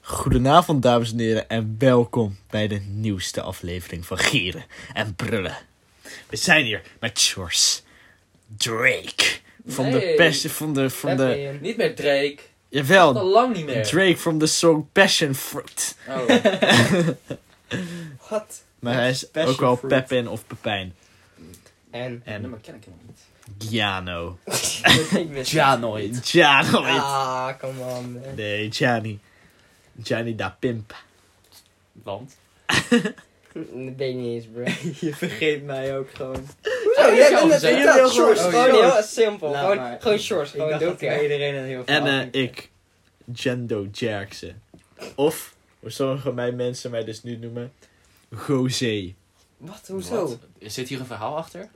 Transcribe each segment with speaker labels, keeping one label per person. Speaker 1: Goedenavond, dames en heren, en welkom bij de nieuwste aflevering van Gieren en Brullen. We zijn hier met George Drake. Van de
Speaker 2: Nee.
Speaker 1: passion, van de, van
Speaker 2: Heb
Speaker 1: de,
Speaker 2: je hem? Niet meer Drake. Al
Speaker 1: jawel,
Speaker 2: lang niet meer.
Speaker 1: Drake from the song Passion Fruit.
Speaker 2: Oh. Wat?
Speaker 1: Maar hij is
Speaker 3: Passion
Speaker 1: ook wel
Speaker 3: Fruit.
Speaker 1: Pepin of Pepijn.
Speaker 3: En
Speaker 2: En
Speaker 1: En
Speaker 2: nummer ken ik helemaal niet.
Speaker 1: Giano.
Speaker 3: ik mis Ja, nooit.
Speaker 1: Giano.
Speaker 3: Ah, come on. man.
Speaker 1: Nee, Gianni. Gianni da Pimp.
Speaker 2: Want?
Speaker 3: Dat weet ik niet eens, bro.
Speaker 4: Je vergeet mij ook gewoon.
Speaker 3: Hoezo?
Speaker 4: Oh,
Speaker 2: jij bent net
Speaker 4: inderdaad shorts.
Speaker 3: Gewoon
Speaker 4: Oh,
Speaker 3: heel
Speaker 4: shorts.
Speaker 3: simpel.
Speaker 4: Laat
Speaker 3: Gewoon,
Speaker 4: maar.
Speaker 3: gewoon shorts.
Speaker 4: ik
Speaker 3: Gewoon
Speaker 4: dacht
Speaker 3: don't
Speaker 4: dat ik
Speaker 3: care.
Speaker 4: iedereen een heel
Speaker 1: En
Speaker 4: verhaal
Speaker 1: eh,
Speaker 4: ging
Speaker 1: ik, Jendo Jerksen. Of, hoe sommige mijn mensen mij dus nu noemen, Gozé.
Speaker 3: Wat? Hoezo?
Speaker 2: Wat? Zit hier een verhaal achter?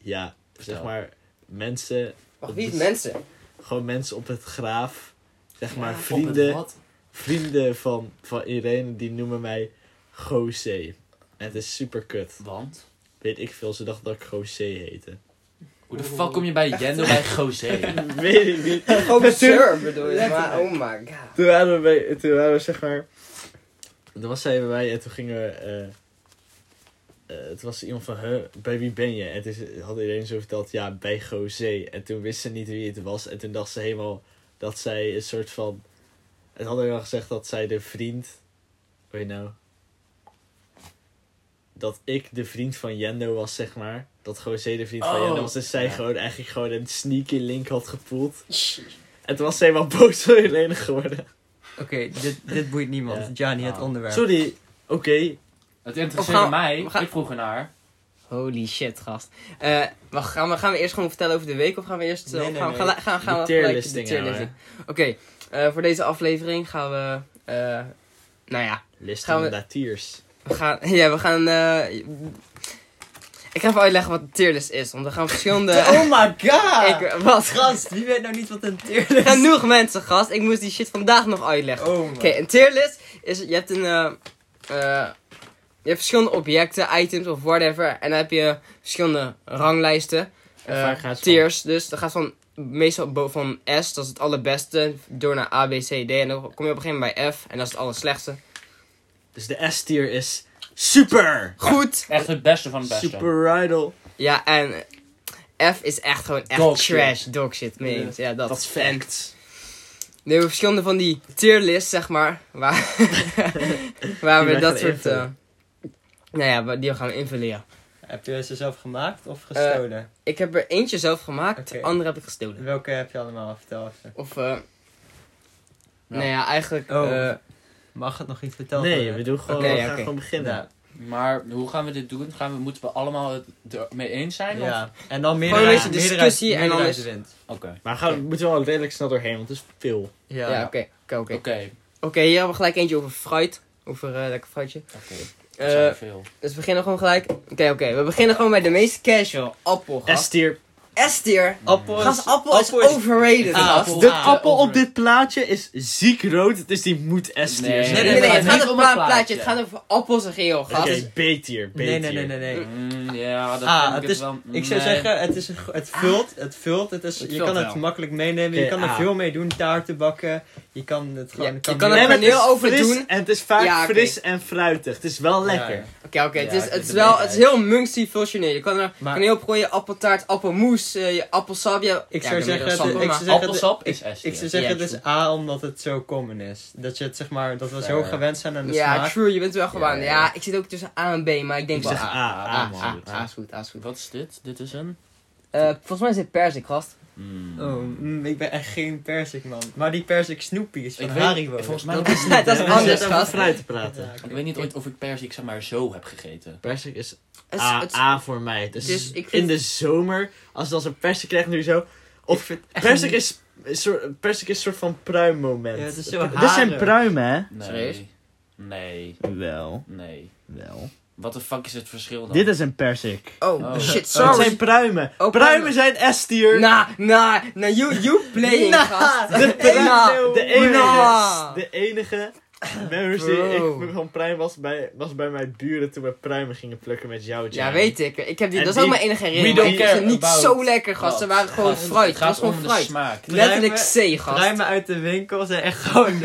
Speaker 1: Ja, zeg
Speaker 2: Vertel.
Speaker 1: maar, mensen,
Speaker 3: Wacht, wie is
Speaker 1: Dus-
Speaker 3: mensen?
Speaker 1: gewoon mensen op het graaf. Zeg maar,
Speaker 2: Op
Speaker 1: vrienden,
Speaker 2: het wat?
Speaker 1: vrienden van, van Irene, die noemen mij Gozé. En het is super kut.
Speaker 2: Want?
Speaker 1: Weet ik veel, ze dachten dat ik Gozé heette.
Speaker 2: Hoe de fuck kom je bij Jendo bij José?
Speaker 1: Weet ik niet.
Speaker 3: Gewoon sir bedoel je. Maar, oh
Speaker 4: Letterlijk.
Speaker 3: my god.
Speaker 1: Toen waren we, bij, toen waren we zeg maar. Toen was zij bij mij en toen gingen we. eh, eh, het was iemand van, huh, bij wie ben je? En toen had iedereen zo verteld, ja, bij José. En toen wist ze niet wie het was. En toen dacht ze helemaal dat zij een soort van... Het had helemaal gezegd dat zij de vriend... Weet je nou? Dat ik de vriend van Jendo was, zeg maar. Dat José de vriend van
Speaker 2: Oh.
Speaker 1: Jendo was. Dus zij
Speaker 2: Ja.
Speaker 1: gewoon eigenlijk gewoon een sneaky link had gepoeld. En toen was ze helemaal boos voor Irene geworden.
Speaker 4: Oké, dit, dit boeit niemand.
Speaker 1: Ja.
Speaker 4: Johnny, het
Speaker 2: Ah.
Speaker 4: onderwerp.
Speaker 1: Sorry, oké.
Speaker 2: Het
Speaker 4: Of
Speaker 2: interesseerde
Speaker 4: gaan-
Speaker 2: mij.
Speaker 4: we gaan-
Speaker 2: Ik vroeg ernaar.
Speaker 4: Holy shit, gast.
Speaker 3: Eh, wacht, gaan we, gaan we eerst gewoon vertellen over de week? Of gaan we eerst... eh,
Speaker 4: Nee, nee,
Speaker 3: gaan, we-
Speaker 4: nee.
Speaker 3: gaan, gaan, gaan
Speaker 1: De
Speaker 3: we gelijk
Speaker 1: tierlisting
Speaker 3: de tierlisting. Oké, eh, voor deze aflevering gaan we... eh, nou ja,
Speaker 1: List
Speaker 3: Gaan we-
Speaker 1: van tiers.
Speaker 3: We gaan, ja, we gaan. eh, ik ga even uitleggen wat een tierlist is, want we gaan verschillende.
Speaker 4: Oh my god!
Speaker 3: ik, wat?
Speaker 4: Gast, wie weet nou niet wat een teerlist is?
Speaker 3: Genoeg mensen, gast. Ik moest die shit vandaag nog uitleggen.
Speaker 4: Oh my
Speaker 3: Oké, een tierlist is. Je hebt een. eh, eh, je hebt verschillende objecten, items of whatever. En dan heb je verschillende ranglijsten.
Speaker 1: En
Speaker 3: eh,
Speaker 1: vaak gaat het
Speaker 3: tiers. Dus dat gaat van. Meestal bo- van S, dat is het allerbeste. Door naar A, B, C, D. En dan kom je op een gegeven moment bij F. En dat is het allerslechtste.
Speaker 1: Dus de S-tier is super!
Speaker 3: Goed!
Speaker 2: Echt het beste van het beste.
Speaker 1: Super idol.
Speaker 3: Ja, en eh, F is echt gewoon echt
Speaker 2: Dog
Speaker 3: trash, dog shit, mee eens. Ja, dat.
Speaker 1: Dat is
Speaker 3: En
Speaker 1: fact.
Speaker 3: we hebben verschillende van die tierlists, zeg maar, waar, waar
Speaker 1: wij
Speaker 3: we dat
Speaker 1: gaan
Speaker 3: soort... eh
Speaker 1: invullen.
Speaker 3: nou ja, waar- die we gaan invullen, ja.
Speaker 4: Heb je ze zelf gemaakt of gestolen?
Speaker 3: Ik heb er eentje zelf gemaakt, de
Speaker 4: Oké.
Speaker 3: andere heb ik gestolen.
Speaker 4: Eh, Welke heb je allemaal verteld?
Speaker 3: Of, eh nou ja, eigenlijk...
Speaker 4: Oh,
Speaker 3: eh,
Speaker 4: Mag het nog iets Nou, verteld
Speaker 1: nee,
Speaker 4: worden?
Speaker 1: we doen gewoon,
Speaker 3: Oké,
Speaker 1: we gaan
Speaker 3: oké.
Speaker 1: gewoon beginnen.
Speaker 4: Ja.
Speaker 2: Maar hoe gaan we dit doen? Gaan we, moeten we allemaal het ermee eens zijn? of-
Speaker 4: ja. En dan meer
Speaker 3: Gewoon een beetje discussie en dan is-
Speaker 4: wint.
Speaker 2: Oké.
Speaker 1: Maar gaan, we moeten wel redelijk snel doorheen, want het is veel.
Speaker 4: Ja.
Speaker 3: ja, oké, oké, oké.
Speaker 2: Oké.
Speaker 3: Oké, hier hebben we gelijk eentje over fruit. Over eh, lekker fruitje.
Speaker 2: Oké.
Speaker 3: Eh,
Speaker 2: Dat is veel.
Speaker 3: dus we beginnen gewoon gelijk. Oké, oké. We beginnen gewoon bij de meest casual. Appel, gast.
Speaker 1: S-tier.
Speaker 3: S-tier.
Speaker 4: Appel
Speaker 3: Gast,
Speaker 4: is...
Speaker 3: appel,
Speaker 4: appel
Speaker 3: is
Speaker 4: is-
Speaker 3: overrated,
Speaker 4: Ah,
Speaker 3: gast.
Speaker 4: appel.
Speaker 1: De
Speaker 4: Ah,
Speaker 1: appel op
Speaker 2: over.
Speaker 1: dit plaatje is ziek rood, dus die moet S-tier
Speaker 2: Nee.
Speaker 1: zijn.
Speaker 3: Nee, nee, nee, het gaat
Speaker 4: niet
Speaker 3: over
Speaker 4: om een
Speaker 3: pla- plaatje.
Speaker 4: plaatje.
Speaker 3: Het gaat over appels en geel,
Speaker 1: Oké,
Speaker 3: gast.
Speaker 1: B-tier. B-tier.
Speaker 4: Nee, nee, nee, nee, nee.
Speaker 2: Mm, ja, dat
Speaker 4: Ah,
Speaker 2: vind ik
Speaker 4: het is-
Speaker 2: wel.
Speaker 4: Ik zou
Speaker 2: nee.
Speaker 4: zeggen, het, is een, go- het vult, het vult, het is,
Speaker 3: Het
Speaker 4: je
Speaker 3: vult
Speaker 4: kan het
Speaker 3: wel.
Speaker 4: makkelijk meenemen, je
Speaker 1: Oké,
Speaker 4: kan er
Speaker 1: ah.
Speaker 4: veel mee doen, taarten bakken, je kan het gewoon...
Speaker 3: Ja, je
Speaker 4: kan
Speaker 3: kan
Speaker 1: Nee,
Speaker 3: het
Speaker 1: maar
Speaker 3: gaan heel
Speaker 1: is
Speaker 3: overdoen.
Speaker 1: fris En het is vaak
Speaker 3: Ja, oké.
Speaker 1: fris en fruitig. Het is wel lekker.
Speaker 4: Ja,
Speaker 3: Oké, oké. het,
Speaker 4: Ja,
Speaker 3: is, het,
Speaker 4: ik vind
Speaker 3: is
Speaker 4: het
Speaker 3: wel,
Speaker 4: een
Speaker 3: het is heel multifunctioneel. Je kan er
Speaker 4: Maar-
Speaker 3: kan heel op gooien. Appeltaart, appelmoes, eh, je appelsap. Je,
Speaker 4: Ik
Speaker 3: ja,
Speaker 4: zou
Speaker 3: ben
Speaker 4: zeggen,
Speaker 3: wel
Speaker 4: de-
Speaker 3: sap,
Speaker 4: ik
Speaker 3: maar-
Speaker 4: zou zeggen,
Speaker 2: Appelsap
Speaker 4: de-
Speaker 2: is
Speaker 4: ik-
Speaker 2: S-tier.
Speaker 4: Ik zou zeggen,
Speaker 3: Ja,
Speaker 4: het is A omdat het zo common is. Dat je het zeg maar, dat we zo
Speaker 2: Fair.
Speaker 4: gewend zijn aan de
Speaker 3: Ja,
Speaker 4: smaak.
Speaker 3: true. Je bent wel gewoon... Ja,
Speaker 4: ja,
Speaker 3: ik zit ook tussen A en B, maar ik denk
Speaker 1: Ik
Speaker 3: wel ah,
Speaker 1: zeg A. A,
Speaker 3: A. A,
Speaker 1: man.
Speaker 3: A, A is goed, A is goed.
Speaker 2: Wat is dit? Dit is een.
Speaker 3: Eh, volgens mij is dit persik, gast.
Speaker 2: Mm.
Speaker 4: Oh, mm, ik ben echt geen persik man. Maar die persik Snoopy is van
Speaker 2: Ik weet-
Speaker 4: Haribo.
Speaker 2: volgens mij
Speaker 3: Dat is, dat is
Speaker 1: We
Speaker 3: anders,
Speaker 1: zitten over
Speaker 3: gast.
Speaker 1: fruit te praten.
Speaker 4: Ja,
Speaker 2: Ik weet niet ooit of ik persik zeg maar zo heb gegeten.
Speaker 1: Persik is
Speaker 3: Het is-
Speaker 1: A,
Speaker 3: het is-
Speaker 1: A voor mij. Dus,
Speaker 3: Dus ik vind-
Speaker 1: in de zomer, als je dan zo'n persik krijgt nu zo. Of persik, is, is soort, persik is een soort van pruimmoment.
Speaker 4: Ja, het is zo
Speaker 1: Dit zijn
Speaker 4: haren.
Speaker 1: pruimen, hè?
Speaker 2: Nee.
Speaker 3: Serieus?
Speaker 2: Nee,
Speaker 1: Wel,
Speaker 2: nee.
Speaker 1: wel.
Speaker 2: Wat de fuck is het verschil dan?
Speaker 1: Dit is een persik.
Speaker 3: Oh,
Speaker 2: Oh.
Speaker 3: shit,
Speaker 1: Het
Speaker 3: sorry. Nou,
Speaker 1: zijn pruimen.
Speaker 3: Oh,
Speaker 1: pruimen zijn S-tier.
Speaker 3: Nah, nah, nah, you, you playing, gast.
Speaker 1: de,
Speaker 3: nah,
Speaker 1: de enige,
Speaker 3: nah.
Speaker 1: de enige Memories die
Speaker 3: Bro.
Speaker 1: ik van Pruim was bij, was bij mijn buren toen we pruimen gingen plukken met jou.
Speaker 3: Ja,
Speaker 1: Jamie.
Speaker 3: weet ik. ik heb die,
Speaker 1: En
Speaker 3: dat is ook
Speaker 1: die-
Speaker 3: mijn enige
Speaker 1: we
Speaker 3: herinnering.
Speaker 1: don't
Speaker 3: Die zijn
Speaker 2: care
Speaker 3: niet
Speaker 2: about
Speaker 3: zo lekker, gast. Ze
Speaker 2: Wat?
Speaker 3: waren gewoon
Speaker 2: Gast,
Speaker 3: fruit.
Speaker 2: Het
Speaker 3: Het was
Speaker 2: gaat
Speaker 3: gewoon
Speaker 2: om de
Speaker 3: fruit.
Speaker 2: smaak.
Speaker 3: Letterlijk
Speaker 4: Pruimen-
Speaker 3: C, gast.
Speaker 4: Ruimen uit de winkel zijn echt gewoon
Speaker 3: C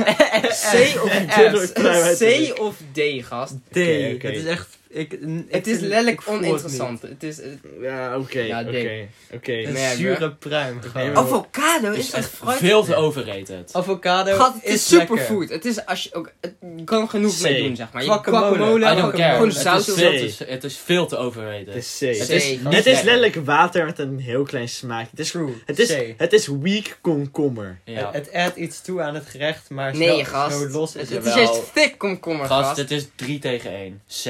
Speaker 3: of
Speaker 1: Letterlijk pruim uit
Speaker 3: S.
Speaker 1: de
Speaker 3: C of D, gast.
Speaker 4: D.
Speaker 1: Oké, oké.
Speaker 4: Het is echt... Ik, ik-
Speaker 3: Het is
Speaker 4: ik- ik
Speaker 3: lelijk
Speaker 4: voel het niet.
Speaker 3: oninteressant. Het is... het-
Speaker 1: Ja, oké.
Speaker 3: Ja,
Speaker 1: Oké.
Speaker 3: dik.
Speaker 1: Oké.
Speaker 4: Een
Speaker 3: Merk,
Speaker 4: zure pruim
Speaker 1: Nee,
Speaker 4: gewoon.
Speaker 1: maar-
Speaker 3: Avocado
Speaker 2: Het
Speaker 3: is
Speaker 2: is
Speaker 3: echt
Speaker 2: echt
Speaker 3: fruit. Oh,
Speaker 2: veel te overrated.
Speaker 4: Avocado
Speaker 3: Gat, het is
Speaker 4: is lekker.
Speaker 3: superfood. Het is als je ook... Het je kan er genoeg
Speaker 1: C.
Speaker 3: mee doen, zeg maar. Je
Speaker 4: Guacamole.
Speaker 3: guacamole,
Speaker 2: I don't care.
Speaker 3: gewoon
Speaker 2: Het
Speaker 3: zout.
Speaker 2: is,
Speaker 1: zee.
Speaker 2: veel te- het is veel te overrated.
Speaker 1: Het is C.
Speaker 2: Het
Speaker 3: Zee.
Speaker 1: Het
Speaker 2: is,
Speaker 3: Net
Speaker 2: niet
Speaker 1: is
Speaker 2: lekker.
Speaker 1: letterlijk water met een heel klein smaakje. Het is,
Speaker 4: True.
Speaker 1: het is,
Speaker 4: C.
Speaker 1: het is weak komkommer.
Speaker 2: Ja.
Speaker 4: Het adds iets toe aan het gerecht, maar zo,
Speaker 3: Nee, gast.
Speaker 4: zo los is
Speaker 3: Het
Speaker 4: het
Speaker 3: het
Speaker 2: wel.
Speaker 3: is juist thick komkommer,
Speaker 2: Gast,
Speaker 3: gast.
Speaker 2: het is 3 tegen 1. C.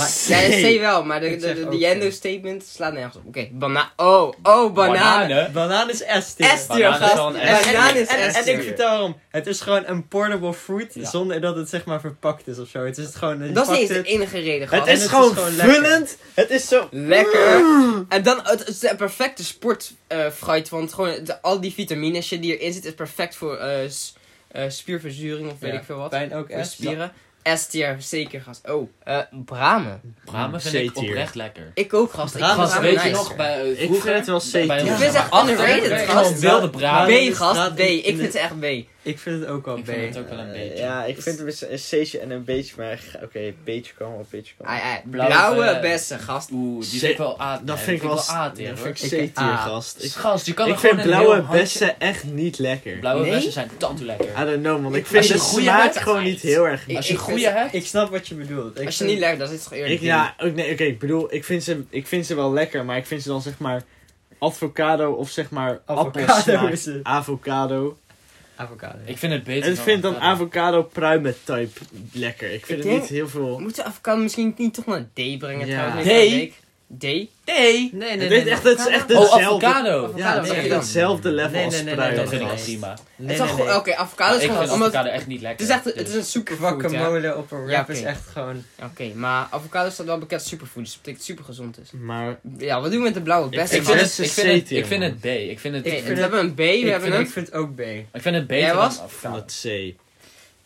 Speaker 3: Maar,
Speaker 1: C.
Speaker 3: ja, dat C wel, maar de,
Speaker 4: Ik
Speaker 3: de,
Speaker 4: zeg
Speaker 3: de,
Speaker 4: ook
Speaker 3: de
Speaker 4: C.
Speaker 3: Jendo statement slaat nergens op. Oké, bana... Oh, oh, bananen.
Speaker 4: Banaan is S tier.
Speaker 3: S tier,
Speaker 2: Banaan is wel een
Speaker 3: gast.
Speaker 2: S.
Speaker 4: En-
Speaker 3: Banaan is
Speaker 4: en- en-
Speaker 3: S
Speaker 4: En ik
Speaker 3: tier.
Speaker 4: vertel waarom. Het is gewoon een portable fruit
Speaker 2: Ja.
Speaker 4: zonder dat het zeg maar verpakt is of zo. Het is het gewoon. je
Speaker 3: Dat is
Speaker 4: pakt
Speaker 3: niet eens
Speaker 4: het-
Speaker 3: de enige reden,
Speaker 1: Het
Speaker 3: gast.
Speaker 1: is,
Speaker 4: het is
Speaker 1: gewoon
Speaker 4: gewoon lekker.
Speaker 1: vullend. Het is zo...
Speaker 3: Lekker. En dan, het is de perfecte sportfruit, want gewoon de- al die vitamines die erin zit is perfect voor eh, s- eh, spierverzuring of weet
Speaker 4: Ja,
Speaker 3: ik veel wat.
Speaker 4: Pijn ook
Speaker 3: Voor
Speaker 4: S.
Speaker 3: spieren. S tier, zeker gast. Oh, eh, bramen.
Speaker 2: Bramen vind
Speaker 1: Hmm, C
Speaker 2: ik
Speaker 1: tier.
Speaker 2: oprecht lekker.
Speaker 3: Ik ook gast. Ik vind
Speaker 4: Bramen
Speaker 2: Gast,
Speaker 4: is wel
Speaker 3: bramen
Speaker 2: weet
Speaker 3: nice.
Speaker 2: je nog, bij, eh,
Speaker 1: Ik
Speaker 2: vroeger,
Speaker 1: vind het wel C tier.
Speaker 2: Bij
Speaker 1: Ik
Speaker 2: ons
Speaker 3: vind het echt underrated, gast.
Speaker 2: wilde bramen.
Speaker 3: B gast, B. Ik vind
Speaker 4: het
Speaker 3: ze echt B.
Speaker 4: Ik vind het ook wel
Speaker 2: Ik
Speaker 4: B.
Speaker 2: vind het ook wel een beetje.
Speaker 1: Eh, ja, ik vind het een C'tje en een beetje, maar g- oké, beetje kan wel, beetje
Speaker 2: Ah,
Speaker 1: kan wel.
Speaker 3: Ai, ai.
Speaker 2: Blauwe-
Speaker 3: Ah, Blauwe beste gast.
Speaker 2: Oeh,
Speaker 1: C.
Speaker 2: die vind ik wel A.
Speaker 1: Dat vind ik wel
Speaker 2: A
Speaker 1: dat
Speaker 2: tier.
Speaker 1: vind
Speaker 2: hoor.
Speaker 1: ik
Speaker 4: Ik-
Speaker 1: C-tier,
Speaker 4: A.
Speaker 1: gast. Ik,
Speaker 2: Gast, je kan
Speaker 1: ik
Speaker 2: er
Speaker 1: vind
Speaker 2: gewoon een heel
Speaker 1: blauwe
Speaker 2: handje-
Speaker 1: bessen Ah, echt niet lekker.
Speaker 2: Blauwe
Speaker 3: Nee?
Speaker 2: bessen zijn tanto lekker.
Speaker 1: I don't know, man. Ik
Speaker 2: Als
Speaker 1: vind
Speaker 2: je
Speaker 1: de
Speaker 2: een goede
Speaker 1: smaak
Speaker 2: hebt,
Speaker 1: gewoon niet heel erg
Speaker 3: Ik-
Speaker 2: Als je een
Speaker 3: ik
Speaker 2: goede
Speaker 3: vind-
Speaker 2: hebt,
Speaker 4: Ik snap wat je bedoelt. Ik
Speaker 3: Als je
Speaker 4: vind-
Speaker 3: niet lekker, dan is het gewoon
Speaker 1: Ik,
Speaker 3: eerlijk.
Speaker 1: ja, ook nee, oké, ik bedoel, ik vind, ze, ik vind ze wel lekker, maar ik vind ze dan zeg maar avocado of zeg maar
Speaker 4: Avocado
Speaker 1: appelsmaak.
Speaker 4: is het.
Speaker 1: Avocado.
Speaker 4: Avocado.
Speaker 2: ik vind het beter
Speaker 1: En ik vind dan avocado pruimen type lekker. Ik vind
Speaker 3: Ik
Speaker 1: het
Speaker 3: denk-
Speaker 1: niet heel veel...
Speaker 3: Moeten we avocado misschien niet toch naar D brengen
Speaker 1: Ja.
Speaker 3: trouwens?
Speaker 1: D?
Speaker 3: deze week? D?
Speaker 2: Nee!
Speaker 4: Nee,
Speaker 1: Het is echt- het is echt
Speaker 2: Oh,
Speaker 1: hetzelfde.
Speaker 2: avocado!
Speaker 1: Ja, het is
Speaker 3: Avocado,
Speaker 1: echt
Speaker 3: nee.
Speaker 1: hetzelfde level
Speaker 4: Nee,
Speaker 1: als
Speaker 4: nee, nee,
Speaker 1: pruimen.
Speaker 2: Dat vind ik
Speaker 4: Nee.
Speaker 2: wel prima.
Speaker 3: Het is wel goed. Oké, avocado is
Speaker 2: ik
Speaker 3: gewoon...
Speaker 2: vind
Speaker 3: omdat-
Speaker 2: avocado echt niet
Speaker 3: Het
Speaker 2: lekker.
Speaker 3: is echt het
Speaker 2: Dus-
Speaker 3: is een superfood, hè.
Speaker 4: Guacamole op een
Speaker 3: Ja,
Speaker 4: wrap is
Speaker 3: oké.
Speaker 4: echt gewoon.
Speaker 3: Oké, maar avocado staat wel bekend als superfood, dus dat betekent super gezond is.
Speaker 1: Maar
Speaker 3: Ja, wat doen we met de blauwe
Speaker 1: Ik
Speaker 3: best?
Speaker 2: Ik
Speaker 1: vind
Speaker 2: vind
Speaker 1: het
Speaker 2: het-
Speaker 1: een
Speaker 2: ik vind het-
Speaker 1: C-tier,
Speaker 2: ik vind
Speaker 1: man.
Speaker 2: het B. Ik vind het-
Speaker 3: Oké,
Speaker 4: vind
Speaker 3: we
Speaker 4: het-
Speaker 3: hebben een B, we
Speaker 4: Ik
Speaker 3: hebben
Speaker 4: vind,
Speaker 3: een...
Speaker 4: ik vind het ook B.
Speaker 2: ik vind het beter
Speaker 3: Jij
Speaker 2: dan
Speaker 3: was?
Speaker 1: van
Speaker 2: avocado.
Speaker 1: het C.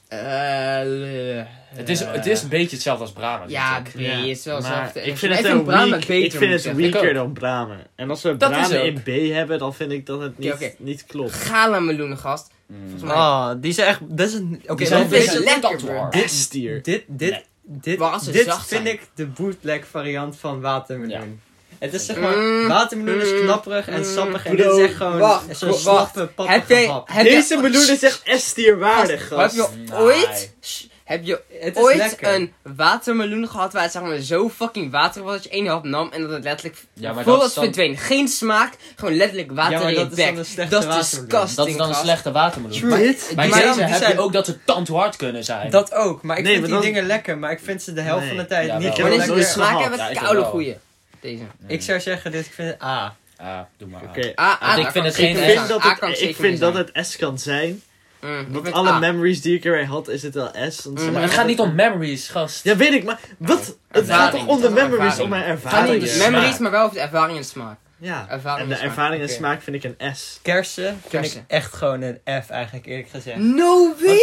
Speaker 3: Eh, eh,
Speaker 2: Het is, het is een beetje hetzelfde als Brahma.
Speaker 3: Ja, B
Speaker 2: natuurlijk.
Speaker 1: Ja,
Speaker 3: is wel
Speaker 1: maar
Speaker 3: zacht.
Speaker 1: Ik vind het een
Speaker 3: Brahma
Speaker 1: weak,
Speaker 3: beter,
Speaker 1: ik vind
Speaker 3: moet
Speaker 1: het
Speaker 3: zeggen.
Speaker 2: zeggen. Ik
Speaker 1: weaker
Speaker 2: ook.
Speaker 1: dan Bramen. En als we
Speaker 2: Dat is
Speaker 1: Bramen in
Speaker 2: ook.
Speaker 1: B hebben, dan vind ik dat het niet,
Speaker 3: oké.
Speaker 1: niet klopt.
Speaker 3: Galameloenen, gast.
Speaker 2: Mm.
Speaker 3: Volgens mij.
Speaker 4: Oh, die zijn echt. Dat is een. Oké,
Speaker 2: Die
Speaker 3: zijn
Speaker 4: dat
Speaker 2: zijn
Speaker 3: een
Speaker 4: is
Speaker 3: beetje
Speaker 2: een
Speaker 3: lekker,
Speaker 2: tantoor.
Speaker 3: bro.
Speaker 1: Dit stier.
Speaker 4: Dit, dit,
Speaker 2: Nee.
Speaker 4: dit,
Speaker 3: Maar als ze
Speaker 4: dit
Speaker 3: zacht
Speaker 4: vind
Speaker 3: zijn.
Speaker 4: ik de bootleg variant van watermeloen. Het is zeg maar,
Speaker 3: Mm.
Speaker 4: watermeloen is
Speaker 3: Mm.
Speaker 4: knapperig en
Speaker 3: Mm.
Speaker 4: sappig en
Speaker 1: Bro,
Speaker 4: dit is echt gewoon
Speaker 3: wacht,
Speaker 4: zo'n
Speaker 3: wacht.
Speaker 4: slappe,
Speaker 3: Heb
Speaker 4: pappige
Speaker 3: jij...
Speaker 4: hap.
Speaker 3: Heb
Speaker 1: Deze
Speaker 3: jij-
Speaker 1: meloen is echt S-tier waardig,
Speaker 3: Gast,
Speaker 1: gast.
Speaker 3: Heb je
Speaker 2: Nee.
Speaker 3: ooit... Shh, Heb je
Speaker 4: Het is
Speaker 3: ooit
Speaker 4: lekker.
Speaker 3: een watermeloen gehad waar het zeg maar zo fucking waterig was dat je één hap nam en dat het letterlijk
Speaker 2: Ja, maar
Speaker 3: vol
Speaker 2: dat
Speaker 3: was
Speaker 2: is dan-
Speaker 3: verdween. Geen smaak, gewoon letterlijk water
Speaker 4: ja, maar
Speaker 3: in je
Speaker 4: dat is dan een
Speaker 3: bek.
Speaker 4: slechte
Speaker 3: Dat is
Speaker 4: watermeloen.
Speaker 3: disgusting.
Speaker 2: Dat is dan een
Speaker 3: gast.
Speaker 2: slechte watermeloen.
Speaker 4: Maar-
Speaker 2: Bij-
Speaker 4: die
Speaker 2: Bij
Speaker 4: zijn-
Speaker 2: deze
Speaker 4: die
Speaker 2: heb
Speaker 4: zijn-
Speaker 2: je ook dat ze tandhard kunnen zijn.
Speaker 4: dus- Dat ook, maar ik
Speaker 1: Nee,
Speaker 4: vind
Speaker 1: maar
Speaker 4: die
Speaker 1: dan-
Speaker 4: dingen lekker, maar ik vind ze de helft
Speaker 1: Nee.
Speaker 4: van de tijd
Speaker 2: Ja,
Speaker 4: niet
Speaker 2: wel.
Speaker 4: heel
Speaker 3: Maar
Speaker 1: heb
Speaker 3: deze
Speaker 1: het
Speaker 3: moet
Speaker 4: lekker.
Speaker 1: nooit
Speaker 3: smaak
Speaker 1: gehad.
Speaker 3: hebben,
Speaker 2: Ja,
Speaker 3: het
Speaker 2: ik
Speaker 3: koude
Speaker 2: wel.
Speaker 3: goeie. Deze.
Speaker 4: Ik zou zeggen, dit ik vind A.
Speaker 2: Ah, doe maar. aan.
Speaker 1: Oké.
Speaker 3: Ah, ah,
Speaker 2: ik
Speaker 3: daar
Speaker 2: vind
Speaker 3: kan
Speaker 2: het
Speaker 3: zeker
Speaker 2: geen-
Speaker 1: Ik
Speaker 3: mee
Speaker 1: vind
Speaker 3: gaan.
Speaker 1: dat
Speaker 3: Ah, kan
Speaker 1: het, ik
Speaker 3: zeker mee
Speaker 1: vind dat
Speaker 3: gaan.
Speaker 1: het S kan zijn.
Speaker 3: Mm, ik
Speaker 1: Want
Speaker 3: vind
Speaker 1: alle
Speaker 3: A.
Speaker 1: memories die ik erbij had, is het wel S. want ze
Speaker 3: Mm,
Speaker 2: Maar
Speaker 1: waren
Speaker 2: het gaat
Speaker 1: altijd-
Speaker 2: niet om memories, gast.
Speaker 1: Ja, weet ik, maar wat? Het
Speaker 2: Ervaring.
Speaker 1: gaat toch om de
Speaker 2: Het gaat om
Speaker 1: memories,
Speaker 2: ervaring.
Speaker 1: om mijn
Speaker 3: Het gaat niet om
Speaker 1: ervaringen.
Speaker 3: de
Speaker 2: Ervaring.
Speaker 3: memories, maar wel over de ervaring en de smaak.
Speaker 1: Ja,
Speaker 3: Ervaring
Speaker 1: en de
Speaker 3: smaak.
Speaker 1: ervaring en
Speaker 4: Oké.
Speaker 1: smaak vind ik een S.
Speaker 4: Kersen vind ik
Speaker 3: Kersen.
Speaker 4: echt gewoon een F eigenlijk, eerlijk gezegd.
Speaker 3: Mm. No way!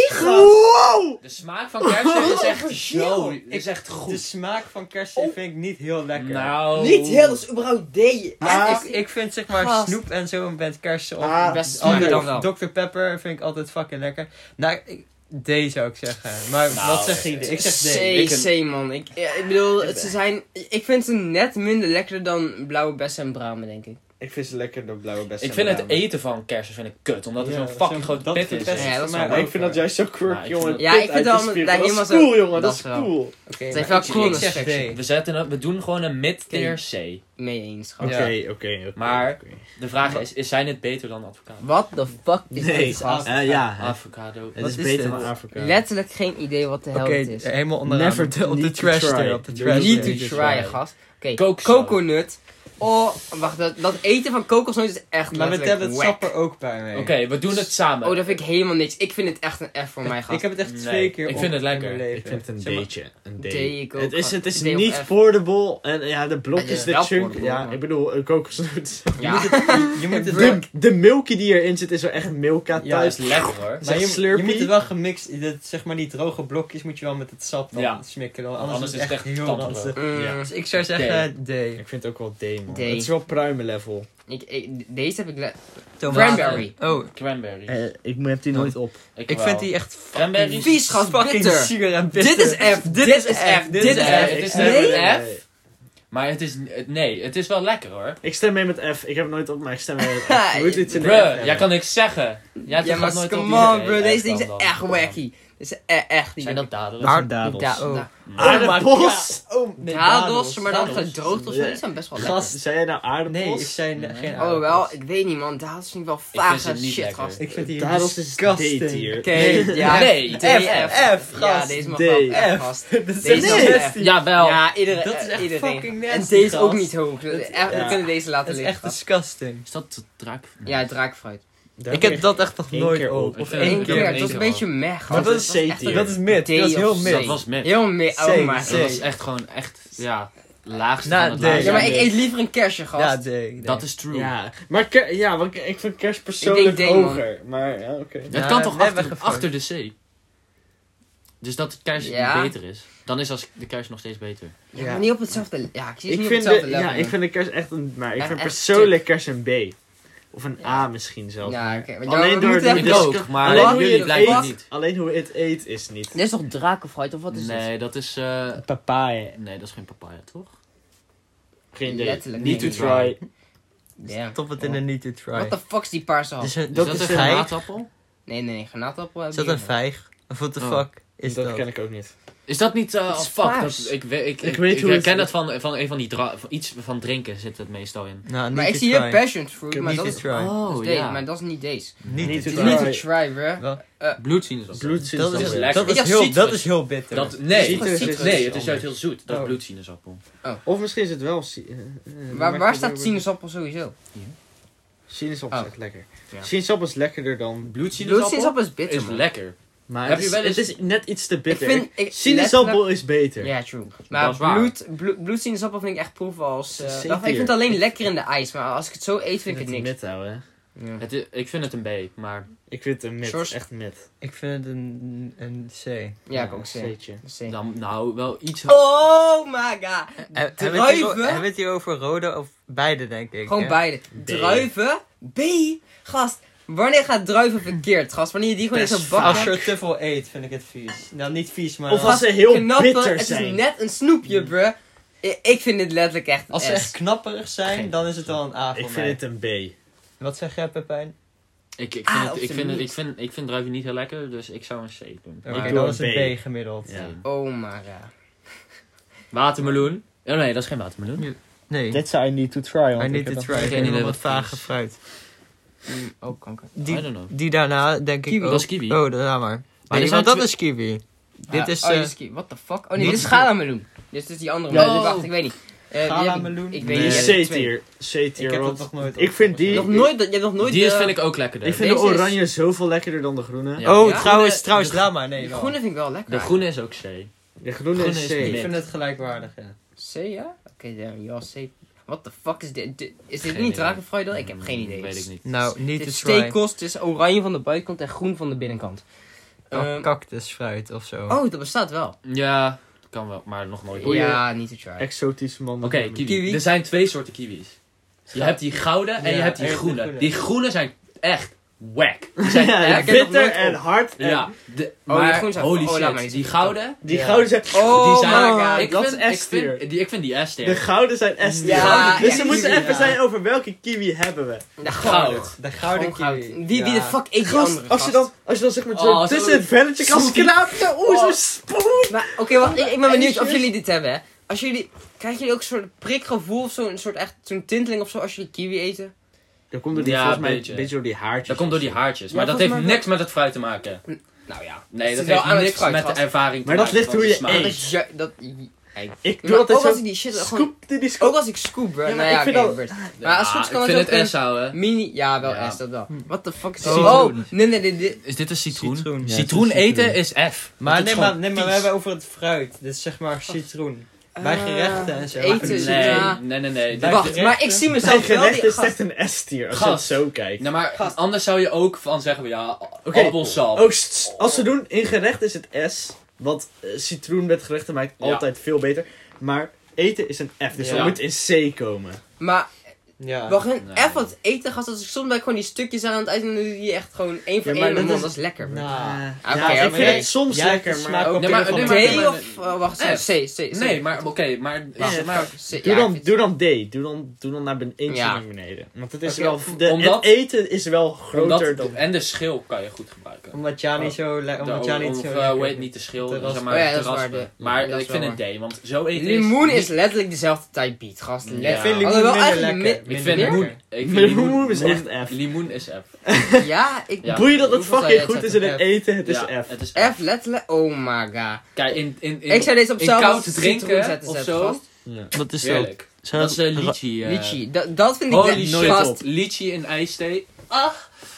Speaker 1: Wow!
Speaker 2: De smaak van kersen is echt zo.
Speaker 4: Oh, Ik-
Speaker 2: Is echt
Speaker 4: De
Speaker 2: goed.
Speaker 4: smaak van kersen
Speaker 3: Oh.
Speaker 4: vind ik niet heel lekker.
Speaker 1: Oh.
Speaker 2: Nou.
Speaker 3: Niet heel, dat is überhaupt D.
Speaker 4: Maar
Speaker 3: Ah,
Speaker 4: ik, ik vind zeg maar
Speaker 3: Gast.
Speaker 4: snoep en zo met kersen of
Speaker 1: Ah,
Speaker 3: best
Speaker 4: andere
Speaker 3: smaak
Speaker 4: of
Speaker 3: dan wel.
Speaker 4: Dr. Pepper vind ik altijd fucking lekker. Nou, ik, D zou ik zeggen. Maar
Speaker 2: Nou,
Speaker 4: wat zeggen jullie? Ik zeg D.
Speaker 2: Ik
Speaker 3: C, C man. Ik, ja, ik bedoel, het- ze zijn, ik vind ze net minder lekker dan blauwe bessen en bramen, denk ik.
Speaker 1: Ik vind ze lekker door blauwe bessen.
Speaker 2: Ik vind het eten van kersen vind ik kut, omdat het
Speaker 4: Ja,
Speaker 2: zo'n
Speaker 4: dat
Speaker 2: fucking
Speaker 4: is-
Speaker 2: grote
Speaker 4: dat
Speaker 2: pit
Speaker 4: is
Speaker 2: is.
Speaker 4: best-
Speaker 3: Ja, dat is
Speaker 4: voor
Speaker 3: wel
Speaker 4: mij
Speaker 1: ik vind dat juist zo quirk,
Speaker 2: Ja, ik
Speaker 1: jongen.
Speaker 2: vind-
Speaker 1: Pit
Speaker 3: Ja, ik vind
Speaker 1: uit de
Speaker 3: dat-
Speaker 1: spiegel.
Speaker 3: daar
Speaker 1: Dat is
Speaker 3: helemaal zo-
Speaker 1: cool, jongen. Dat
Speaker 3: dat
Speaker 1: is
Speaker 3: wel.
Speaker 1: cool.
Speaker 4: Oké,
Speaker 3: Het
Speaker 4: maar
Speaker 3: heeft wel
Speaker 4: ik- ik
Speaker 3: coolness
Speaker 4: zeg
Speaker 3: factor.
Speaker 4: D.
Speaker 2: We, zetten, het- we doen gewoon een mid-tier C.
Speaker 3: Mee eens, gast.
Speaker 4: Ja.
Speaker 1: Oké, oké, oké.
Speaker 2: Maar-
Speaker 1: oké.
Speaker 2: De vraag is, is zijn het beter dan avocado?
Speaker 3: What the fuck is
Speaker 1: Nee,
Speaker 3: dit, gast?
Speaker 1: eh, ja. hè.
Speaker 2: Avocado.
Speaker 1: Het
Speaker 4: Wat
Speaker 1: is
Speaker 4: is
Speaker 1: beter
Speaker 4: dit?
Speaker 1: dan Afrika.
Speaker 3: Letterlijk geen idee wat de hel
Speaker 4: Oké, eh,
Speaker 3: dit is.
Speaker 4: helemaal onderaan.
Speaker 1: Never
Speaker 4: op de, op de
Speaker 1: need to
Speaker 4: trash
Speaker 1: try.
Speaker 4: tier, op de
Speaker 1: You
Speaker 4: trash
Speaker 1: need
Speaker 3: Need
Speaker 4: tier.
Speaker 3: to try, gast. Oké,
Speaker 2: Kokosnoot.
Speaker 3: coconut. Oh, wacht, dat, dat eten van kokosnoot is echt
Speaker 4: Maar we
Speaker 3: letterlijk
Speaker 4: tellen het
Speaker 3: whack.
Speaker 4: sap er ook bij mee.
Speaker 2: Oké, we doen het samen.
Speaker 3: Oh, dat vind ik helemaal niks. Ik vind het echt een F voor mij, gast.
Speaker 4: Ik heb het echt
Speaker 2: Nee,
Speaker 4: twee keer
Speaker 2: ik vind het
Speaker 4: op in
Speaker 2: lekker.
Speaker 4: mijn leven.
Speaker 1: Ik vind het een
Speaker 4: Zeg maar,
Speaker 1: beetje. Een D.
Speaker 3: D ik ook,
Speaker 1: het is, het is
Speaker 3: D of
Speaker 1: niet
Speaker 3: F.
Speaker 1: portable. En ja, de blokjes,
Speaker 3: Ja,
Speaker 1: de
Speaker 3: wel
Speaker 1: chunk.
Speaker 3: portable,
Speaker 1: Ja,
Speaker 3: maar-
Speaker 1: ik bedoel, een kokosnoot.
Speaker 3: Ja.
Speaker 4: Je moet het, je moet het wel-
Speaker 1: De, de milky die erin zit is wel echt milka
Speaker 4: Ja,
Speaker 2: Dat
Speaker 1: thuis.
Speaker 2: is lekker hoor.
Speaker 1: Zeg
Speaker 4: maar je, je
Speaker 1: Slurpee.
Speaker 4: moet het wel gemixt, dat, zeg maar die droge blokjes moet je wel met het sap dan
Speaker 2: Ja.
Speaker 4: smikkelen. want Anders, is het echt heel
Speaker 2: tandeloos.
Speaker 4: lastig.
Speaker 3: Mm,
Speaker 1: Ja.
Speaker 4: Dus ik zou zeggen D.
Speaker 1: Ik vind het ook wel eh, D, man.
Speaker 3: D.
Speaker 1: Het is wel pruimenlevel.
Speaker 3: ik, ik- deze heb ik... le-
Speaker 4: Tomaten.
Speaker 3: Cranberry.
Speaker 4: Oh,
Speaker 2: Cranberry.
Speaker 1: Eh, ik heb die
Speaker 4: nooit
Speaker 1: nooit op.
Speaker 4: ik
Speaker 2: wel.
Speaker 4: vind die echt
Speaker 2: Cranberry.
Speaker 3: Vies, gast,
Speaker 4: fucking
Speaker 3: bitter.
Speaker 4: zuur en bitter.
Speaker 3: Dit is F, dit is F, dit is
Speaker 2: Nee,
Speaker 3: F.
Speaker 2: het is
Speaker 3: Nee?
Speaker 2: never F. Maar het is... Nee, het is wel lekker hoor.
Speaker 1: Ik stem mee met F. Ik heb het nooit op, maar ik stem mee
Speaker 3: Oh,
Speaker 1: met F. Je moet iets in de F
Speaker 2: Bruh,
Speaker 1: hebben.
Speaker 2: jij kan niks zeggen. Jij
Speaker 3: Ja,
Speaker 2: gaat
Speaker 3: maar
Speaker 2: nooit
Speaker 3: come
Speaker 2: op
Speaker 3: on,
Speaker 2: die-
Speaker 3: bro.
Speaker 2: Nee,
Speaker 3: Deze
Speaker 2: dan,
Speaker 3: dingen zijn
Speaker 2: dan,
Speaker 3: echt
Speaker 2: dan.
Speaker 3: wacky. Dit is e- echt niet
Speaker 2: Zijn dat dadels?
Speaker 1: Dat
Speaker 4: Maar-
Speaker 1: zijn dadels.
Speaker 3: Ja, oh.
Speaker 4: Nou,
Speaker 1: Aardappels!
Speaker 4: Oh, nee,
Speaker 3: Dadels, maar dan
Speaker 4: dadels.
Speaker 3: gedroogd of zo. Die
Speaker 1: Ja.
Speaker 3: zijn best wel lekker.
Speaker 1: Gast, zei jij nou aardappels?
Speaker 4: Nee, ik zei
Speaker 2: Nee.
Speaker 4: geen geen
Speaker 3: Oh, wel.
Speaker 4: aardappels.
Speaker 3: Ik weet niet, man. Dadels vind ik wel
Speaker 2: vind
Speaker 3: vage
Speaker 2: ze niet
Speaker 3: shit,
Speaker 2: lekker.
Speaker 3: gast.
Speaker 4: Ik vind die
Speaker 1: Dadels is
Speaker 4: disgusting.
Speaker 1: D-tier.
Speaker 3: Oké,
Speaker 4: Nee.
Speaker 3: ja.
Speaker 2: Nee, F,
Speaker 3: D,
Speaker 4: F,
Speaker 3: Ja,
Speaker 4: gast.
Speaker 3: deze mag
Speaker 1: D,
Speaker 3: wel F,
Speaker 4: F.
Speaker 3: gast.
Speaker 4: Dat is
Speaker 3: Deze
Speaker 4: echt
Speaker 3: is
Speaker 4: nasty.
Speaker 3: nasty.
Speaker 2: Jawel.
Speaker 3: Ja, iedereen.
Speaker 4: Dat is echt
Speaker 3: iedereen.
Speaker 4: fucking
Speaker 3: En
Speaker 4: nasty,
Speaker 3: deze ook
Speaker 4: gast.
Speaker 3: niet hoog. Dus F,
Speaker 1: ja.
Speaker 3: We kunnen deze laten
Speaker 4: Dat is
Speaker 3: liggen.
Speaker 4: echt
Speaker 3: gast.
Speaker 4: disgusting.
Speaker 2: Is dat draak?
Speaker 3: Ja, draakfruit.
Speaker 1: Daar
Speaker 4: Ik
Speaker 1: ben
Speaker 4: heb dat echt nog
Speaker 1: Eén
Speaker 4: nooit
Speaker 1: keer
Speaker 4: op.
Speaker 1: op.
Speaker 2: Of
Speaker 4: Eén
Speaker 3: Eén
Speaker 2: Ik heb
Speaker 3: keer.
Speaker 2: hem
Speaker 3: Dat
Speaker 2: één
Speaker 3: is
Speaker 2: keer
Speaker 3: een beetje meh, gast.
Speaker 4: Maar dat is
Speaker 3: Dat is echt
Speaker 1: C-tier.
Speaker 3: een-
Speaker 4: Dat is mid, dat is heel
Speaker 3: D of
Speaker 4: mid.
Speaker 2: Dat was met.
Speaker 3: Heel meer.
Speaker 4: C,
Speaker 3: Oh, maar
Speaker 2: Dat was
Speaker 4: C.
Speaker 2: echt gewoon echt, ja, laagste
Speaker 4: Nou,
Speaker 2: van het
Speaker 4: de-
Speaker 2: laagste.
Speaker 3: Ja, maar
Speaker 1: Ja,
Speaker 3: ik
Speaker 1: nee.
Speaker 3: eet liever een kerstje, gast.
Speaker 4: Ja, D. nee.
Speaker 2: Dat is true.
Speaker 1: Ja, maar ker- ja, want ik- ik vind kerst persoonlijk
Speaker 3: Ik denk D, man.
Speaker 1: hoger. Maar ja, oké.
Speaker 2: Het
Speaker 4: Ja,
Speaker 2: kan toch
Speaker 4: nee,
Speaker 2: achter,
Speaker 4: weggegooid.
Speaker 2: achter de C? Dus dat het kerst
Speaker 3: Ja.
Speaker 2: beter is. Dan is als de kerst nog steeds beter.
Speaker 3: Ja, maar niet op hetzelfde. Ja, ik zie ze
Speaker 1: Ik
Speaker 3: niet
Speaker 1: vind,
Speaker 3: op hetzelfde
Speaker 1: de,
Speaker 3: level.
Speaker 1: ja, ik vind de kerst echt een... Maar ik
Speaker 3: Echt-
Speaker 1: vind
Speaker 3: echt
Speaker 1: persoonlijk kerst een B. Of een
Speaker 3: Ja.
Speaker 1: A misschien zelfs.
Speaker 3: Ja, oké. maar
Speaker 1: Alleen
Speaker 3: we
Speaker 1: door
Speaker 3: moeten
Speaker 1: het
Speaker 3: echt-
Speaker 1: midden-
Speaker 3: Yo,
Speaker 2: ook, maar
Speaker 1: Alleen
Speaker 3: Wat?
Speaker 1: hoe, je het
Speaker 2: blijkt
Speaker 1: eet,
Speaker 2: niet.
Speaker 1: alleen hoe je het eet is niet.
Speaker 3: Dit is toch drakenfruit of wat is dit?
Speaker 2: Nee, dat is... eh,
Speaker 1: Papaya.
Speaker 2: nee, dat is geen papaya, toch?
Speaker 1: Geen idee.
Speaker 3: Letterlijk
Speaker 1: Need to
Speaker 2: niet.
Speaker 1: try.
Speaker 3: Damn.
Speaker 4: Top het in een need to
Speaker 3: What
Speaker 4: try.
Speaker 3: the fuck is die paarse hap?
Speaker 4: Dus een-
Speaker 2: Is
Speaker 1: Dat is
Speaker 2: dat, een
Speaker 4: een-
Speaker 2: granaatappel?
Speaker 3: Nee, nee, nou nee. Granaatappel
Speaker 4: Is
Speaker 3: hebben
Speaker 4: dat
Speaker 3: we
Speaker 4: een
Speaker 3: hier.
Speaker 4: vijg? Of what the
Speaker 2: Oh.
Speaker 4: fuck is
Speaker 1: Dat
Speaker 4: dat?
Speaker 1: ken ik ook niet.
Speaker 2: Is dat niet... eh,
Speaker 3: Het is
Speaker 2: fuck,
Speaker 3: paars.
Speaker 2: dat, ik, weet- ik,
Speaker 1: Ik
Speaker 2: ik,
Speaker 1: weet
Speaker 2: ik
Speaker 1: hoe het-
Speaker 2: herken dat van, van een van die... dra- van iets van drinken zit het meestal in.
Speaker 4: Nou,
Speaker 3: Maar
Speaker 4: need
Speaker 3: ik
Speaker 4: to
Speaker 3: zie hier
Speaker 4: try.
Speaker 3: passion fruit,
Speaker 1: Kijk,
Speaker 3: maar
Speaker 4: Need
Speaker 3: dat
Speaker 4: to
Speaker 3: is...
Speaker 4: try.
Speaker 3: dat
Speaker 2: Oh,
Speaker 3: is deze,
Speaker 2: ja.
Speaker 3: maar dat is niet deze.
Speaker 1: Need to
Speaker 3: Dit
Speaker 1: try.
Speaker 3: is niet te try, bro.
Speaker 4: Wel,
Speaker 2: Bloedsinaasappel.
Speaker 1: Bloedzinnig.
Speaker 4: Dat is,
Speaker 2: wel
Speaker 4: dat
Speaker 2: lekker.
Speaker 4: is,
Speaker 3: Ja,
Speaker 4: heel, dat
Speaker 2: citrus.
Speaker 4: is heel bitter.
Speaker 2: Dat, nee,
Speaker 1: Citrus is-
Speaker 2: nee, het is juist heel zoet. Dat is
Speaker 4: Oh.
Speaker 2: bloedsinaasappel.
Speaker 1: Of misschien is het wel... si- eh, eh,
Speaker 3: Waar,
Speaker 1: maakt
Speaker 3: waar
Speaker 1: het
Speaker 3: staat
Speaker 1: wel-
Speaker 3: sinaasappel sowieso?
Speaker 1: Sinaasappel is
Speaker 3: Oh.
Speaker 1: echt lekker.
Speaker 2: Ja.
Speaker 1: Sinaasappel is lekkerder dan...
Speaker 2: Bloedsinaasappel
Speaker 3: Sinaasappel is bitter,
Speaker 2: is
Speaker 3: man.
Speaker 2: lekker.
Speaker 1: Maar
Speaker 2: Heb
Speaker 1: het,
Speaker 2: je
Speaker 1: is,
Speaker 2: wel eens-
Speaker 1: het is net iets te bitter.
Speaker 3: vind- ik-
Speaker 1: sinaasappel is beter.
Speaker 3: Ja, true.
Speaker 2: Dat
Speaker 3: Maar
Speaker 2: is waar.
Speaker 3: bloed, bloed, bloedsinaasappel vind ik echt proeven als... eh,
Speaker 1: Dat is
Speaker 3: dat-
Speaker 1: zeker.
Speaker 3: ik vind het alleen lekker in de ijs, maar als ik het zo eet vind ik
Speaker 1: het
Speaker 3: het niks.
Speaker 1: mid houden.
Speaker 3: Ja.
Speaker 2: Het is- ik vind het een B, maar
Speaker 1: Ik vind het een mid.
Speaker 3: Sjors?
Speaker 1: Echt mid.
Speaker 4: Ik vind het een, een C.
Speaker 3: Ja, ik ook
Speaker 1: een
Speaker 3: C.
Speaker 1: C'tje.
Speaker 3: C.
Speaker 2: dan, nou wel iets...
Speaker 3: Oh my god.
Speaker 4: Eh, hebben, we het hier,
Speaker 3: Druiven?
Speaker 4: hebben we het hier over rode of beide, denk ik?
Speaker 2: eh,
Speaker 3: Gewoon
Speaker 4: hè?
Speaker 3: beide. Druiven. B. Gast. Wanneer gaat druiven verkeerd, gast? Wanneer je die gewoon in
Speaker 1: Best
Speaker 3: zo'n bak
Speaker 4: Als
Speaker 3: hebt.
Speaker 4: je er te veel eet, vind ik het vies. Nou, niet vies, maar...
Speaker 1: Of
Speaker 4: als,
Speaker 1: als ze heel
Speaker 3: Knappen,
Speaker 1: bitter
Speaker 3: het is
Speaker 1: zijn.
Speaker 3: net een
Speaker 2: Mm.
Speaker 3: snoepje, bruh. I- Ik vind dit letterlijk echt
Speaker 4: als
Speaker 3: als
Speaker 4: ze echt knapperig zijn,
Speaker 1: Geen-
Speaker 4: dan is het wel een A voor
Speaker 1: Ik
Speaker 4: mij.
Speaker 1: vind het een B.
Speaker 4: Wat zeg jij, Pepijn?
Speaker 2: Ik, ik, vind
Speaker 3: Ah, op
Speaker 2: het, ik,
Speaker 3: zijn
Speaker 2: vind het, ik,
Speaker 3: minst.
Speaker 2: vind, ik vind druiven niet heel lekker, dus ik zou een C doen.
Speaker 4: Oké,
Speaker 2: Maar-
Speaker 1: doe
Speaker 4: dan
Speaker 1: een
Speaker 4: is het
Speaker 1: B.
Speaker 4: B gemiddeld.
Speaker 1: Ja.
Speaker 3: Oh my god.
Speaker 2: Watermeloen. Oh nee, dat is geen watermeloen.
Speaker 4: Nee,
Speaker 1: Dit zou I need to try.
Speaker 4: I need to try. Ik
Speaker 2: geen
Speaker 4: vind
Speaker 2: idee
Speaker 4: wel
Speaker 2: wat
Speaker 4: wat
Speaker 2: het
Speaker 4: vage
Speaker 2: is.
Speaker 4: fruit.
Speaker 3: Mm, oh, kanker.
Speaker 2: I
Speaker 4: Die,
Speaker 2: don't know.
Speaker 4: die daarna, denk ik
Speaker 3: Kiwi.
Speaker 4: ook.
Speaker 2: Dat is kiwi.
Speaker 4: Oh, daarna maar.
Speaker 2: er
Speaker 4: Nee,
Speaker 2: zijn
Speaker 4: want dat
Speaker 2: twee-
Speaker 4: is kiwi.
Speaker 3: Ah,
Speaker 4: Dit is...
Speaker 3: Oh,
Speaker 4: eh,
Speaker 3: dit is ki- What the fuck? Oh nee, dit
Speaker 4: dit
Speaker 3: is
Speaker 4: is-
Speaker 3: galameloen. Dit is die andere.
Speaker 2: Ja,
Speaker 3: man.
Speaker 2: dit-
Speaker 3: Wacht, ik weet niet. Eh, die heb ik-
Speaker 4: Galameloen?
Speaker 3: Ik weet
Speaker 1: Nee,
Speaker 3: niet.
Speaker 4: Nee,
Speaker 3: je hebt er twee.
Speaker 1: C-tier.
Speaker 4: Ik
Speaker 1: C-tier.
Speaker 4: heb
Speaker 1: want
Speaker 4: dat nog nooit
Speaker 1: ik vind die-
Speaker 3: Je hebt nog nooit, dat- je hebt nog nooit
Speaker 2: Die is
Speaker 3: de-
Speaker 2: vind ik ook lekkerder.
Speaker 1: Ik vind de
Speaker 3: Deze is-
Speaker 1: oranje zoveel lekkerder dan de groene.
Speaker 2: Ja.
Speaker 4: Oh,
Speaker 3: Ja?
Speaker 4: trouwens,
Speaker 2: Groene-
Speaker 4: trouwens,
Speaker 2: de-
Speaker 4: laat maar. Nee,
Speaker 3: Die
Speaker 4: wel.
Speaker 3: groene vind ik wel lekker.
Speaker 2: De groene is ook C.
Speaker 1: De groene,
Speaker 2: Groene
Speaker 1: is
Speaker 2: is
Speaker 1: C.
Speaker 2: mid.
Speaker 4: Ik vind het gelijkwaardig, ja.
Speaker 3: C, ja? Oké, dan ja, C. What the fuck is dit? Dit- Is dit
Speaker 2: Geen
Speaker 3: niet
Speaker 2: idee.
Speaker 3: drakenfruit dan? Ik heb geen idee.
Speaker 2: Hmm, Weet ik niet.
Speaker 4: Nou, niet
Speaker 3: Het
Speaker 4: te
Speaker 3: is
Speaker 4: try.
Speaker 3: steekkost, het is oranje van de buitenkant en groen van de binnenkant.
Speaker 4: Of
Speaker 3: Ehm,
Speaker 4: Oh, cactusfruit of zo.
Speaker 3: oh, dat bestaat wel.
Speaker 2: Ja, kan wel, maar nog nooit.
Speaker 1: Oei.
Speaker 2: Oké,
Speaker 3: Ja, niet te try.
Speaker 1: Exotische man.
Speaker 2: kiwi.
Speaker 3: Kiwi.
Speaker 2: Er zijn twee soorten kiwis. Je hebt die gouden en je
Speaker 4: Ja,
Speaker 2: hebt die
Speaker 4: en de
Speaker 2: groene.
Speaker 4: groene.
Speaker 2: Die groene zijn echt whack. Die zijn
Speaker 1: Ja,
Speaker 2: echt...
Speaker 3: heb nog nooit
Speaker 1: bitter en hard. en-
Speaker 2: Ja, de,
Speaker 3: Oh, die
Speaker 2: maar
Speaker 3: groene zijn-
Speaker 2: holy
Speaker 3: oh, laat maar
Speaker 2: shit,
Speaker 3: eens.
Speaker 2: die gouden...
Speaker 1: Die
Speaker 4: Ja.
Speaker 1: gouden zijn...
Speaker 3: Oh
Speaker 2: die
Speaker 3: my
Speaker 2: zijn,
Speaker 3: god,
Speaker 2: ik
Speaker 1: dat
Speaker 2: vind,
Speaker 1: is
Speaker 2: ik vind-
Speaker 1: S-tier.
Speaker 2: die- Ik vind die S-tier.
Speaker 1: De gouden zijn S-tier.
Speaker 3: Ja,
Speaker 1: dus
Speaker 3: ja,
Speaker 1: we moeten
Speaker 3: kiwi,
Speaker 1: even
Speaker 4: ja.
Speaker 1: zijn over welke kiwi hebben we.
Speaker 3: De
Speaker 2: goud.
Speaker 4: De
Speaker 3: Gouden
Speaker 4: gouden
Speaker 3: goud.
Speaker 4: kiwi.
Speaker 3: Wie, wie de
Speaker 4: Ja.
Speaker 3: fuck eet die
Speaker 1: Gast,
Speaker 3: andere
Speaker 1: als je
Speaker 3: gast? Oh,
Speaker 1: dan, als je dan zeg maar zo
Speaker 2: Oh,
Speaker 1: tussen
Speaker 2: zo-
Speaker 1: het velletje kan
Speaker 2: Snoepie.
Speaker 1: knapen. nou- Oeh, zo spoed.
Speaker 3: Maar oké, wacht, ik, ik ben benieuwd of
Speaker 1: Jezus.
Speaker 3: jullie dit hebben, hè. Als jullie, krijgen jullie ook een soort prikgevoel of zo, een soort echt, zo'n tinteling of zo als jullie kiwi eten?
Speaker 1: Dat komt door die,
Speaker 2: Ja,
Speaker 1: volgens mij,
Speaker 2: beetje.
Speaker 1: een beetje door die haartjes.
Speaker 2: Dat komt door die haartjes.
Speaker 3: Ja,
Speaker 2: maar dat
Speaker 3: volgens
Speaker 2: heeft
Speaker 3: mij wel.
Speaker 2: niks met het fruit te maken.
Speaker 3: Nou ja.
Speaker 2: Nee,
Speaker 3: Het
Speaker 2: dat
Speaker 3: is wel
Speaker 2: heeft
Speaker 3: aan het
Speaker 2: niks
Speaker 3: fruit
Speaker 2: met de
Speaker 3: vast.
Speaker 2: ervaring te
Speaker 1: Maar dat
Speaker 2: maken
Speaker 1: ligt
Speaker 2: van
Speaker 1: hoe
Speaker 2: de
Speaker 1: je
Speaker 2: smaak.
Speaker 3: Dat
Speaker 1: eet.
Speaker 3: is ju- dat,
Speaker 1: Ik doe
Speaker 3: Maar ook
Speaker 1: altijd zo...
Speaker 3: als ik die shit gewoon...
Speaker 1: Scoop, dit is scoop.
Speaker 3: Ook als ik scoop, bro.
Speaker 1: Ja, maar
Speaker 3: nou
Speaker 1: ik
Speaker 3: ja,
Speaker 1: vind
Speaker 3: oké,
Speaker 1: dat-
Speaker 3: Bert.
Speaker 2: Ja,
Speaker 3: Maar als het goed is, kan
Speaker 2: Ah, ik
Speaker 3: het ook
Speaker 2: vind het
Speaker 3: een
Speaker 2: S houden.
Speaker 3: mini... Ja, wel
Speaker 2: Ja.
Speaker 3: S, dat wel.
Speaker 1: Hm.
Speaker 3: What the fuck is dit?
Speaker 4: Citroen.
Speaker 3: Oh, nee, nee, nee, dit...
Speaker 2: Is dit een citroen? Citroen,
Speaker 4: Citroen.
Speaker 1: Ja, het is
Speaker 2: eten
Speaker 1: citroen.
Speaker 2: is F.
Speaker 4: Maar
Speaker 2: Want het
Speaker 4: nee,
Speaker 2: is
Speaker 4: maar,
Speaker 2: gewoon
Speaker 4: nee, maar we
Speaker 2: vies.
Speaker 4: hebben over het fruit. Dit is zeg maar citroen. Bij
Speaker 3: eh,
Speaker 4: gerechten en zo.
Speaker 3: Eten,
Speaker 4: Nee.
Speaker 3: Dus ja.
Speaker 2: Nee, nee, nee. nee.
Speaker 4: Bij
Speaker 3: Wacht,
Speaker 4: gerechten.
Speaker 3: maar ik zie
Speaker 1: Zijn
Speaker 3: mezelf wel
Speaker 1: gerecht
Speaker 3: die
Speaker 1: is
Speaker 3: gast.
Speaker 1: echt een S-tier, als
Speaker 2: Gast.
Speaker 1: je het zo kijkt.
Speaker 2: Nou, maar anders zou je ook van zeggen, ja,
Speaker 1: Oké.
Speaker 2: appelsap.
Speaker 1: Ook s- Oh, als ze doen, in gerecht is het S. Want eh, citroen met gerechten maakt
Speaker 2: Ja.
Speaker 1: altijd veel beter. Maar eten is een F, dus
Speaker 2: Ja.
Speaker 1: dat moet in C komen.
Speaker 3: Maar
Speaker 4: Ja.
Speaker 3: wacht, een
Speaker 2: Nee.
Speaker 3: even wat eten, gast. Als ik soms ben ik gewoon die stukjes aan het eind en dan doe je die echt gewoon één voor
Speaker 1: Ja,
Speaker 3: één.
Speaker 1: maar
Speaker 3: in mijn
Speaker 1: dat
Speaker 3: mond. Dat is lekker, bro.
Speaker 4: Nou.
Speaker 1: Eh, ja,
Speaker 3: oké,
Speaker 1: ik
Speaker 3: maar
Speaker 1: vind
Speaker 4: nee.
Speaker 1: het soms
Speaker 4: Ja, het
Speaker 1: lekker,
Speaker 4: smaakt
Speaker 1: maar...
Speaker 4: ook
Speaker 2: Nee,
Speaker 4: weer
Speaker 2: maar-
Speaker 4: van
Speaker 2: nee,
Speaker 3: D
Speaker 2: maar-
Speaker 4: elkaar.
Speaker 2: nee,
Speaker 3: of... eh, wacht,
Speaker 2: F.
Speaker 3: C, C, C.
Speaker 2: Nee, maar oké, maar...
Speaker 3: Wacht,
Speaker 2: Ja,
Speaker 3: maar...
Speaker 2: maar
Speaker 3: C,
Speaker 1: Doe
Speaker 3: ja,
Speaker 1: dan,
Speaker 3: ik vind-
Speaker 1: doe dan D. Doe dan, doe dan naar ben eentje
Speaker 3: Ja.
Speaker 1: naar beneden. Want het is
Speaker 2: Oké,
Speaker 1: wel... De,
Speaker 2: omdat-
Speaker 1: het eten is wel groter
Speaker 2: omdat-
Speaker 1: dan...
Speaker 2: En de schil kan je goed gebruiken.
Speaker 4: Omdat Jani
Speaker 2: Oh.
Speaker 4: zo le-
Speaker 2: De-
Speaker 4: Omdat Jani
Speaker 2: of,
Speaker 4: het zo
Speaker 2: eh,
Speaker 4: lekker
Speaker 2: hoe heet
Speaker 4: vindt.
Speaker 2: niet de schil,
Speaker 4: Te raspen.
Speaker 2: zeg maar
Speaker 3: Oh ja, dat
Speaker 2: te
Speaker 3: is waar,
Speaker 2: raspen.
Speaker 3: de-
Speaker 2: Maar
Speaker 3: dat is
Speaker 2: ik vind
Speaker 3: wel
Speaker 2: het D, want zo eten
Speaker 3: Limoen is
Speaker 2: niet-
Speaker 3: letterlijk dezelfde type beat, gast.
Speaker 2: Ja.
Speaker 4: Ik vind
Speaker 3: Letterlijk.
Speaker 4: limoen
Speaker 3: Alhoewel,
Speaker 4: minder
Speaker 3: eigenlijk
Speaker 4: lekker.
Speaker 3: mi-
Speaker 2: Ik
Speaker 3: meer?
Speaker 2: vind limoen... Ik vind
Speaker 1: Limoen is
Speaker 2: limoen-
Speaker 1: echt F.
Speaker 2: Limoen is F.
Speaker 3: Ja, ik...
Speaker 2: Ja.
Speaker 1: Boeien dat het
Speaker 3: Hoeveel
Speaker 1: fucking
Speaker 3: zei jij?
Speaker 1: goed is in
Speaker 3: Het is
Speaker 1: het eten, het is
Speaker 2: Ja,
Speaker 1: F.
Speaker 2: Het is
Speaker 3: F, letterlijk. Oh my god.
Speaker 2: Kijk, in... in, in
Speaker 3: Ik zou deze op
Speaker 2: in
Speaker 3: zelf
Speaker 2: koud
Speaker 3: als citroen
Speaker 2: drinken
Speaker 3: zetten,
Speaker 2: of
Speaker 3: zetten,
Speaker 2: zo.
Speaker 3: gast.
Speaker 4: Wat is
Speaker 2: Heerlijk. Dat is eh, lychee. eh.
Speaker 3: dus Lychee. Dat, dat vind ik
Speaker 2: Holy shit.
Speaker 3: gast.
Speaker 2: Lychee in ijsthee.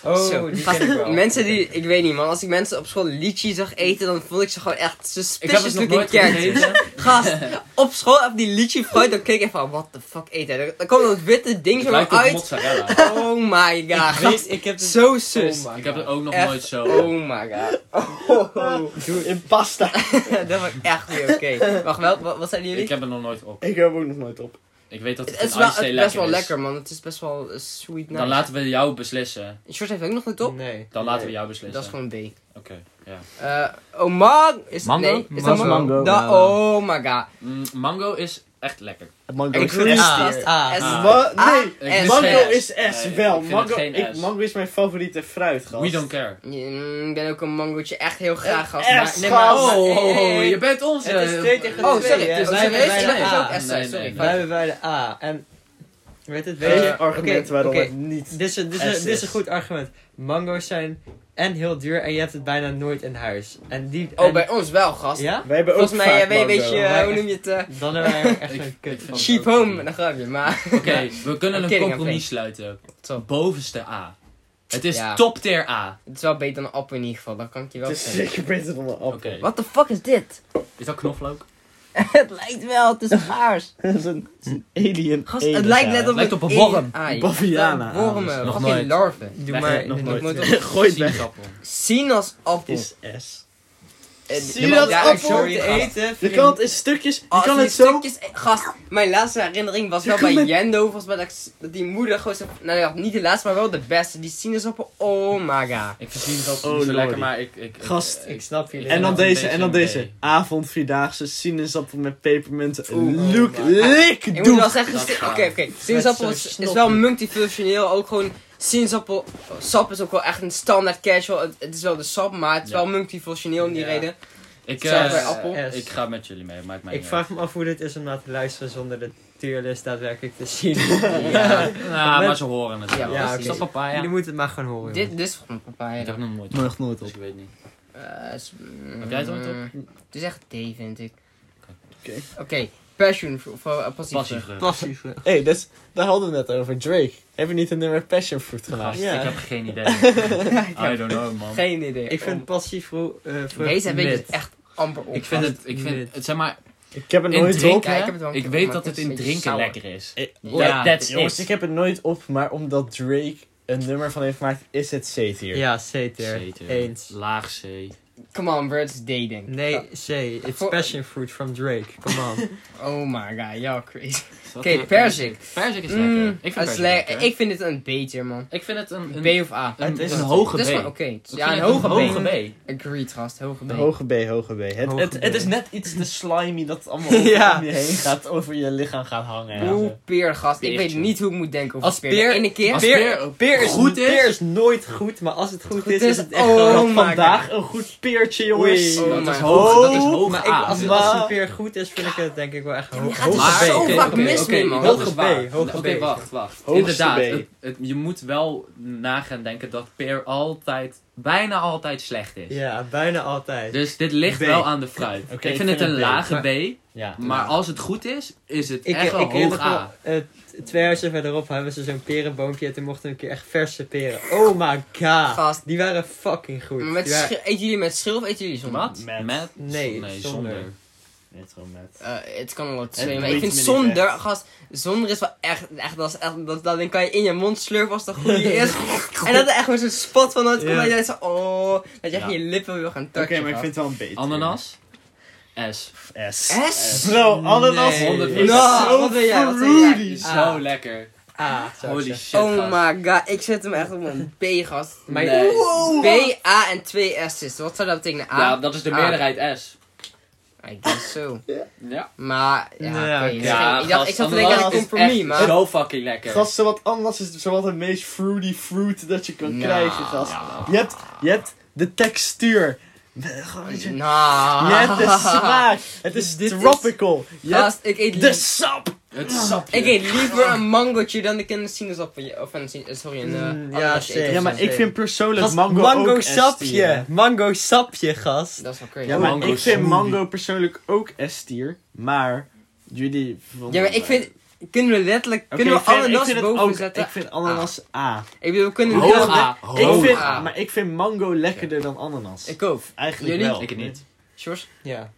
Speaker 3: Zo.
Speaker 4: Oh, die ken ik wel.
Speaker 3: Mensen die, ik weet niet man, als ik mensen op school lychee zag eten, dan vond ik ze gewoon echt
Speaker 2: Ik heb
Speaker 3: suspicious
Speaker 2: het nog nooit
Speaker 3: looking characters.
Speaker 2: gegeten.
Speaker 3: Gast, op school heb die lychee fruit, dan keek ik even van, what the fuck eet hij? Dan- Dan komt dat witte ding
Speaker 2: Het
Speaker 3: zo maar
Speaker 2: lijkt op
Speaker 3: uit.
Speaker 2: mozzarella.
Speaker 3: Oh my god,
Speaker 4: Ik
Speaker 3: gast.
Speaker 4: weet, ik heb het...
Speaker 3: Zo sus.
Speaker 4: Oh my
Speaker 2: Ik heb het
Speaker 4: God.
Speaker 2: ook nog
Speaker 3: Echt.
Speaker 2: nooit zo.
Speaker 3: Oh my god. Oh.
Speaker 1: In pasta.
Speaker 3: dat was echt niet oké. Wacht, wel, wat, wat zeiden jullie?
Speaker 2: Ik heb het nog nooit op.
Speaker 1: Ik heb ook nog nooit op.
Speaker 2: Ik weet dat het,
Speaker 3: Het is
Speaker 2: in
Speaker 3: wel, het
Speaker 2: ijsthee
Speaker 3: is best wel
Speaker 2: is.
Speaker 3: lekker man, het is best wel eh, sweet nice.
Speaker 2: Dan laten we jou beslissen.
Speaker 3: Short heeft ook nog een top?
Speaker 4: Nee.
Speaker 2: Dan laten we jou beslissen.
Speaker 3: Dat is gewoon B.
Speaker 2: Oké, ja.
Speaker 3: Eh oh, man. Is
Speaker 4: Mango?
Speaker 3: Nee, is dat
Speaker 4: Mango.
Speaker 3: mango?
Speaker 1: Mango.
Speaker 3: Da-
Speaker 4: Ja,
Speaker 3: oh my god.
Speaker 2: Mm, mango is echt lekker.
Speaker 1: Mango
Speaker 3: Ik vind
Speaker 4: S.
Speaker 3: Ah,
Speaker 4: S.
Speaker 3: ah,
Speaker 2: Ah.
Speaker 1: Wa-
Speaker 3: Ah,
Speaker 1: nee,
Speaker 2: Ik vind
Speaker 3: S.
Speaker 1: mango
Speaker 2: geen
Speaker 1: is S,
Speaker 2: Nee, ik
Speaker 1: wel.
Speaker 2: vind
Speaker 1: mango,
Speaker 2: het geen
Speaker 1: ik,
Speaker 2: S.
Speaker 1: mango is mijn favoriete fruit, gast.
Speaker 2: We don't care.
Speaker 3: Mm, Ik ben ook een mangoetje echt heel graag gast.
Speaker 1: Eh,
Speaker 3: maar-
Speaker 1: S,
Speaker 3: nee, maar-
Speaker 1: gast.
Speaker 3: maar- eh, eh, eh.
Speaker 2: Oh, je bent onze.
Speaker 4: Het is twee tegen
Speaker 3: Oh,
Speaker 4: twee,
Speaker 3: sorry.
Speaker 4: hè?
Speaker 3: dus-
Speaker 4: Wij
Speaker 3: sorry,
Speaker 4: hebben
Speaker 3: nee,
Speaker 4: bij de
Speaker 3: dat is
Speaker 4: A.
Speaker 3: ook S, sorry.
Speaker 2: Ah, Nee, nee.
Speaker 4: Wij hebben bij de A. En... Weet het, weet
Speaker 3: Eh,
Speaker 1: Geen
Speaker 4: je...
Speaker 1: Eh, argument
Speaker 4: oké,
Speaker 1: waarom
Speaker 4: oké.
Speaker 1: het niet...
Speaker 4: Dit is, een- dit, is, een-
Speaker 1: S
Speaker 4: dit is een
Speaker 1: is.
Speaker 4: goed argument. Mango's zijn en heel duur en je hebt het bijna nooit in huis. En die...
Speaker 3: Oh,
Speaker 4: en-
Speaker 3: bij ons wel gast.
Speaker 4: Ja?
Speaker 1: Wij hebben ook
Speaker 3: Volgens mij
Speaker 1: vaak
Speaker 3: eh, weet,
Speaker 1: mango.
Speaker 3: weet je, eh,
Speaker 4: Wij
Speaker 3: hoe
Speaker 4: echt-
Speaker 3: noem je het? eh,
Speaker 4: Dan hebben wij er echt
Speaker 2: Ik-
Speaker 4: een
Speaker 2: ik
Speaker 4: kut
Speaker 2: vind
Speaker 4: van.
Speaker 3: cheap home. Dan grapje, maar...
Speaker 2: Oké, we kunnen
Speaker 3: I'm
Speaker 2: een
Speaker 3: kidding, I'm
Speaker 2: compromis sluiten.
Speaker 3: Zo.
Speaker 2: Bovenste A. Het is
Speaker 3: Ja.
Speaker 2: top tier A.
Speaker 3: Het is wel beter dan appel in ieder geval, dat kan ik je wel
Speaker 1: Het is
Speaker 3: zeggen.
Speaker 1: zeker beter dan een appel.
Speaker 2: Oké.
Speaker 3: What the fuck is dit?
Speaker 2: Is dat knoflook?
Speaker 3: het lijkt wel, het is paars.
Speaker 1: Dat is een, het is een alien.
Speaker 3: Gast, het lijkt net op
Speaker 2: Lijkt
Speaker 3: een
Speaker 2: op een worm.
Speaker 3: AI.
Speaker 1: Baviana.
Speaker 3: Wormen,
Speaker 2: Nog
Speaker 3: fucking
Speaker 2: nooit.
Speaker 3: larven.
Speaker 4: Doe
Speaker 2: Wij
Speaker 4: maar...
Speaker 2: hebben
Speaker 1: nog
Speaker 4: doe
Speaker 1: nooit.
Speaker 4: maar-
Speaker 1: Gooi het weg.
Speaker 2: Sinaasappel.
Speaker 3: Sinaasappel.
Speaker 1: is S.
Speaker 3: Eh,
Speaker 1: Sinaasappel?
Speaker 3: Ja, ik zorg
Speaker 4: Sorry,
Speaker 3: te
Speaker 4: gast.
Speaker 3: eten.
Speaker 1: Je kan het in stukjes... Je
Speaker 3: Als
Speaker 1: kan
Speaker 3: die
Speaker 1: het zo...
Speaker 3: stukjes- eh, Gast, mijn laatste herinnering was
Speaker 1: Je
Speaker 3: wel
Speaker 1: kan
Speaker 3: bij
Speaker 1: met-
Speaker 3: Jendo. Volgens mij dat, ik s- dat die moeder gewoon zo... Nou ja, niet de laatste, maar wel de beste. Die sinaasappel, oh my god.
Speaker 2: Ik vind sinaasappel
Speaker 1: Oh,
Speaker 2: niet zo
Speaker 1: lordy.
Speaker 2: lekker, maar ik... ik, ik
Speaker 1: Gast.
Speaker 2: ik-
Speaker 4: Ik snap jullie.
Speaker 1: En dan
Speaker 2: Ja, een
Speaker 1: deze, en dan
Speaker 2: beetje een
Speaker 1: deze. Avond, vierdaagse, sinaasappel met pepermunt.
Speaker 3: Oeh.
Speaker 1: Look,
Speaker 4: Oh
Speaker 1: lik,
Speaker 3: Ik moet wel
Speaker 1: doe.
Speaker 3: zeggen,
Speaker 2: dat
Speaker 3: si- oké,
Speaker 2: gaat.
Speaker 3: oké. Sinaasappel
Speaker 4: zo'n
Speaker 3: is, is
Speaker 4: snoppie.
Speaker 3: wel multifunctioneel. Ook gewoon sinaasappel... Sap is ook wel echt een standaard casual. Het, het is wel de sap, maar het is
Speaker 2: Ja.
Speaker 3: wel multifunctioneel om die
Speaker 4: Ja.
Speaker 3: reden.
Speaker 2: Ik,
Speaker 3: Zelfs
Speaker 2: eh,
Speaker 3: bij appel.
Speaker 4: S.
Speaker 2: ik ga met jullie mee, maakt mij
Speaker 4: Ik
Speaker 2: niet
Speaker 4: vraag me af hoe dit is om naar te luisteren zonder de tierlist daadwerkelijk te zien.
Speaker 2: uit. Ja, nou, maar ze horen het
Speaker 3: Ja,
Speaker 2: wel.
Speaker 4: Ja,
Speaker 2: Is dat
Speaker 3: oké.
Speaker 2: papaya?
Speaker 4: Jullie moeten het maar gaan horen.
Speaker 3: Dit, dit is van mijn papa.
Speaker 2: Ik heb nog nooit
Speaker 1: Nog nooit
Speaker 2: dus
Speaker 1: op.
Speaker 2: ik weet niet.
Speaker 3: Heb
Speaker 2: Heb jij het ooit op?
Speaker 3: mm, Het is echt D, vind ik.
Speaker 1: Oké.
Speaker 3: Oké, passion fruit. Of eh,
Speaker 2: Passievrucht.
Speaker 3: passievrucht.
Speaker 4: Passief.
Speaker 1: Hé, hey, dat is- daar hadden we het net over. Drake. Heb je niet een nummer Passion Fruit gemaakt?
Speaker 2: Gast,
Speaker 4: Ja.
Speaker 2: Ik heb geen idee.
Speaker 3: Ik heb
Speaker 2: I don't know, man.
Speaker 3: Geen idee.
Speaker 4: Ik vind
Speaker 3: Oh.
Speaker 4: passief vro- eh, vrucht
Speaker 3: Deze heb ik
Speaker 4: mid.
Speaker 3: dus echt amper op.
Speaker 2: Ik vind het, ik
Speaker 4: Dit.
Speaker 2: vind het, zeg maar,
Speaker 1: Ik heb het
Speaker 2: in
Speaker 1: nooit op.
Speaker 2: drinken,
Speaker 3: Ja, ik heb het wel een
Speaker 2: ik
Speaker 3: keer
Speaker 2: weet
Speaker 3: gemaakt,
Speaker 2: dat het
Speaker 3: het is
Speaker 2: in
Speaker 3: een beetje
Speaker 2: drinken
Speaker 3: sour.
Speaker 2: lekker is.
Speaker 1: Eh,
Speaker 2: Ja, that's
Speaker 1: Jongens, ik
Speaker 2: it.
Speaker 1: heb het nooit op, maar omdat Drake een nummer van heeft gemaakt, is het C-tier.
Speaker 4: Ja, C-tier.
Speaker 2: C-tier.
Speaker 4: Eens.
Speaker 2: Laag C.
Speaker 3: Come on, bro, het is dating.
Speaker 4: Nee, C. It's
Speaker 3: Voor-
Speaker 4: passion fruit from Drake. Come on.
Speaker 3: Oh my god, y'all crazy.
Speaker 2: Wat
Speaker 3: Oké,
Speaker 2: een-
Speaker 3: perzik.
Speaker 2: Perzik is lekker.
Speaker 3: Mm,
Speaker 2: Ik vind
Speaker 3: het is
Speaker 2: perzik
Speaker 3: le-
Speaker 2: lekker.
Speaker 3: Ik vind dit een beter, man.
Speaker 2: Ik vind het een, een,
Speaker 3: B of A.
Speaker 2: een,
Speaker 1: Het is
Speaker 2: een
Speaker 1: een-
Speaker 2: hoge
Speaker 3: Dat is wel
Speaker 2: B.
Speaker 3: oké. Het is-
Speaker 2: Ik
Speaker 3: Ja, een
Speaker 2: vind het
Speaker 3: hoge
Speaker 2: hoge
Speaker 3: B.
Speaker 2: B.
Speaker 3: Agreed, gast. Hoge B.
Speaker 1: Hoge B, hoge B. Het,
Speaker 4: Hoge
Speaker 1: het,
Speaker 4: B.
Speaker 1: het is net iets te slimy dat het allemaal over
Speaker 4: Ja.
Speaker 1: je heen gaat, over je lichaam gaat hangen. en
Speaker 3: Oeh,
Speaker 1: zo.
Speaker 3: peer, gast. Ik
Speaker 2: Peertje.
Speaker 3: weet niet hoe ik moet denken over
Speaker 4: Als
Speaker 3: peer.
Speaker 4: peer-
Speaker 3: De ene keer...
Speaker 2: als
Speaker 4: Peer, peer, is,
Speaker 2: goed is-
Speaker 4: peer is nooit goed, maar als het goed, is,
Speaker 3: is-
Speaker 4: is het echt
Speaker 3: oh
Speaker 4: gewoon-
Speaker 1: Had
Speaker 3: my
Speaker 1: vandaag een goed peertje, jongens.
Speaker 3: Oei. Oh
Speaker 2: dat,
Speaker 3: my
Speaker 2: is hoog, dat is
Speaker 1: god.
Speaker 2: hoge
Speaker 4: Maar ik,
Speaker 2: A.
Speaker 4: als,
Speaker 1: het-
Speaker 2: Dus-
Speaker 4: als
Speaker 1: Maar-
Speaker 4: een peer goed is, vind ik het denk ik wel echt hoog.
Speaker 2: Ah,
Speaker 3: gaat
Speaker 4: hoog
Speaker 3: zo
Speaker 4: oké,
Speaker 3: vaak
Speaker 4: oké,
Speaker 3: mis
Speaker 4: oké.
Speaker 3: mee, man.
Speaker 2: dat
Speaker 4: Hoge
Speaker 2: is
Speaker 4: B,
Speaker 2: waar.
Speaker 4: hoge
Speaker 2: Oké,
Speaker 4: B.
Speaker 2: wacht, wacht.
Speaker 1: Hoogste
Speaker 2: Inderdaad,
Speaker 1: B.
Speaker 2: het- het- je moet wel nagaan denken dat peer altijd, bijna altijd slena is.
Speaker 4: Ja, bijna altijd.
Speaker 2: Dus dit ligt
Speaker 1: B.
Speaker 2: wel aan de fruit.
Speaker 1: Oké,
Speaker 2: ik, vind het een lage B.
Speaker 1: Ja.
Speaker 2: Maar
Speaker 4: Ja.
Speaker 2: als het goed is, is het
Speaker 4: Ik,
Speaker 2: echt wel
Speaker 4: ik weet
Speaker 2: hoog
Speaker 4: nog wel,
Speaker 2: A.
Speaker 4: eh, t- twee huizen verderop hebben ze zo'n perenboompje. En toen mochten we een keer echt verse peren. Oh my god.
Speaker 3: Gast.
Speaker 4: Die waren fucking goed.
Speaker 3: Maar met
Speaker 4: Die waren-
Speaker 3: schil- eten jullie met schil of eten jullie zonder?
Speaker 2: Wat?
Speaker 1: Met.
Speaker 2: Met?
Speaker 4: Nee, zonder.
Speaker 1: Nee, gewoon met.
Speaker 3: Eh, het kan wel wat twee, maar
Speaker 1: boeit
Speaker 3: ik vind
Speaker 1: me niet
Speaker 3: zonder,
Speaker 1: echt.
Speaker 3: gast, zonder is wel echt, echt, dat is echt, dat, dat ding kan je in je mond slurpen als het een goede is. En dat er echt met zo'n spat van komt,
Speaker 4: Ja.
Speaker 3: dat je denkt zo, oh, dat je echt
Speaker 1: Ja.
Speaker 3: je lippen wil gaan
Speaker 1: Oké,
Speaker 3: touchen.
Speaker 1: maar ik vind het wel een beetje.
Speaker 2: Ananas? S.
Speaker 1: S.
Speaker 3: S?
Speaker 1: Bro, ananas.
Speaker 4: Nee.
Speaker 1: 100
Speaker 2: Nou,
Speaker 1: zo
Speaker 3: wat wil jij, wat wil jij?
Speaker 1: fruity.
Speaker 2: Zo
Speaker 4: Ah.
Speaker 2: lekker.
Speaker 4: Ah, zou ik
Speaker 2: Holy
Speaker 4: zeggen.
Speaker 2: shit.
Speaker 3: Oh
Speaker 2: gast.
Speaker 3: my god, ik zet hem echt op een B, gast.
Speaker 4: Maar
Speaker 2: Nee.
Speaker 3: B, A en twee S's. Wat zou dat betekenen? A?
Speaker 2: Ja, dat is de
Speaker 3: Ah.
Speaker 2: meerderheid S.
Speaker 3: I guess zo.
Speaker 2: Ja.
Speaker 3: Maar, ja,
Speaker 4: Ja,
Speaker 3: oké,
Speaker 4: oké.
Speaker 3: dat ging- ik, dacht, ik zat te denken aan een
Speaker 2: ananas is
Speaker 3: compromis,
Speaker 2: echt
Speaker 3: maar...
Speaker 2: Zo fucking lekker.
Speaker 1: Gast, wat ananas is zowat het meest fruity fruit dat je kan
Speaker 3: Nou,
Speaker 1: krijgen, gast. Je hebt, je hebt de textuur. Gewoon, je-
Speaker 3: Nou...
Speaker 1: Je hebt de smaak. Het is
Speaker 3: Dit is-
Speaker 1: tropical. Je hebt
Speaker 3: Gast, ik eet
Speaker 1: de sap.
Speaker 2: Het sapje.
Speaker 3: Ik eet liever een mangootje dan ik een sinaasappeltje, of een, sin- eh, sorry, een eh,
Speaker 4: Mm, ja,
Speaker 3: ananasje
Speaker 4: zeker.
Speaker 3: eet.
Speaker 1: Ja, maar ik vind persoonlijk
Speaker 4: Gast,
Speaker 1: mango, ook
Speaker 4: sapje.
Speaker 1: S-tier.
Speaker 4: Mango sapje, gast.
Speaker 3: Dat is wel crazy.
Speaker 1: Ja, maar
Speaker 2: Mango
Speaker 1: ik vind
Speaker 2: smoothie.
Speaker 1: mango persoonlijk ook S-tier. Maar jullie... vonden-
Speaker 3: Ja, maar ik vind... Kunnen we letterlijk...
Speaker 1: Oké,
Speaker 3: kunnen we
Speaker 1: ik vind- ik
Speaker 3: ananas
Speaker 1: vind het
Speaker 3: boven
Speaker 1: ook-
Speaker 3: zetten? Ah.
Speaker 1: Ik vind ananas A.
Speaker 3: Ik bedoel, we kunnen...
Speaker 2: Hoog
Speaker 3: wel-
Speaker 2: A.
Speaker 1: Ik
Speaker 2: Hoog
Speaker 1: vind,
Speaker 2: A.
Speaker 1: maar ik vind mango lekkerder dan ananas.
Speaker 3: Ik ook.
Speaker 1: Eigenlijk
Speaker 3: Jullie?
Speaker 1: wel.
Speaker 2: Ik niet.
Speaker 3: Sjors?
Speaker 4: Ja.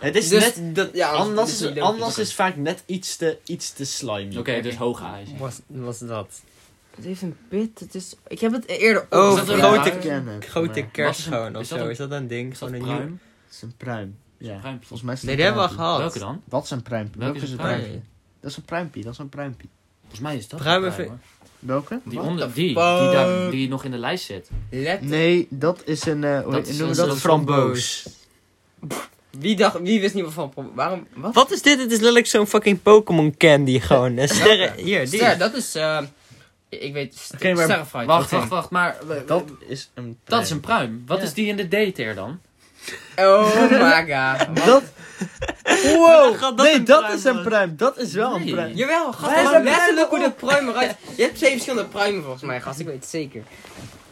Speaker 1: Het is
Speaker 3: Dus
Speaker 1: net...
Speaker 3: dat, ja,
Speaker 1: Ananas
Speaker 3: dat niet
Speaker 1: is,
Speaker 3: leuk.
Speaker 1: ananas is vaak net iets te, iets te slimy.
Speaker 2: Oké, dus hoog A is.
Speaker 4: Was, was dat?
Speaker 3: Het heeft een pit, het is... Ik heb het eerder...
Speaker 4: Oh,
Speaker 3: Is
Speaker 2: dat
Speaker 3: een
Speaker 2: een
Speaker 3: rood-
Speaker 4: grote-
Speaker 1: ik ken het,
Speaker 4: Grote
Speaker 1: maar
Speaker 4: kers
Speaker 2: was het een-
Speaker 4: gewoon of
Speaker 2: is dat
Speaker 4: zo.
Speaker 2: een-
Speaker 4: Is dat een ding?
Speaker 2: Is dat
Speaker 4: Gewoon een nieuw-
Speaker 2: bruin?
Speaker 1: Het is een pruim. Ja.
Speaker 2: Bruimpje.
Speaker 1: Volgens mij is het
Speaker 4: Nee,
Speaker 1: een
Speaker 4: die hebben we al
Speaker 1: pruimpie.
Speaker 4: gehad.
Speaker 2: Welke dan?
Speaker 1: Wat is een pruimpie?
Speaker 2: Welke
Speaker 1: Welke is een
Speaker 2: is het
Speaker 1: pruimpie? Dat is een pruimpie, dat is een pruimpie.
Speaker 2: Volgens mij is dat
Speaker 4: Bruin
Speaker 2: een
Speaker 4: of-
Speaker 2: bruin, hoor.
Speaker 1: Welke?
Speaker 2: Die
Speaker 1: Wat?
Speaker 2: onder, die, die,
Speaker 3: fuck?
Speaker 2: daar, die nog in de lijst zit.
Speaker 3: Let...
Speaker 1: Nee, dat is een... eh hoe
Speaker 2: Dat is
Speaker 1: noemen we
Speaker 2: een-
Speaker 1: dat?
Speaker 2: een
Speaker 3: Wie dacht... Wie wist niet wat van... Waarom... Wat?
Speaker 4: Wat is dit? Het is letterlijk zo'n fucking Pokémon candy gewoon. En sterren. Hier, die.
Speaker 3: Ster, dat is... eh, ik weet... Ster,
Speaker 1: Oké, maar-
Speaker 3: sterrenfruit.
Speaker 2: Wacht,
Speaker 3: Oké.
Speaker 2: wacht, wacht, maar... we-
Speaker 1: Dat is een
Speaker 2: Dat is een pruim. Wat
Speaker 1: Ja.
Speaker 2: is die in de D-tier dan?
Speaker 3: Oh my god. Wat?
Speaker 1: Dat... Wow!
Speaker 4: gaat dat
Speaker 1: nee,
Speaker 4: een
Speaker 1: dat
Speaker 4: pruim
Speaker 1: is een
Speaker 4: worden?
Speaker 1: pruim. Dat is wel een
Speaker 2: Nee.
Speaker 1: pruim.
Speaker 3: Jawel, gast.
Speaker 1: Waar is
Speaker 3: maar
Speaker 1: dat
Speaker 3: letterlijk hoe de pruim eruit... Je hebt twee verschillende pruimen volgens mij, gast. Ik weet het zeker.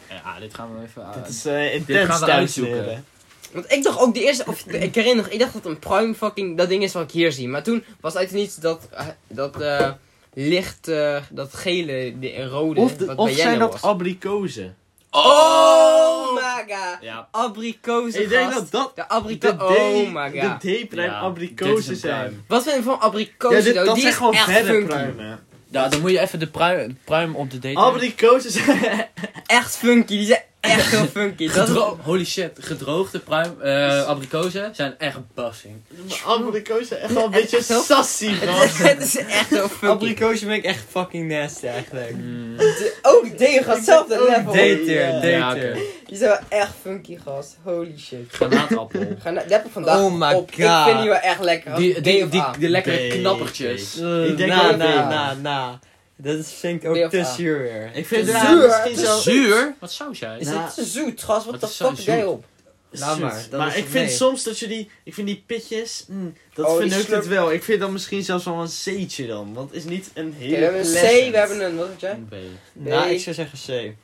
Speaker 2: Ja, ah, dit gaan we even...
Speaker 1: Dit is eh
Speaker 2: Dit
Speaker 1: intens
Speaker 2: gaan we
Speaker 1: thuis
Speaker 2: uitzoeken.
Speaker 1: leren.
Speaker 3: Want ik dacht ook de eerste, of ik herinner nog, ik dacht dat een prime fucking dat ding is wat ik hier zie. Maar toen was uit het niets dat, eh, dat eh, licht, eh, dat gele, de rode,
Speaker 1: Of, de-
Speaker 3: wat
Speaker 1: of
Speaker 3: bij Jenna
Speaker 1: zijn
Speaker 4: nou,
Speaker 1: dat
Speaker 3: was.
Speaker 1: abrikozen?
Speaker 3: oh my god,
Speaker 2: Ja.
Speaker 3: abrikozen
Speaker 1: Ik denk
Speaker 3: gast.
Speaker 1: dat dat...
Speaker 3: De
Speaker 1: De
Speaker 3: abrikozen,
Speaker 1: D-
Speaker 3: oh my god.
Speaker 1: De D-pruim
Speaker 2: Ja, dit is
Speaker 1: abrikozen
Speaker 2: een
Speaker 1: zijn.
Speaker 2: pruim.
Speaker 3: Wat vind je van abrikozen
Speaker 1: Ja, dit,
Speaker 3: though?
Speaker 1: dat
Speaker 3: Die
Speaker 1: zijn
Speaker 3: is
Speaker 1: gewoon
Speaker 3: echt
Speaker 1: verre
Speaker 3: funky.
Speaker 1: pruimen.
Speaker 2: Nou, dan moet je even de pruim, pruim op de D-tier...
Speaker 1: Abrikozen zijn...
Speaker 3: Echt funky, die zijn echt heel funky. dat is,
Speaker 2: Gedro- Holy shit, gedroogde pruim, eh abrikozen zijn echt bassing.
Speaker 1: Abrikozen echt wel een beetje
Speaker 3: echt wel-
Speaker 1: sassy, man.
Speaker 3: het, is, het is echt heel funky.
Speaker 4: Abrikozen ben ik echt fucking nasty eigenlijk.
Speaker 2: Mm.
Speaker 3: Oh, die dingen gaat hetzelfde
Speaker 1: Ook
Speaker 3: level.
Speaker 4: Dater,
Speaker 1: Ja,
Speaker 4: dater.
Speaker 3: Die zijn wel echt funky gast, holy shit.
Speaker 2: Granaatappel.
Speaker 3: Ga naar- die heb ik vandaag
Speaker 4: Oh my
Speaker 3: op. Ik
Speaker 4: god.
Speaker 3: vind die wel echt lekker.
Speaker 2: Die, die, die,
Speaker 3: B of A.
Speaker 2: de lekkere
Speaker 1: B.
Speaker 2: knappertjes.
Speaker 4: Eh,
Speaker 1: Ik denk
Speaker 4: na,
Speaker 1: ook
Speaker 4: na,
Speaker 1: weer.
Speaker 4: na, na. Dat is, vind ik
Speaker 3: B of
Speaker 4: ook te
Speaker 3: A.
Speaker 4: zuur weer.
Speaker 1: Ik vind
Speaker 3: Te
Speaker 1: het
Speaker 3: zuur.
Speaker 1: misschien
Speaker 3: Te
Speaker 1: zo...
Speaker 2: Zuur? Wat saus jij?
Speaker 4: Is
Speaker 1: Nou,
Speaker 4: het-
Speaker 3: Het is zo zoet, gast. Wat
Speaker 2: Het
Speaker 3: de
Speaker 2: is
Speaker 3: fuck
Speaker 2: zo
Speaker 3: jij
Speaker 2: zoet.
Speaker 3: op?
Speaker 4: Laat maar,
Speaker 1: Zoet.
Speaker 4: dat is
Speaker 1: Maar ik
Speaker 4: het
Speaker 1: vind
Speaker 4: mee.
Speaker 1: soms dat je die... Ik vind die pitjes... mm, dat
Speaker 3: Oh, die
Speaker 1: verneukt
Speaker 3: slurp-
Speaker 1: het wel. Ik vind dat misschien zelfs wel een C'tje dan. Want het is niet een
Speaker 3: Oké,
Speaker 1: hele
Speaker 3: we hebben een C,
Speaker 1: pleasant.
Speaker 3: we hebben een... Wat heb jij?
Speaker 2: Een B.
Speaker 4: Nou,
Speaker 3: Nee.
Speaker 4: ik zou zeggen C.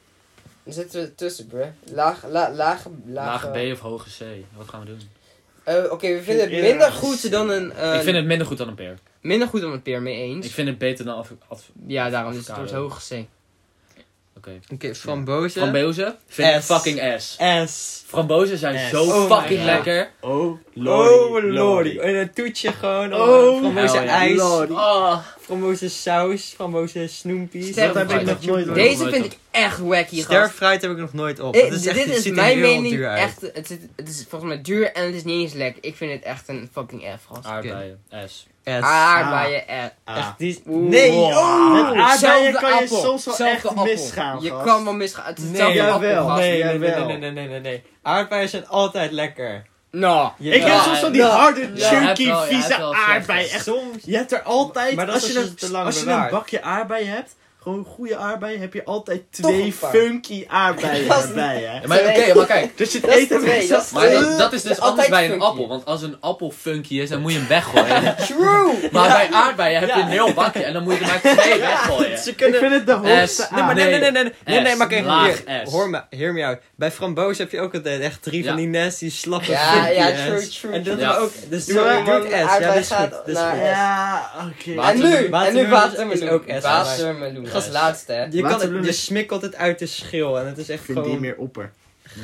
Speaker 3: Dan zitten we tussen, bruh. Laag, la, laag, laag...
Speaker 2: Lage B of hoge C. Wat gaan we doen?
Speaker 3: eh, Oké, we vinden het minder goed dan een... eh,
Speaker 2: ik vind het minder goed dan een peer.
Speaker 3: Minder goed dan een peer, mee eens.
Speaker 2: Ik vind het beter dan af... af-
Speaker 3: Ja, daarom is het door
Speaker 2: Avocado.
Speaker 3: het hoge C.
Speaker 2: Oké.
Speaker 4: Oké, frambozen.
Speaker 2: Frambozen? Vind ik
Speaker 4: S.
Speaker 2: fucking S.
Speaker 4: S.
Speaker 2: Frambozen zijn
Speaker 1: S.
Speaker 2: zo
Speaker 4: Oh my
Speaker 2: fucking
Speaker 4: God.
Speaker 2: lekker.
Speaker 1: Oh,
Speaker 4: oh,
Speaker 1: lordy.
Speaker 4: lordy. En een toetje gewoon.
Speaker 1: Oh,
Speaker 4: frambozen
Speaker 2: hell ja.
Speaker 4: ijs.
Speaker 1: Lordy.
Speaker 2: Oh.
Speaker 4: Frambozen saus. Frambozen snoempies.
Speaker 3: Sterf-
Speaker 4: Dat heb ik nog nooit
Speaker 1: op.
Speaker 4: op.
Speaker 3: Deze vind ik echt wacky, gast.
Speaker 4: Sterfruit heb ik nog nooit op.
Speaker 3: Ik-
Speaker 4: Dat is echt,
Speaker 3: dit
Speaker 4: het
Speaker 3: is
Speaker 4: ziet er
Speaker 3: mijn
Speaker 4: heel
Speaker 3: mening
Speaker 4: duur uit.
Speaker 3: echt, het, zit- het is volgens mij duur en het is niet eens lekker. Ik vind het echt een fucking F, gast.
Speaker 2: Aardbeien. S.
Speaker 4: S.
Speaker 3: Aardbeien eh. F.
Speaker 1: Ah.
Speaker 4: Echt, die is...
Speaker 3: Oeh.
Speaker 4: Nee!
Speaker 1: Wow.
Speaker 4: Oh!
Speaker 1: Met aardbeien
Speaker 3: Zelfde
Speaker 1: kan je
Speaker 3: appel.
Speaker 1: soms wel
Speaker 3: Zelfde
Speaker 1: echt
Speaker 3: appel.
Speaker 1: misgaan,
Speaker 3: Je
Speaker 1: gast.
Speaker 3: kan wel misgaan. Het is
Speaker 4: Nee,
Speaker 3: hetzelfde
Speaker 1: jawel.
Speaker 3: appelglas.
Speaker 4: Nee, nee, nee,
Speaker 1: jawel.
Speaker 4: nee, nee, nee, nee, nee. Aardbeien zijn altijd lekker.
Speaker 3: Nou.
Speaker 1: Ik heb
Speaker 2: Ja,
Speaker 1: soms van
Speaker 2: ja,
Speaker 1: die harde,
Speaker 2: ja, hij heeft
Speaker 1: chunky,
Speaker 2: wel- hij heeft
Speaker 1: vieze
Speaker 2: wel
Speaker 1: aardbei.
Speaker 2: vlekken.
Speaker 1: Echt, je hebt er altijd...
Speaker 4: Maar dat
Speaker 1: als
Speaker 4: is
Speaker 1: je,
Speaker 4: als
Speaker 1: een,
Speaker 4: je het te lang
Speaker 1: als je een
Speaker 4: bewaart.
Speaker 1: bakje aardbei hebt, gewoon goede aardbeien heb je altijd
Speaker 3: Toch
Speaker 1: twee
Speaker 3: een paar.
Speaker 1: funky aardbeien
Speaker 3: Dat is-
Speaker 1: erbij, hè.
Speaker 2: Maar oké, maar kijk.
Speaker 1: Dus je
Speaker 3: Dat is
Speaker 1: eet het
Speaker 3: twee,
Speaker 1: weg.
Speaker 3: dat is
Speaker 2: Maar
Speaker 3: twee.
Speaker 2: dat, dat is dus
Speaker 3: Altijd
Speaker 2: anders bij een
Speaker 3: funky.
Speaker 2: appel. Want als een appel funky is, dan moet je hem weggooien.
Speaker 3: True!
Speaker 2: Maar bij aardbeien heb je
Speaker 1: Ja.
Speaker 2: een heel bakje en dan moet je er maar twee weggooien.
Speaker 4: Ze
Speaker 1: Ik
Speaker 4: kunnen...
Speaker 1: vind het de hoogste
Speaker 2: S.
Speaker 4: Nee, maar
Speaker 1: aard.
Speaker 4: nee, Ah,
Speaker 2: nee.
Speaker 4: nee, nee, nee, nee, nee, nee,
Speaker 2: S,
Speaker 4: maar kijk,
Speaker 2: laag
Speaker 4: hier,
Speaker 2: S.
Speaker 4: hoor me, hear me out. Bij framboos heb je ook altijd echt drie van
Speaker 2: Ja.
Speaker 4: die nasty, slappe
Speaker 3: Ja,
Speaker 4: funky
Speaker 3: ja,
Speaker 4: S.
Speaker 3: true, true,
Speaker 4: En dat
Speaker 2: true.
Speaker 4: maar
Speaker 2: Ja.
Speaker 4: ook, dus
Speaker 1: Ja,
Speaker 4: doe
Speaker 1: maar
Speaker 4: je doet S,
Speaker 3: aardbei
Speaker 4: ja, dat is
Speaker 3: gaat
Speaker 4: goed, dat is
Speaker 3: naar
Speaker 4: goed.
Speaker 1: Ja, oké.
Speaker 2: Maar-
Speaker 3: En nu, en nu
Speaker 4: Watermeloen
Speaker 3: watermeloen.
Speaker 4: is ook S.
Speaker 3: Watermeloen. Dat is laatste, hè.
Speaker 4: Je, kan,
Speaker 1: Watermeloen
Speaker 4: het- je
Speaker 1: is-
Speaker 4: smikkelt het uit de schil en het is echt
Speaker 1: Ik dus- vind die
Speaker 4: gewoon...
Speaker 1: meer opper.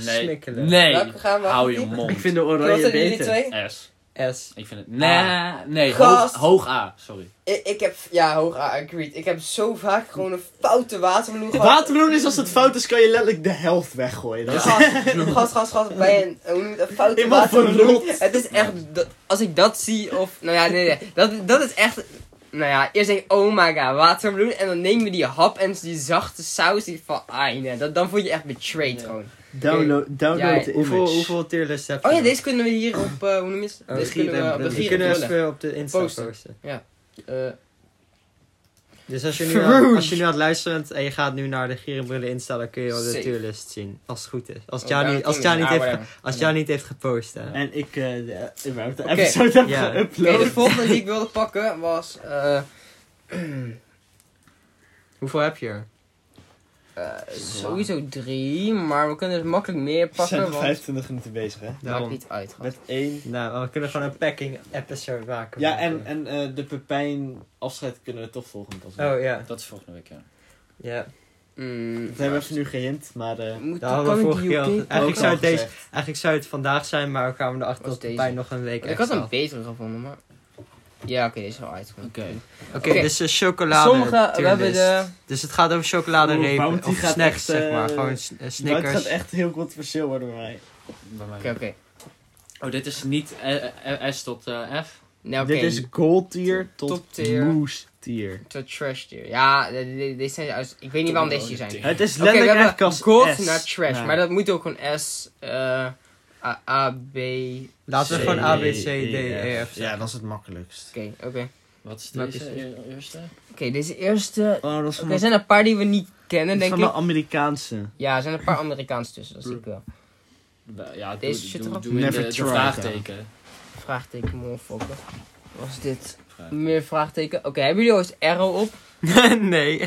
Speaker 2: Nee.
Speaker 4: Smikkelen.
Speaker 2: Nee.
Speaker 3: Welke gaan we?
Speaker 2: Hou je
Speaker 1: Ik
Speaker 2: mond.
Speaker 1: vind de
Speaker 3: Wat
Speaker 1: oranje
Speaker 3: zijn jullie
Speaker 1: beter.
Speaker 3: twee?
Speaker 2: S.
Speaker 4: S.
Speaker 2: Ik vind het. Nee, nee. Hoog,
Speaker 3: Gast.
Speaker 2: hoog A, sorry.
Speaker 3: Ik, ik heb, ja, hoog A, agreed. Ik heb zo vaak gewoon een foute watermeloen gehad.
Speaker 1: Watermeloen is als het fout is, kan je letterlijk de helft weggooien. Dat is-
Speaker 3: Gast, gast, gast, gast, bij een, hoe noem je dat, foute
Speaker 1: Iemand
Speaker 3: watermeloen.
Speaker 1: verrot.
Speaker 3: Het is echt, dat- als ik dat zie, of, nou ja, nee, nee, dat, dat is echt, nou ja, eerst denk ik, oh my god, watermeloen, en dan neem je die hap en die zachte saus, die van, ah, nee, dat, dan voel je je echt betrayed
Speaker 4: Ja.
Speaker 3: gewoon.
Speaker 1: Download, download
Speaker 3: Ja,
Speaker 1: the image.
Speaker 4: Hoeveel, hoeveel tierlist heb je?
Speaker 3: Oh ja,
Speaker 4: nog?
Speaker 3: deze kunnen we hier op, eh, hoe noem je het?
Speaker 4: Oh,
Speaker 3: deze
Speaker 4: Giet
Speaker 3: kunnen
Speaker 1: en
Speaker 3: we op de
Speaker 1: Brullen.
Speaker 3: gier
Speaker 4: Die kunnen we
Speaker 3: brullen.
Speaker 4: even op de Insta
Speaker 3: Posten.
Speaker 4: posten.
Speaker 3: Eh,
Speaker 4: Dus als je, nu
Speaker 1: Verwoest.
Speaker 4: aan, als je nu aan het luisteren bent en je gaat nu naar de Gierenbrullen Insta, dan kun je wel de
Speaker 3: Safe.
Speaker 4: tierlist zien. Als het goed is. Als
Speaker 3: oh,
Speaker 4: Jan
Speaker 3: daar
Speaker 4: niet, als
Speaker 3: komen we.
Speaker 4: Jan niet,
Speaker 3: Ah,
Speaker 4: heeft,
Speaker 3: whatever.
Speaker 4: als Jan niet heeft gepost. Hè.
Speaker 1: En ik eh de, überhaupt de
Speaker 3: Oké.
Speaker 1: episode heb
Speaker 4: Ja.
Speaker 3: Oké,
Speaker 1: geüpload.
Speaker 3: de volgende die ik wilde pakken was, eh,
Speaker 4: Hoeveel heb je er?
Speaker 3: eh, sowieso drie, maar we kunnen dus makkelijk meer
Speaker 1: We zijn
Speaker 3: pakken,
Speaker 1: nog
Speaker 3: want
Speaker 1: 25 minuten bezig, hè?
Speaker 3: maakt
Speaker 4: Daarom.
Speaker 3: niet uit, gast.
Speaker 1: Met één.
Speaker 4: Nou, we kunnen gewoon een packing episode maken.
Speaker 1: Ja, en, en eh, de Pepijn afscheid kunnen we toch volgende pas doen.
Speaker 4: Oh ja.
Speaker 2: Dat is volgende week, ja.
Speaker 4: ja.
Speaker 3: Mm,
Speaker 1: Dat hebben we even nu gehind, maar... eh,
Speaker 3: Moet
Speaker 4: Dat hadden we
Speaker 3: kan ik
Speaker 4: vorige
Speaker 3: die Oh,
Speaker 4: keer al-
Speaker 3: op-
Speaker 4: Eigenlijk
Speaker 1: ook
Speaker 4: zou
Speaker 1: al
Speaker 4: het
Speaker 1: gezegd.
Speaker 4: Eigenlijk zou het vandaag zijn, maar we kwamen erachter
Speaker 3: Wat is
Speaker 4: dat het
Speaker 3: deze? Oh,
Speaker 4: bij nog een week
Speaker 3: Ik had
Speaker 4: extra
Speaker 3: een betere gevonden, maar... Ja, oké, deze is al uitgekomen.
Speaker 2: Oké.
Speaker 4: Oké,
Speaker 3: Oké.
Speaker 4: dus eh, chocolade
Speaker 3: Sommige, we hebben
Speaker 4: tierlist.
Speaker 3: de...
Speaker 4: Dus het gaat over
Speaker 1: Oeh,
Speaker 4: chocoladerepen,
Speaker 1: Bounty
Speaker 4: of
Speaker 1: gaat
Speaker 4: snacks,
Speaker 1: echt,
Speaker 4: zeg maar.
Speaker 1: eh,
Speaker 4: Gewoon s- eh,
Speaker 1: Maar het gaat
Speaker 4: Snickers.
Speaker 1: echt heel controversieel worden bij mij.
Speaker 2: Bij mij.
Speaker 3: Oké, oké.
Speaker 2: Oh, dit is niet eh, eh, S tot eh, F.
Speaker 3: Nou, oké.
Speaker 1: Dit is gold tier tot
Speaker 3: Top tier.
Speaker 1: moose tier.
Speaker 3: Tot trash tier. Ja, de- de- de- deze zijn uit... Ik weet niet waarom deze hier zijn.
Speaker 1: Het is
Speaker 3: Oké, we
Speaker 1: letterlijk echt
Speaker 3: hebben
Speaker 1: als
Speaker 3: gold
Speaker 1: S.
Speaker 3: naar trash,
Speaker 1: Ja.
Speaker 3: maar dat moet ook een S, eh A, A, B... Oké,
Speaker 4: Laten we
Speaker 1: C,
Speaker 4: gewoon A, B,
Speaker 1: D,
Speaker 4: C, D, E, F.
Speaker 1: Ja, dat is het makkelijkst.
Speaker 3: oké.
Speaker 2: Wat is
Speaker 4: Welke
Speaker 2: deze
Speaker 4: is
Speaker 2: e- eerste?
Speaker 3: Oké, deze eerste...
Speaker 1: Oh, dat is
Speaker 3: Oké,
Speaker 1: van,
Speaker 3: er zijn een paar die we niet kennen,
Speaker 1: dat is
Speaker 3: denk
Speaker 1: van de
Speaker 3: ik.
Speaker 1: Amerikaanse.
Speaker 3: Ja, er zijn een paar Amerikaans tussen, dat zie ik wel.
Speaker 2: Ja,
Speaker 3: Deze
Speaker 2: doe,
Speaker 3: zit
Speaker 2: doe,
Speaker 3: erop.
Speaker 2: doe in
Speaker 1: Never
Speaker 2: de, de
Speaker 1: tried,
Speaker 2: vraagteken.
Speaker 3: Vraagteken, motherfucker. Was dit
Speaker 2: Vraag.
Speaker 3: meer vraagteken? Oké, hebben jullie ooit arrow op? Nee!
Speaker 4: nee.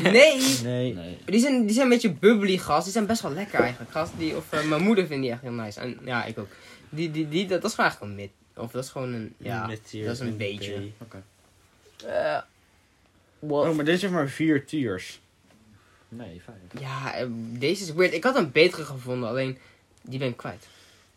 Speaker 1: Nee.
Speaker 2: Nee.
Speaker 3: Die zijn, die zijn een beetje bubbly gas. Die zijn best wel lekker eigenlijk. Gas die, of eh, mijn moeder vindt die echt heel nice. En ja, ik ook. Die, die, die, dat, dat is gewoon eigenlijk een mid. Of dat is gewoon een. Ja.
Speaker 1: Mid-tier,
Speaker 3: dat is een
Speaker 1: mid-B.
Speaker 3: beetje.
Speaker 2: Oké.
Speaker 3: eh, wat-
Speaker 1: Oh, maar dit heeft maar vier tiers.
Speaker 2: Nee, fijn.
Speaker 3: Ja, eh, deze is weird. Ik had een betere gevonden, alleen die ben ik kwijt.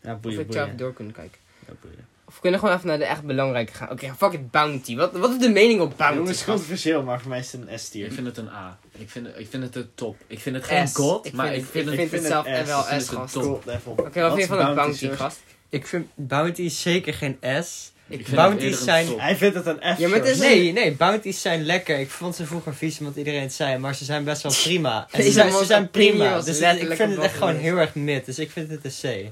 Speaker 1: Ja,
Speaker 3: Of
Speaker 1: boeien,
Speaker 3: ik zou
Speaker 1: boeien.
Speaker 3: even door kunnen kijken.
Speaker 1: Ja, boeien.
Speaker 3: Of we kunnen gewoon even naar de echt belangrijke gaan. Oké, fuck it, bounty. Wat, wat is de mening op bounty?
Speaker 1: Jongens,
Speaker 3: gast?
Speaker 1: controversieel, maar voor mij is het een
Speaker 2: Ik
Speaker 1: S-tier.
Speaker 2: vind het een A. Ik vind, het- ik vind het een top. Ik vind het geen
Speaker 3: S.
Speaker 2: god,
Speaker 3: Ik
Speaker 2: maar
Speaker 3: vind
Speaker 2: ik
Speaker 3: het-
Speaker 2: vind
Speaker 3: ik
Speaker 2: het...
Speaker 1: ik
Speaker 3: vind het
Speaker 1: vind
Speaker 3: zelf
Speaker 1: het
Speaker 3: echt wel
Speaker 1: S. Ik
Speaker 2: vind
Speaker 3: S
Speaker 2: het een
Speaker 3: gast.
Speaker 2: top.
Speaker 1: Gold level.
Speaker 3: Oké, wat
Speaker 1: Wat
Speaker 3: vind
Speaker 1: is
Speaker 3: je van een bounty
Speaker 1: zus?
Speaker 3: gast?
Speaker 4: Ik vind bounties zeker geen S.
Speaker 2: Ik vind
Speaker 4: Bounties
Speaker 2: het eerder een
Speaker 4: zijn-
Speaker 2: top.
Speaker 1: Hij vindt het een F.
Speaker 3: Ja, maar het is-
Speaker 1: zus.
Speaker 4: Nee, nee, bounties zijn lekker. Ik vond ze vroeger vies, want iedereen het zei. Maar ze zijn best wel prima. En ze
Speaker 3: Deze
Speaker 4: zijn,
Speaker 3: man
Speaker 4: ze zijn
Speaker 3: van Premium
Speaker 4: prima.
Speaker 3: was
Speaker 4: Dus
Speaker 3: letterlijk
Speaker 4: ik
Speaker 3: een
Speaker 4: vind het echt gewoon
Speaker 3: bottomless.
Speaker 4: heel erg mid. Dus ik vind het een C.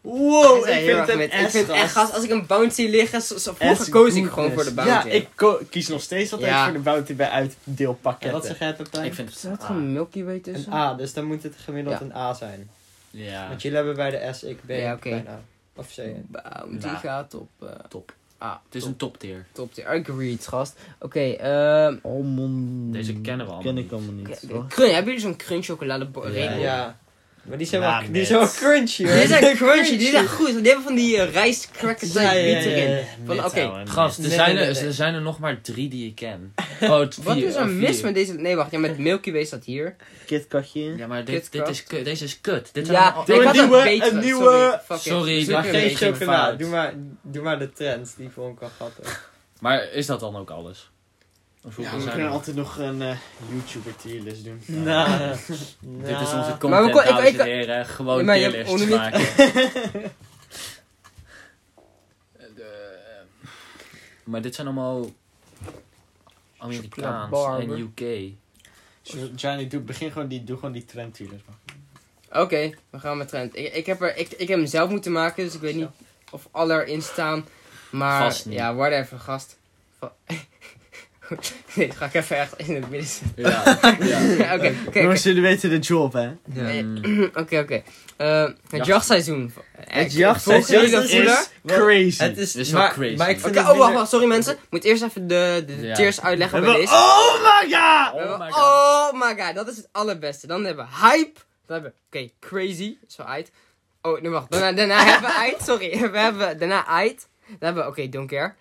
Speaker 1: Wow,
Speaker 3: Hij
Speaker 1: ik
Speaker 3: zei heel
Speaker 1: vind
Speaker 3: erg
Speaker 1: het
Speaker 3: met-
Speaker 1: een
Speaker 3: Ik Oh, vind
Speaker 1: S.
Speaker 3: echt, gast, als ik een bounty liggen, zo, zo, vroeger koos ik gewoon voor de bounty.
Speaker 1: Ja, ik ko- kies nog steeds altijd
Speaker 3: Ja.
Speaker 1: voor de bounty bij
Speaker 4: En wat
Speaker 1: uitdeelpakketten.
Speaker 4: zeg jij, Pepijn?
Speaker 2: Ik vind het
Speaker 3: Zat
Speaker 2: een
Speaker 3: er een
Speaker 2: A.
Speaker 3: Milky Way tussen?
Speaker 4: Een A, dus dan moet het gemiddeld
Speaker 3: Ja.
Speaker 4: een A zijn.
Speaker 2: Ja.
Speaker 4: Want jullie hebben bij de S, ik B,
Speaker 3: Ja, oké.
Speaker 4: bijna. Of C.
Speaker 3: Bounty
Speaker 2: Ja.
Speaker 3: gaat op eh,
Speaker 2: Top.
Speaker 3: A.
Speaker 2: Het is een top tier.
Speaker 1: Hmm.
Speaker 3: top tier. Agreed, gast. Oké, ehm...
Speaker 1: Almond.
Speaker 2: Deze kennen we allemaal
Speaker 1: Oh, Ken ik
Speaker 2: niet.
Speaker 1: allemaal
Speaker 3: oké,
Speaker 1: niet. hoor.
Speaker 3: Crunch, hebben jullie zo'n crunch chocolade bo-
Speaker 1: Ja.
Speaker 3: reep?
Speaker 4: Ja. Maar die zijn,
Speaker 1: Ja,
Speaker 4: wel, die
Speaker 1: mid.
Speaker 4: zijn wel crunchy hoor.
Speaker 3: Die zijn crunchy, die zijn goed. Die hebben van die uh, rijstcrackers
Speaker 4: Ja, ja, ja,
Speaker 3: biet erin.
Speaker 4: ja.
Speaker 3: Van,
Speaker 1: Mid,
Speaker 3: oké,
Speaker 1: ouwe, mid.
Speaker 2: Gast, er
Speaker 4: Nee,
Speaker 2: zijn
Speaker 4: nee,
Speaker 2: er-
Speaker 4: nee.
Speaker 2: er zijn er nog maar drie die ik ken. Oh, het
Speaker 3: Wat
Speaker 2: vier,
Speaker 3: is
Speaker 2: oh,
Speaker 3: er mis
Speaker 2: vier.
Speaker 3: met deze... Nee, wacht. Ja, met Milky Way staat hier.
Speaker 1: Kitkatje.
Speaker 2: Ja, maar
Speaker 3: Kit
Speaker 2: dit, dit
Speaker 3: Kat?
Speaker 2: is kut. Deze is kut. Dit zijn
Speaker 3: Ja,
Speaker 2: allemaal-
Speaker 1: Doe
Speaker 3: ik
Speaker 1: een
Speaker 3: had
Speaker 1: nieuwe,
Speaker 3: een betere.
Speaker 1: een nieuwe-
Speaker 3: Sorry, fuck it.
Speaker 2: Sorry,
Speaker 3: Zoek
Speaker 2: maar
Speaker 3: een
Speaker 2: geen
Speaker 4: Geen
Speaker 3: beetje.
Speaker 2: chocolade.
Speaker 4: chocola,
Speaker 2: fout.
Speaker 4: doe maar, doe maar de trends, die vond ik wel grappig.
Speaker 2: Maar is dat dan ook alles? Of hoeveel
Speaker 1: Ja, we
Speaker 2: zijn
Speaker 1: kunnen
Speaker 2: er?
Speaker 1: altijd nog een eh, YouTuber tierlist doen.
Speaker 4: Nou,
Speaker 2: Dit is onze
Speaker 3: Maar
Speaker 2: content,
Speaker 3: we kon- ik-
Speaker 2: dames en
Speaker 3: ik-
Speaker 2: heren.
Speaker 3: Ja,
Speaker 2: Gewoon
Speaker 3: maar je-
Speaker 2: tierlists
Speaker 3: hoe noem je het?
Speaker 2: maken. Eh, de- Maar dit zijn allemaal Amerikaans
Speaker 3: Chocola
Speaker 2: en
Speaker 3: barber.
Speaker 2: UK.
Speaker 1: Johnny, doe, begin gewoon die, doe gewoon die trend tierlist. man.
Speaker 3: Oké, we gaan met trend. Ik, ik, heb er, ik, ik heb hem zelf moeten maken, dus ik weet niet of alle erin staan. Maar
Speaker 2: Vast niet.
Speaker 3: ja, whatever, gast. Va- Nee, dat ga ik even echt in het midden zetten.
Speaker 1: Ja.
Speaker 3: Ja, Oké, oké, oké.
Speaker 1: Jongens, jullie weten de job, hè?
Speaker 3: Oké, oké. Eh, Het
Speaker 2: Jacht.
Speaker 3: jachtseizoen.
Speaker 1: Het
Speaker 3: Volgen jullie
Speaker 1: jachtseizoen
Speaker 3: dat
Speaker 1: is
Speaker 3: voelen?
Speaker 1: crazy.
Speaker 4: Het is,
Speaker 2: Dit is wel
Speaker 4: maar,
Speaker 2: crazy.
Speaker 4: Maar ik vind
Speaker 3: Oké, oh
Speaker 4: het
Speaker 3: wacht,
Speaker 4: minder-
Speaker 3: wacht, sorry mensen. Ik moet eerst even de, de
Speaker 2: Ja.
Speaker 3: tiers uitleggen
Speaker 1: We
Speaker 3: wat
Speaker 1: hebben-
Speaker 3: het is.
Speaker 1: Oh my god!
Speaker 3: We hebben-
Speaker 2: Oh my
Speaker 3: oh my god, dat is het allerbeste. Dan hebben we hype. Dan hebben we, oké, crazy, zo uit. Oh, nee, wacht. Daarna, daarna hebben we uit, sorry. We hebben daarna uit. Dan hebben we, oké, don't care.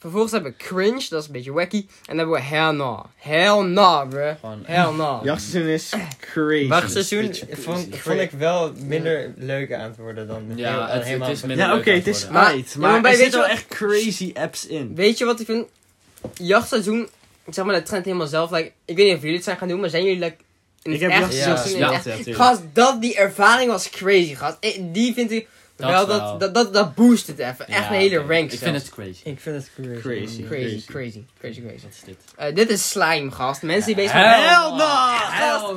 Speaker 3: Vervolgens hebben we cringe, dat is een beetje wacky. En dan hebben we hell no. Hell no, bruh.
Speaker 2: Gewoon-
Speaker 3: Hell no.
Speaker 1: Jachtseizoen is crazy.
Speaker 4: Jachtseizoen
Speaker 2: Beetje crazy.
Speaker 4: vond, vond ik wel minder leuk aan het worden dan
Speaker 2: Ja,
Speaker 4: dan
Speaker 2: het-
Speaker 4: helemaal-
Speaker 2: het is minder-
Speaker 1: Ja, oké,
Speaker 2: leuk
Speaker 1: het is
Speaker 3: aan het worden.
Speaker 1: uit.
Speaker 3: Maar-
Speaker 1: Maar,
Speaker 3: ja, maar bij-
Speaker 1: er
Speaker 3: weet je
Speaker 1: zitten wel
Speaker 3: wat-
Speaker 1: echt crazy apps in.
Speaker 3: Weet je wat ik vind? Jachtseizoen, zeg maar de trend helemaal zelf. Like, ik weet niet of jullie het zijn gaan doen, maar zijn jullie like, in
Speaker 1: Ik
Speaker 3: het
Speaker 1: heb
Speaker 3: echt
Speaker 1: jachtseizoen
Speaker 3: jachtseizoen in
Speaker 2: ja,
Speaker 3: het
Speaker 1: gespeeld,
Speaker 3: echt-
Speaker 1: ja, natuurlijk.
Speaker 3: Gast, dat, die ervaring was crazy, gast. Ik- die vind ik...
Speaker 2: Dat
Speaker 3: wel,
Speaker 2: wel.
Speaker 3: dat, dat, dat, dat boost het even. Echt
Speaker 2: Ja,
Speaker 3: een hele
Speaker 2: oké.
Speaker 3: rank
Speaker 2: Ik
Speaker 3: zelfs.
Speaker 2: vind het crazy.
Speaker 4: Ik vind het crazy.
Speaker 1: Crazy.
Speaker 3: Crazy, crazy, crazy, crazy.
Speaker 2: Wat is dit?
Speaker 3: Eh, dit is slime, gast. Mensen die bezig
Speaker 2: Hell
Speaker 3: zijn.
Speaker 1: Hell no!
Speaker 3: Gast,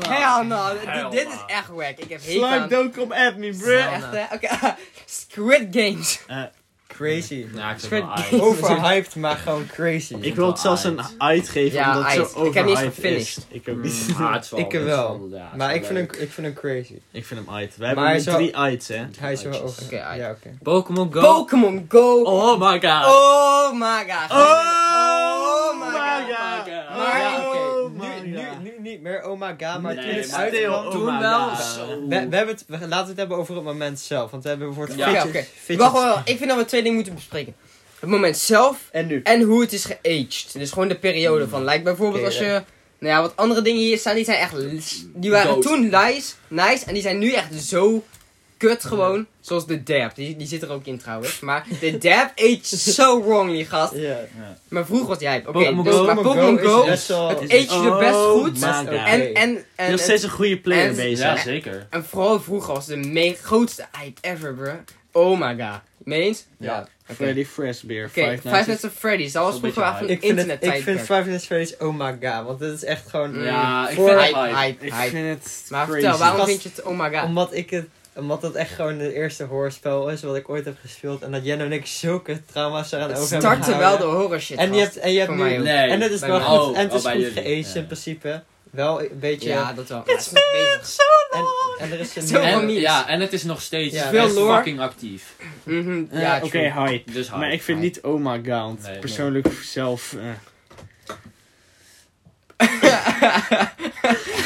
Speaker 3: hell no. Dit-
Speaker 2: Hell
Speaker 3: Dit
Speaker 2: no.
Speaker 3: is echt wack. Ik heb hekel
Speaker 1: Slime
Speaker 3: aan.
Speaker 1: don't come at me, bruh.
Speaker 3: Echt, hè? Oké. Squid Games.
Speaker 4: Crazy.
Speaker 2: Ja, ik vind
Speaker 3: Squid
Speaker 2: het wel
Speaker 3: Game.
Speaker 2: aai.
Speaker 4: Overhyped, maar gewoon crazy.
Speaker 1: Ik wil het zelfs een uit geven,
Speaker 3: Ja,
Speaker 1: omdat het zo
Speaker 3: uit. Ik heb niet
Speaker 1: overhyped
Speaker 3: gefinished.
Speaker 1: is. Ik ook niet.
Speaker 2: Mm, ah, het is wel-
Speaker 4: Ik
Speaker 2: het is
Speaker 4: wel.
Speaker 2: ja, het is
Speaker 4: Maar
Speaker 2: wel
Speaker 4: ik vind,
Speaker 2: leuk.
Speaker 4: hem, ik vind hem crazy.
Speaker 1: Ik vind hem uit. We
Speaker 4: hij
Speaker 1: hebben
Speaker 4: is
Speaker 1: nu
Speaker 4: wel-
Speaker 1: drie uits, hè?
Speaker 4: Hij is wel over.
Speaker 3: Oké, uit.
Speaker 4: ja, oké.
Speaker 2: Pokémon Go.
Speaker 3: Pokémon Go. Oh,
Speaker 2: Oh my god.
Speaker 3: my god.
Speaker 1: Oh my
Speaker 2: god.
Speaker 1: god.
Speaker 3: Maar-
Speaker 1: Oh
Speaker 4: Oké,
Speaker 1: my
Speaker 4: nu, nu,
Speaker 1: god.
Speaker 4: nu niet meer oh my god, maar
Speaker 2: Nee,
Speaker 4: toen het
Speaker 2: maar
Speaker 4: uit
Speaker 2: Theo,
Speaker 4: kwam,
Speaker 2: oh
Speaker 4: toen
Speaker 2: my
Speaker 4: wel.
Speaker 2: god.
Speaker 4: We, we hebben het, we, laten we het hebben over het moment zelf, want we hebben bijvoorbeeld
Speaker 2: Ja.
Speaker 4: fidget-
Speaker 3: Oké, oké.
Speaker 4: fidget-
Speaker 3: Wacht, wacht, wacht. Ik vind dat we twee dingen moeten bespreken. Het moment zelf
Speaker 1: En nu?
Speaker 3: en hoe het is geaged. Dus gewoon de periode van. Like bijvoorbeeld
Speaker 4: Oké,
Speaker 3: als
Speaker 4: ja.
Speaker 3: je... Nou ja, wat andere dingen hier staan, die zijn echt... lis- Die waren
Speaker 2: Dood.
Speaker 3: toen nice, nice. En die zijn nu echt zo kut gewoon. Zoals de dab. Die, die zit er ook in trouwens. Maar de dab aged so wrongly, gast.
Speaker 4: Ja.
Speaker 3: Maar vroeger was jij... Oké,
Speaker 2: Pokémon
Speaker 3: dus,
Speaker 2: Go-
Speaker 3: maar
Speaker 4: Pokémon
Speaker 3: Pokémon
Speaker 4: Go is
Speaker 3: Go...
Speaker 4: best wel-
Speaker 3: Het aged je best
Speaker 1: Oh
Speaker 3: goed.
Speaker 1: my god.
Speaker 4: En-
Speaker 3: En, en, en,
Speaker 1: Je
Speaker 3: en,
Speaker 1: nog steeds een goede player
Speaker 3: en-
Speaker 1: bezig.
Speaker 2: Ja, zeker.
Speaker 3: en vooral vroeger was de me- grootste hype ever, bro. Oh my god. Meen eens?
Speaker 2: Ja.
Speaker 3: Oké.
Speaker 1: Freddy Fazbear.
Speaker 3: Oké, Five Nights at Freddy's. Dat was
Speaker 2: Zo'n beetje
Speaker 3: vroeger echt een
Speaker 4: Ik vind, het, ik
Speaker 3: internettijdperk.
Speaker 4: vind Five Nights Freddy's oh my god, want dit is echt gewoon...
Speaker 2: Ja, ik
Speaker 4: voor-
Speaker 2: vind het
Speaker 3: Hype,
Speaker 2: aai.
Speaker 3: hype,
Speaker 1: Ik
Speaker 3: hype.
Speaker 1: vind het
Speaker 3: Maar
Speaker 1: crazy.
Speaker 3: vertel, waarom
Speaker 4: Gast-
Speaker 3: vind je het oh my god?
Speaker 4: Omdat ik het omdat dat echt gewoon het eerste hoorspel is wat ik ooit heb gespeeld. En dat Jenno en ik zulke trauma's eraan
Speaker 3: Het
Speaker 4: over hebben
Speaker 3: startte wel de
Speaker 4: gehouden.
Speaker 3: horror shit.
Speaker 4: En je hebt, en je hebt
Speaker 3: Voor
Speaker 4: nu...
Speaker 3: mij ook.
Speaker 2: Nee.
Speaker 4: en het is
Speaker 3: bij
Speaker 4: wel
Speaker 3: mij.
Speaker 4: goed.
Speaker 2: Oh,
Speaker 4: en het
Speaker 2: oh,
Speaker 4: is
Speaker 2: bij
Speaker 4: goed
Speaker 2: jullie.
Speaker 4: geaged
Speaker 2: Ja.
Speaker 4: in principe. Wel een beetje...
Speaker 3: Ja, dat wel.
Speaker 4: It's
Speaker 3: been so
Speaker 4: en, en er is een...
Speaker 3: Zo
Speaker 4: nieuwe-
Speaker 3: lang
Speaker 2: En,
Speaker 3: niet.
Speaker 2: ja, en het is nog steeds
Speaker 4: Ja,
Speaker 2: veel
Speaker 3: veel lore.
Speaker 2: fucking actief.
Speaker 1: Eh,
Speaker 3: Mhm, Ja,
Speaker 1: Oké,
Speaker 3: true.
Speaker 1: hype.
Speaker 2: Dus hard.
Speaker 1: Maar ik vind niet oh my god. want
Speaker 2: Nee,
Speaker 1: persoonlijk zelf... eh.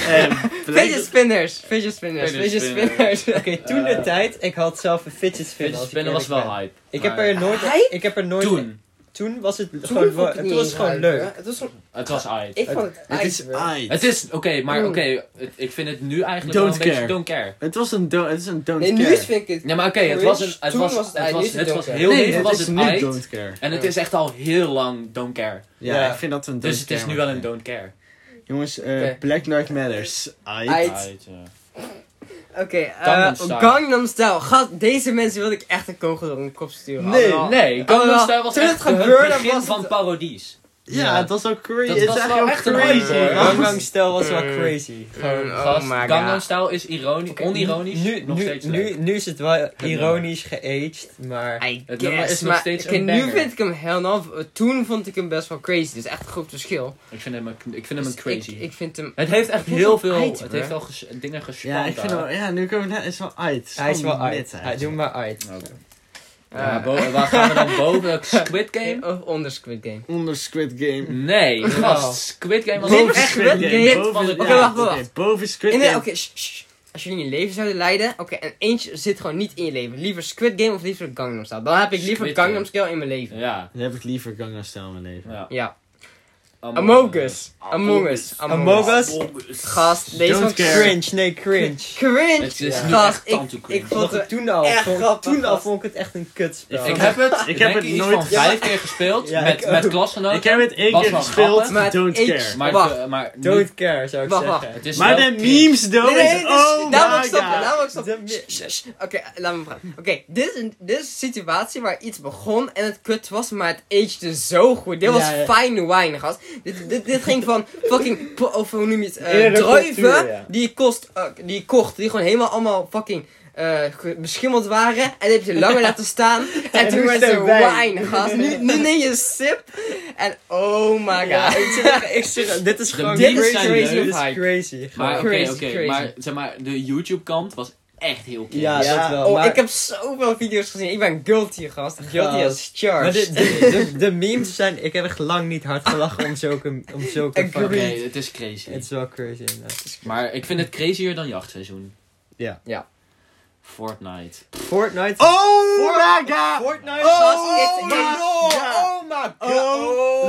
Speaker 1: Eh,
Speaker 3: Fidget spinners, fidget spinners,
Speaker 2: Fidget
Speaker 3: fidget spinners.
Speaker 4: Oké, toen de tijd, ik had zelf een fidget spinner.
Speaker 2: Fidget
Speaker 4: als ik
Speaker 2: spinnen was
Speaker 4: eerlijk
Speaker 2: wel
Speaker 4: ben.
Speaker 2: hype.
Speaker 4: Ik
Speaker 2: maar
Speaker 4: heb er nooit...
Speaker 3: Hype?
Speaker 4: Ik heb er nooit...
Speaker 2: Toen.
Speaker 4: Toen was het gewoon...
Speaker 3: Toen
Speaker 4: wa-
Speaker 3: vond ik
Speaker 4: Het was
Speaker 3: niet
Speaker 4: gewoon
Speaker 3: hype,
Speaker 4: leuk.
Speaker 3: hè. Het was gewoon-
Speaker 2: Het was hype.
Speaker 3: Ik vond het
Speaker 1: Het is
Speaker 3: hype, bro.
Speaker 1: uit.
Speaker 2: Het is, oké, maar
Speaker 3: Mm.
Speaker 2: oké, het- ik vind het nu eigenlijk wel
Speaker 1: Don't
Speaker 2: een beetje
Speaker 1: care.
Speaker 2: don't care.
Speaker 1: Het was een, do het is een don't
Speaker 3: Nee, nu
Speaker 1: care.
Speaker 3: is- vind ik het...
Speaker 2: Ja, maar oké, het
Speaker 3: Cringe.
Speaker 2: was een, het
Speaker 3: Toen
Speaker 2: was,
Speaker 3: was het
Speaker 2: het
Speaker 3: uit, nu
Speaker 2: was,
Speaker 3: is het
Speaker 2: het
Speaker 3: don't
Speaker 2: was
Speaker 3: care.
Speaker 2: heel
Speaker 1: nee,
Speaker 2: even
Speaker 1: dit
Speaker 2: was
Speaker 1: is
Speaker 2: het
Speaker 1: nu
Speaker 2: uit.
Speaker 1: don't care.
Speaker 2: En het is echt al heel lang don't care.
Speaker 1: Ja,
Speaker 4: Ja.
Speaker 1: ik vind dat een don't
Speaker 2: Dus het is
Speaker 1: care
Speaker 2: nu wel een
Speaker 1: wordt.
Speaker 2: don't care.
Speaker 1: Jongens, eh,
Speaker 3: Oké.
Speaker 1: Black Knight Matters. Uit.
Speaker 3: Uit.
Speaker 2: Uit, ja.
Speaker 3: Oké, eh,
Speaker 2: Gangnam Style.
Speaker 3: Gangnam Style. Gast, deze mensen wilde ik echt een kogel door hun kop sturen.
Speaker 1: Nee,
Speaker 3: Allemaal.
Speaker 2: Nee,
Speaker 3: Allemaal.
Speaker 2: Gangnam Style was
Speaker 3: Oh, Toen
Speaker 2: echt
Speaker 3: het gebeurde,
Speaker 2: het begin
Speaker 3: was
Speaker 2: van
Speaker 3: het-
Speaker 2: parodies.
Speaker 1: Ja,
Speaker 4: Ja.
Speaker 1: het was ook crazy. Het
Speaker 2: Dat
Speaker 1: is
Speaker 2: was wel
Speaker 1: eigenlijk
Speaker 2: echt
Speaker 1: heel
Speaker 2: een
Speaker 1: crazy.
Speaker 2: hype, hoor.
Speaker 1: man.
Speaker 4: Gangnam Style was wel
Speaker 3: Mm.
Speaker 4: crazy.
Speaker 3: Gewoon,
Speaker 4: Gewoon...
Speaker 3: oh
Speaker 2: Gast,
Speaker 3: my god.
Speaker 2: Gangnam Style is ironisch, onironisch,
Speaker 4: Nu,
Speaker 2: nog
Speaker 4: nu,
Speaker 2: steeds
Speaker 4: nu,
Speaker 2: leuk.
Speaker 4: nu is het wel ironisch geaged, maar...
Speaker 3: I
Speaker 2: Het nummer
Speaker 3: guess,
Speaker 2: is nog
Speaker 3: maar
Speaker 2: steeds
Speaker 3: oké,
Speaker 2: een
Speaker 3: nu
Speaker 2: banger.
Speaker 3: vind ik hem heel naf. Toen vond ik hem best wel crazy. Dus echt een groot verschil.
Speaker 2: Ik vind hem, een- ik vind hem
Speaker 3: Dus
Speaker 2: een crazy.
Speaker 3: Ik, ik vind hem.
Speaker 2: het heeft echt
Speaker 3: vind
Speaker 2: heel
Speaker 3: hem
Speaker 2: veel,
Speaker 3: uit,
Speaker 2: het
Speaker 3: hoor.
Speaker 2: heeft wel ges- dingen gespannen.
Speaker 1: Ja, ik vind wel, ja, nu komen we net, is wel uit.
Speaker 4: Hij is wel uit. Hij
Speaker 1: Hij
Speaker 4: doet maar uit.
Speaker 2: Ja,
Speaker 3: eh,
Speaker 2: bo- waar gaan we dan boven? Squid Game?
Speaker 3: Of onder Squid Game.
Speaker 1: Onder Squid
Speaker 2: Mm.
Speaker 1: Game.
Speaker 2: Nee,
Speaker 4: Oh.
Speaker 2: gast. Squid Game was
Speaker 3: Dit
Speaker 2: ook
Speaker 3: was
Speaker 2: echt...
Speaker 3: Squid Game.
Speaker 2: Dit van de-
Speaker 1: ja,
Speaker 2: Oké,
Speaker 3: wacht,
Speaker 1: oké,
Speaker 3: wacht.
Speaker 1: Boven Squid
Speaker 3: In de-
Speaker 1: Game.
Speaker 3: eh, Oké, shh, shh. als jullie een leven zouden leiden. Oké, en eentje zit gewoon niet in je leven. Liever Squid Game of liever Gangnam Style. Dan heb ik liever
Speaker 2: Squid
Speaker 3: Gangnam
Speaker 2: Game.
Speaker 3: Style in mijn leven.
Speaker 2: Ja.
Speaker 1: Dan heb ik liever Gangnam Style in mijn leven.
Speaker 2: ja.
Speaker 3: Ja. Among Us. Among Us.
Speaker 4: Among Us.
Speaker 3: Gast, deze
Speaker 1: Don't
Speaker 3: was
Speaker 1: care.
Speaker 4: Cringe, nee, cringe.
Speaker 3: Cringe.
Speaker 2: Het is nu
Speaker 3: Gast,
Speaker 2: echt
Speaker 3: ik,
Speaker 2: tanto cringe.
Speaker 3: ik
Speaker 4: Vond
Speaker 3: vond het
Speaker 4: toen al.
Speaker 3: echt
Speaker 4: vond-
Speaker 3: grappig,
Speaker 4: toen al
Speaker 3: gast.
Speaker 4: vond ik het echt een kutspel.
Speaker 1: Ik
Speaker 2: Ik heb het,
Speaker 1: Ik
Speaker 2: ik
Speaker 1: heb
Speaker 2: heb
Speaker 1: het
Speaker 2: iets
Speaker 1: nooit-
Speaker 2: van
Speaker 1: Ja,
Speaker 2: vijf keer gespeeld
Speaker 4: Ja, ik
Speaker 2: met,
Speaker 4: ook.
Speaker 2: met klasgenoten.
Speaker 1: Ik heb het één
Speaker 2: Was
Speaker 1: keer
Speaker 2: wel
Speaker 1: gespeeld,
Speaker 2: grappig.
Speaker 3: Maar
Speaker 1: don't
Speaker 3: ik-
Speaker 1: care.
Speaker 2: maar,
Speaker 3: Wacht.
Speaker 2: eh, maar niet-
Speaker 4: Don't care, zou ik
Speaker 3: Wacht, wacht.
Speaker 4: zeggen.
Speaker 2: Het is
Speaker 1: Maar
Speaker 2: wel
Speaker 1: de memes, though,
Speaker 3: Nee, nee,
Speaker 1: is,
Speaker 3: nee,
Speaker 1: oh
Speaker 3: dus- daar moet ik
Speaker 1: my
Speaker 3: stoppen,
Speaker 1: god.
Speaker 3: daar moet ik
Speaker 4: De
Speaker 3: stoppen.
Speaker 4: mi-
Speaker 3: Shh, shh, shh. Oké, laat me praten. Oké, dit, is een- dit is een situatie waar iets begon en het kut was, maar het agede zo goed. Dit was
Speaker 4: Ja, ja.
Speaker 3: fine wine, gast. Dit, dit, dit ging van fucking, po- of hoe noem je het, eh,
Speaker 4: Eerdere
Speaker 3: druiven
Speaker 4: cultuur, ja.
Speaker 3: die, je kost, eh, die je kocht, die gewoon helemaal allemaal fucking... eh, eh, ge- beschimmeld waren. En die heb je langer laten staan. En,
Speaker 4: En
Speaker 3: toen
Speaker 4: nu
Speaker 3: werd
Speaker 4: is
Speaker 3: ze
Speaker 4: het erbij.
Speaker 3: wijn, gast. Nu, nu neem je een sip. En oh my
Speaker 4: Ja,
Speaker 3: god.
Speaker 4: ik zeg, ik zeg, dit is gewoon
Speaker 2: beats
Speaker 4: crazy,
Speaker 2: zijn
Speaker 4: crazy,
Speaker 2: leuk.
Speaker 4: dit is
Speaker 2: Hype.
Speaker 4: crazy.
Speaker 2: Maar oké,
Speaker 3: Crazy,
Speaker 2: oké.
Speaker 3: crazy.
Speaker 2: Maar zeg maar, de YouTube-kant was echt heel kind.
Speaker 4: Ja, dat wel,
Speaker 3: oh,
Speaker 4: maar-
Speaker 3: ik heb zoveel video's gezien. Ik ben guilty, gast. Guilty as
Speaker 4: Gast. Maar de,
Speaker 3: charged.
Speaker 4: de, de, de memes zijn, ik heb echt lang niet hard gelachen om zulke, om zulke
Speaker 3: Agree.
Speaker 4: fucking-
Speaker 2: Nee, het is crazy.
Speaker 4: Het is wel crazy inderdaad.
Speaker 2: Maar ik vind het crazier dan jachtseizoen.
Speaker 4: Ja.
Speaker 3: Ja.
Speaker 2: Fortnite.
Speaker 4: Fortnite.
Speaker 1: Oh my god!
Speaker 4: Fortnite
Speaker 3: Oh my
Speaker 1: lord!
Speaker 4: Oh my god!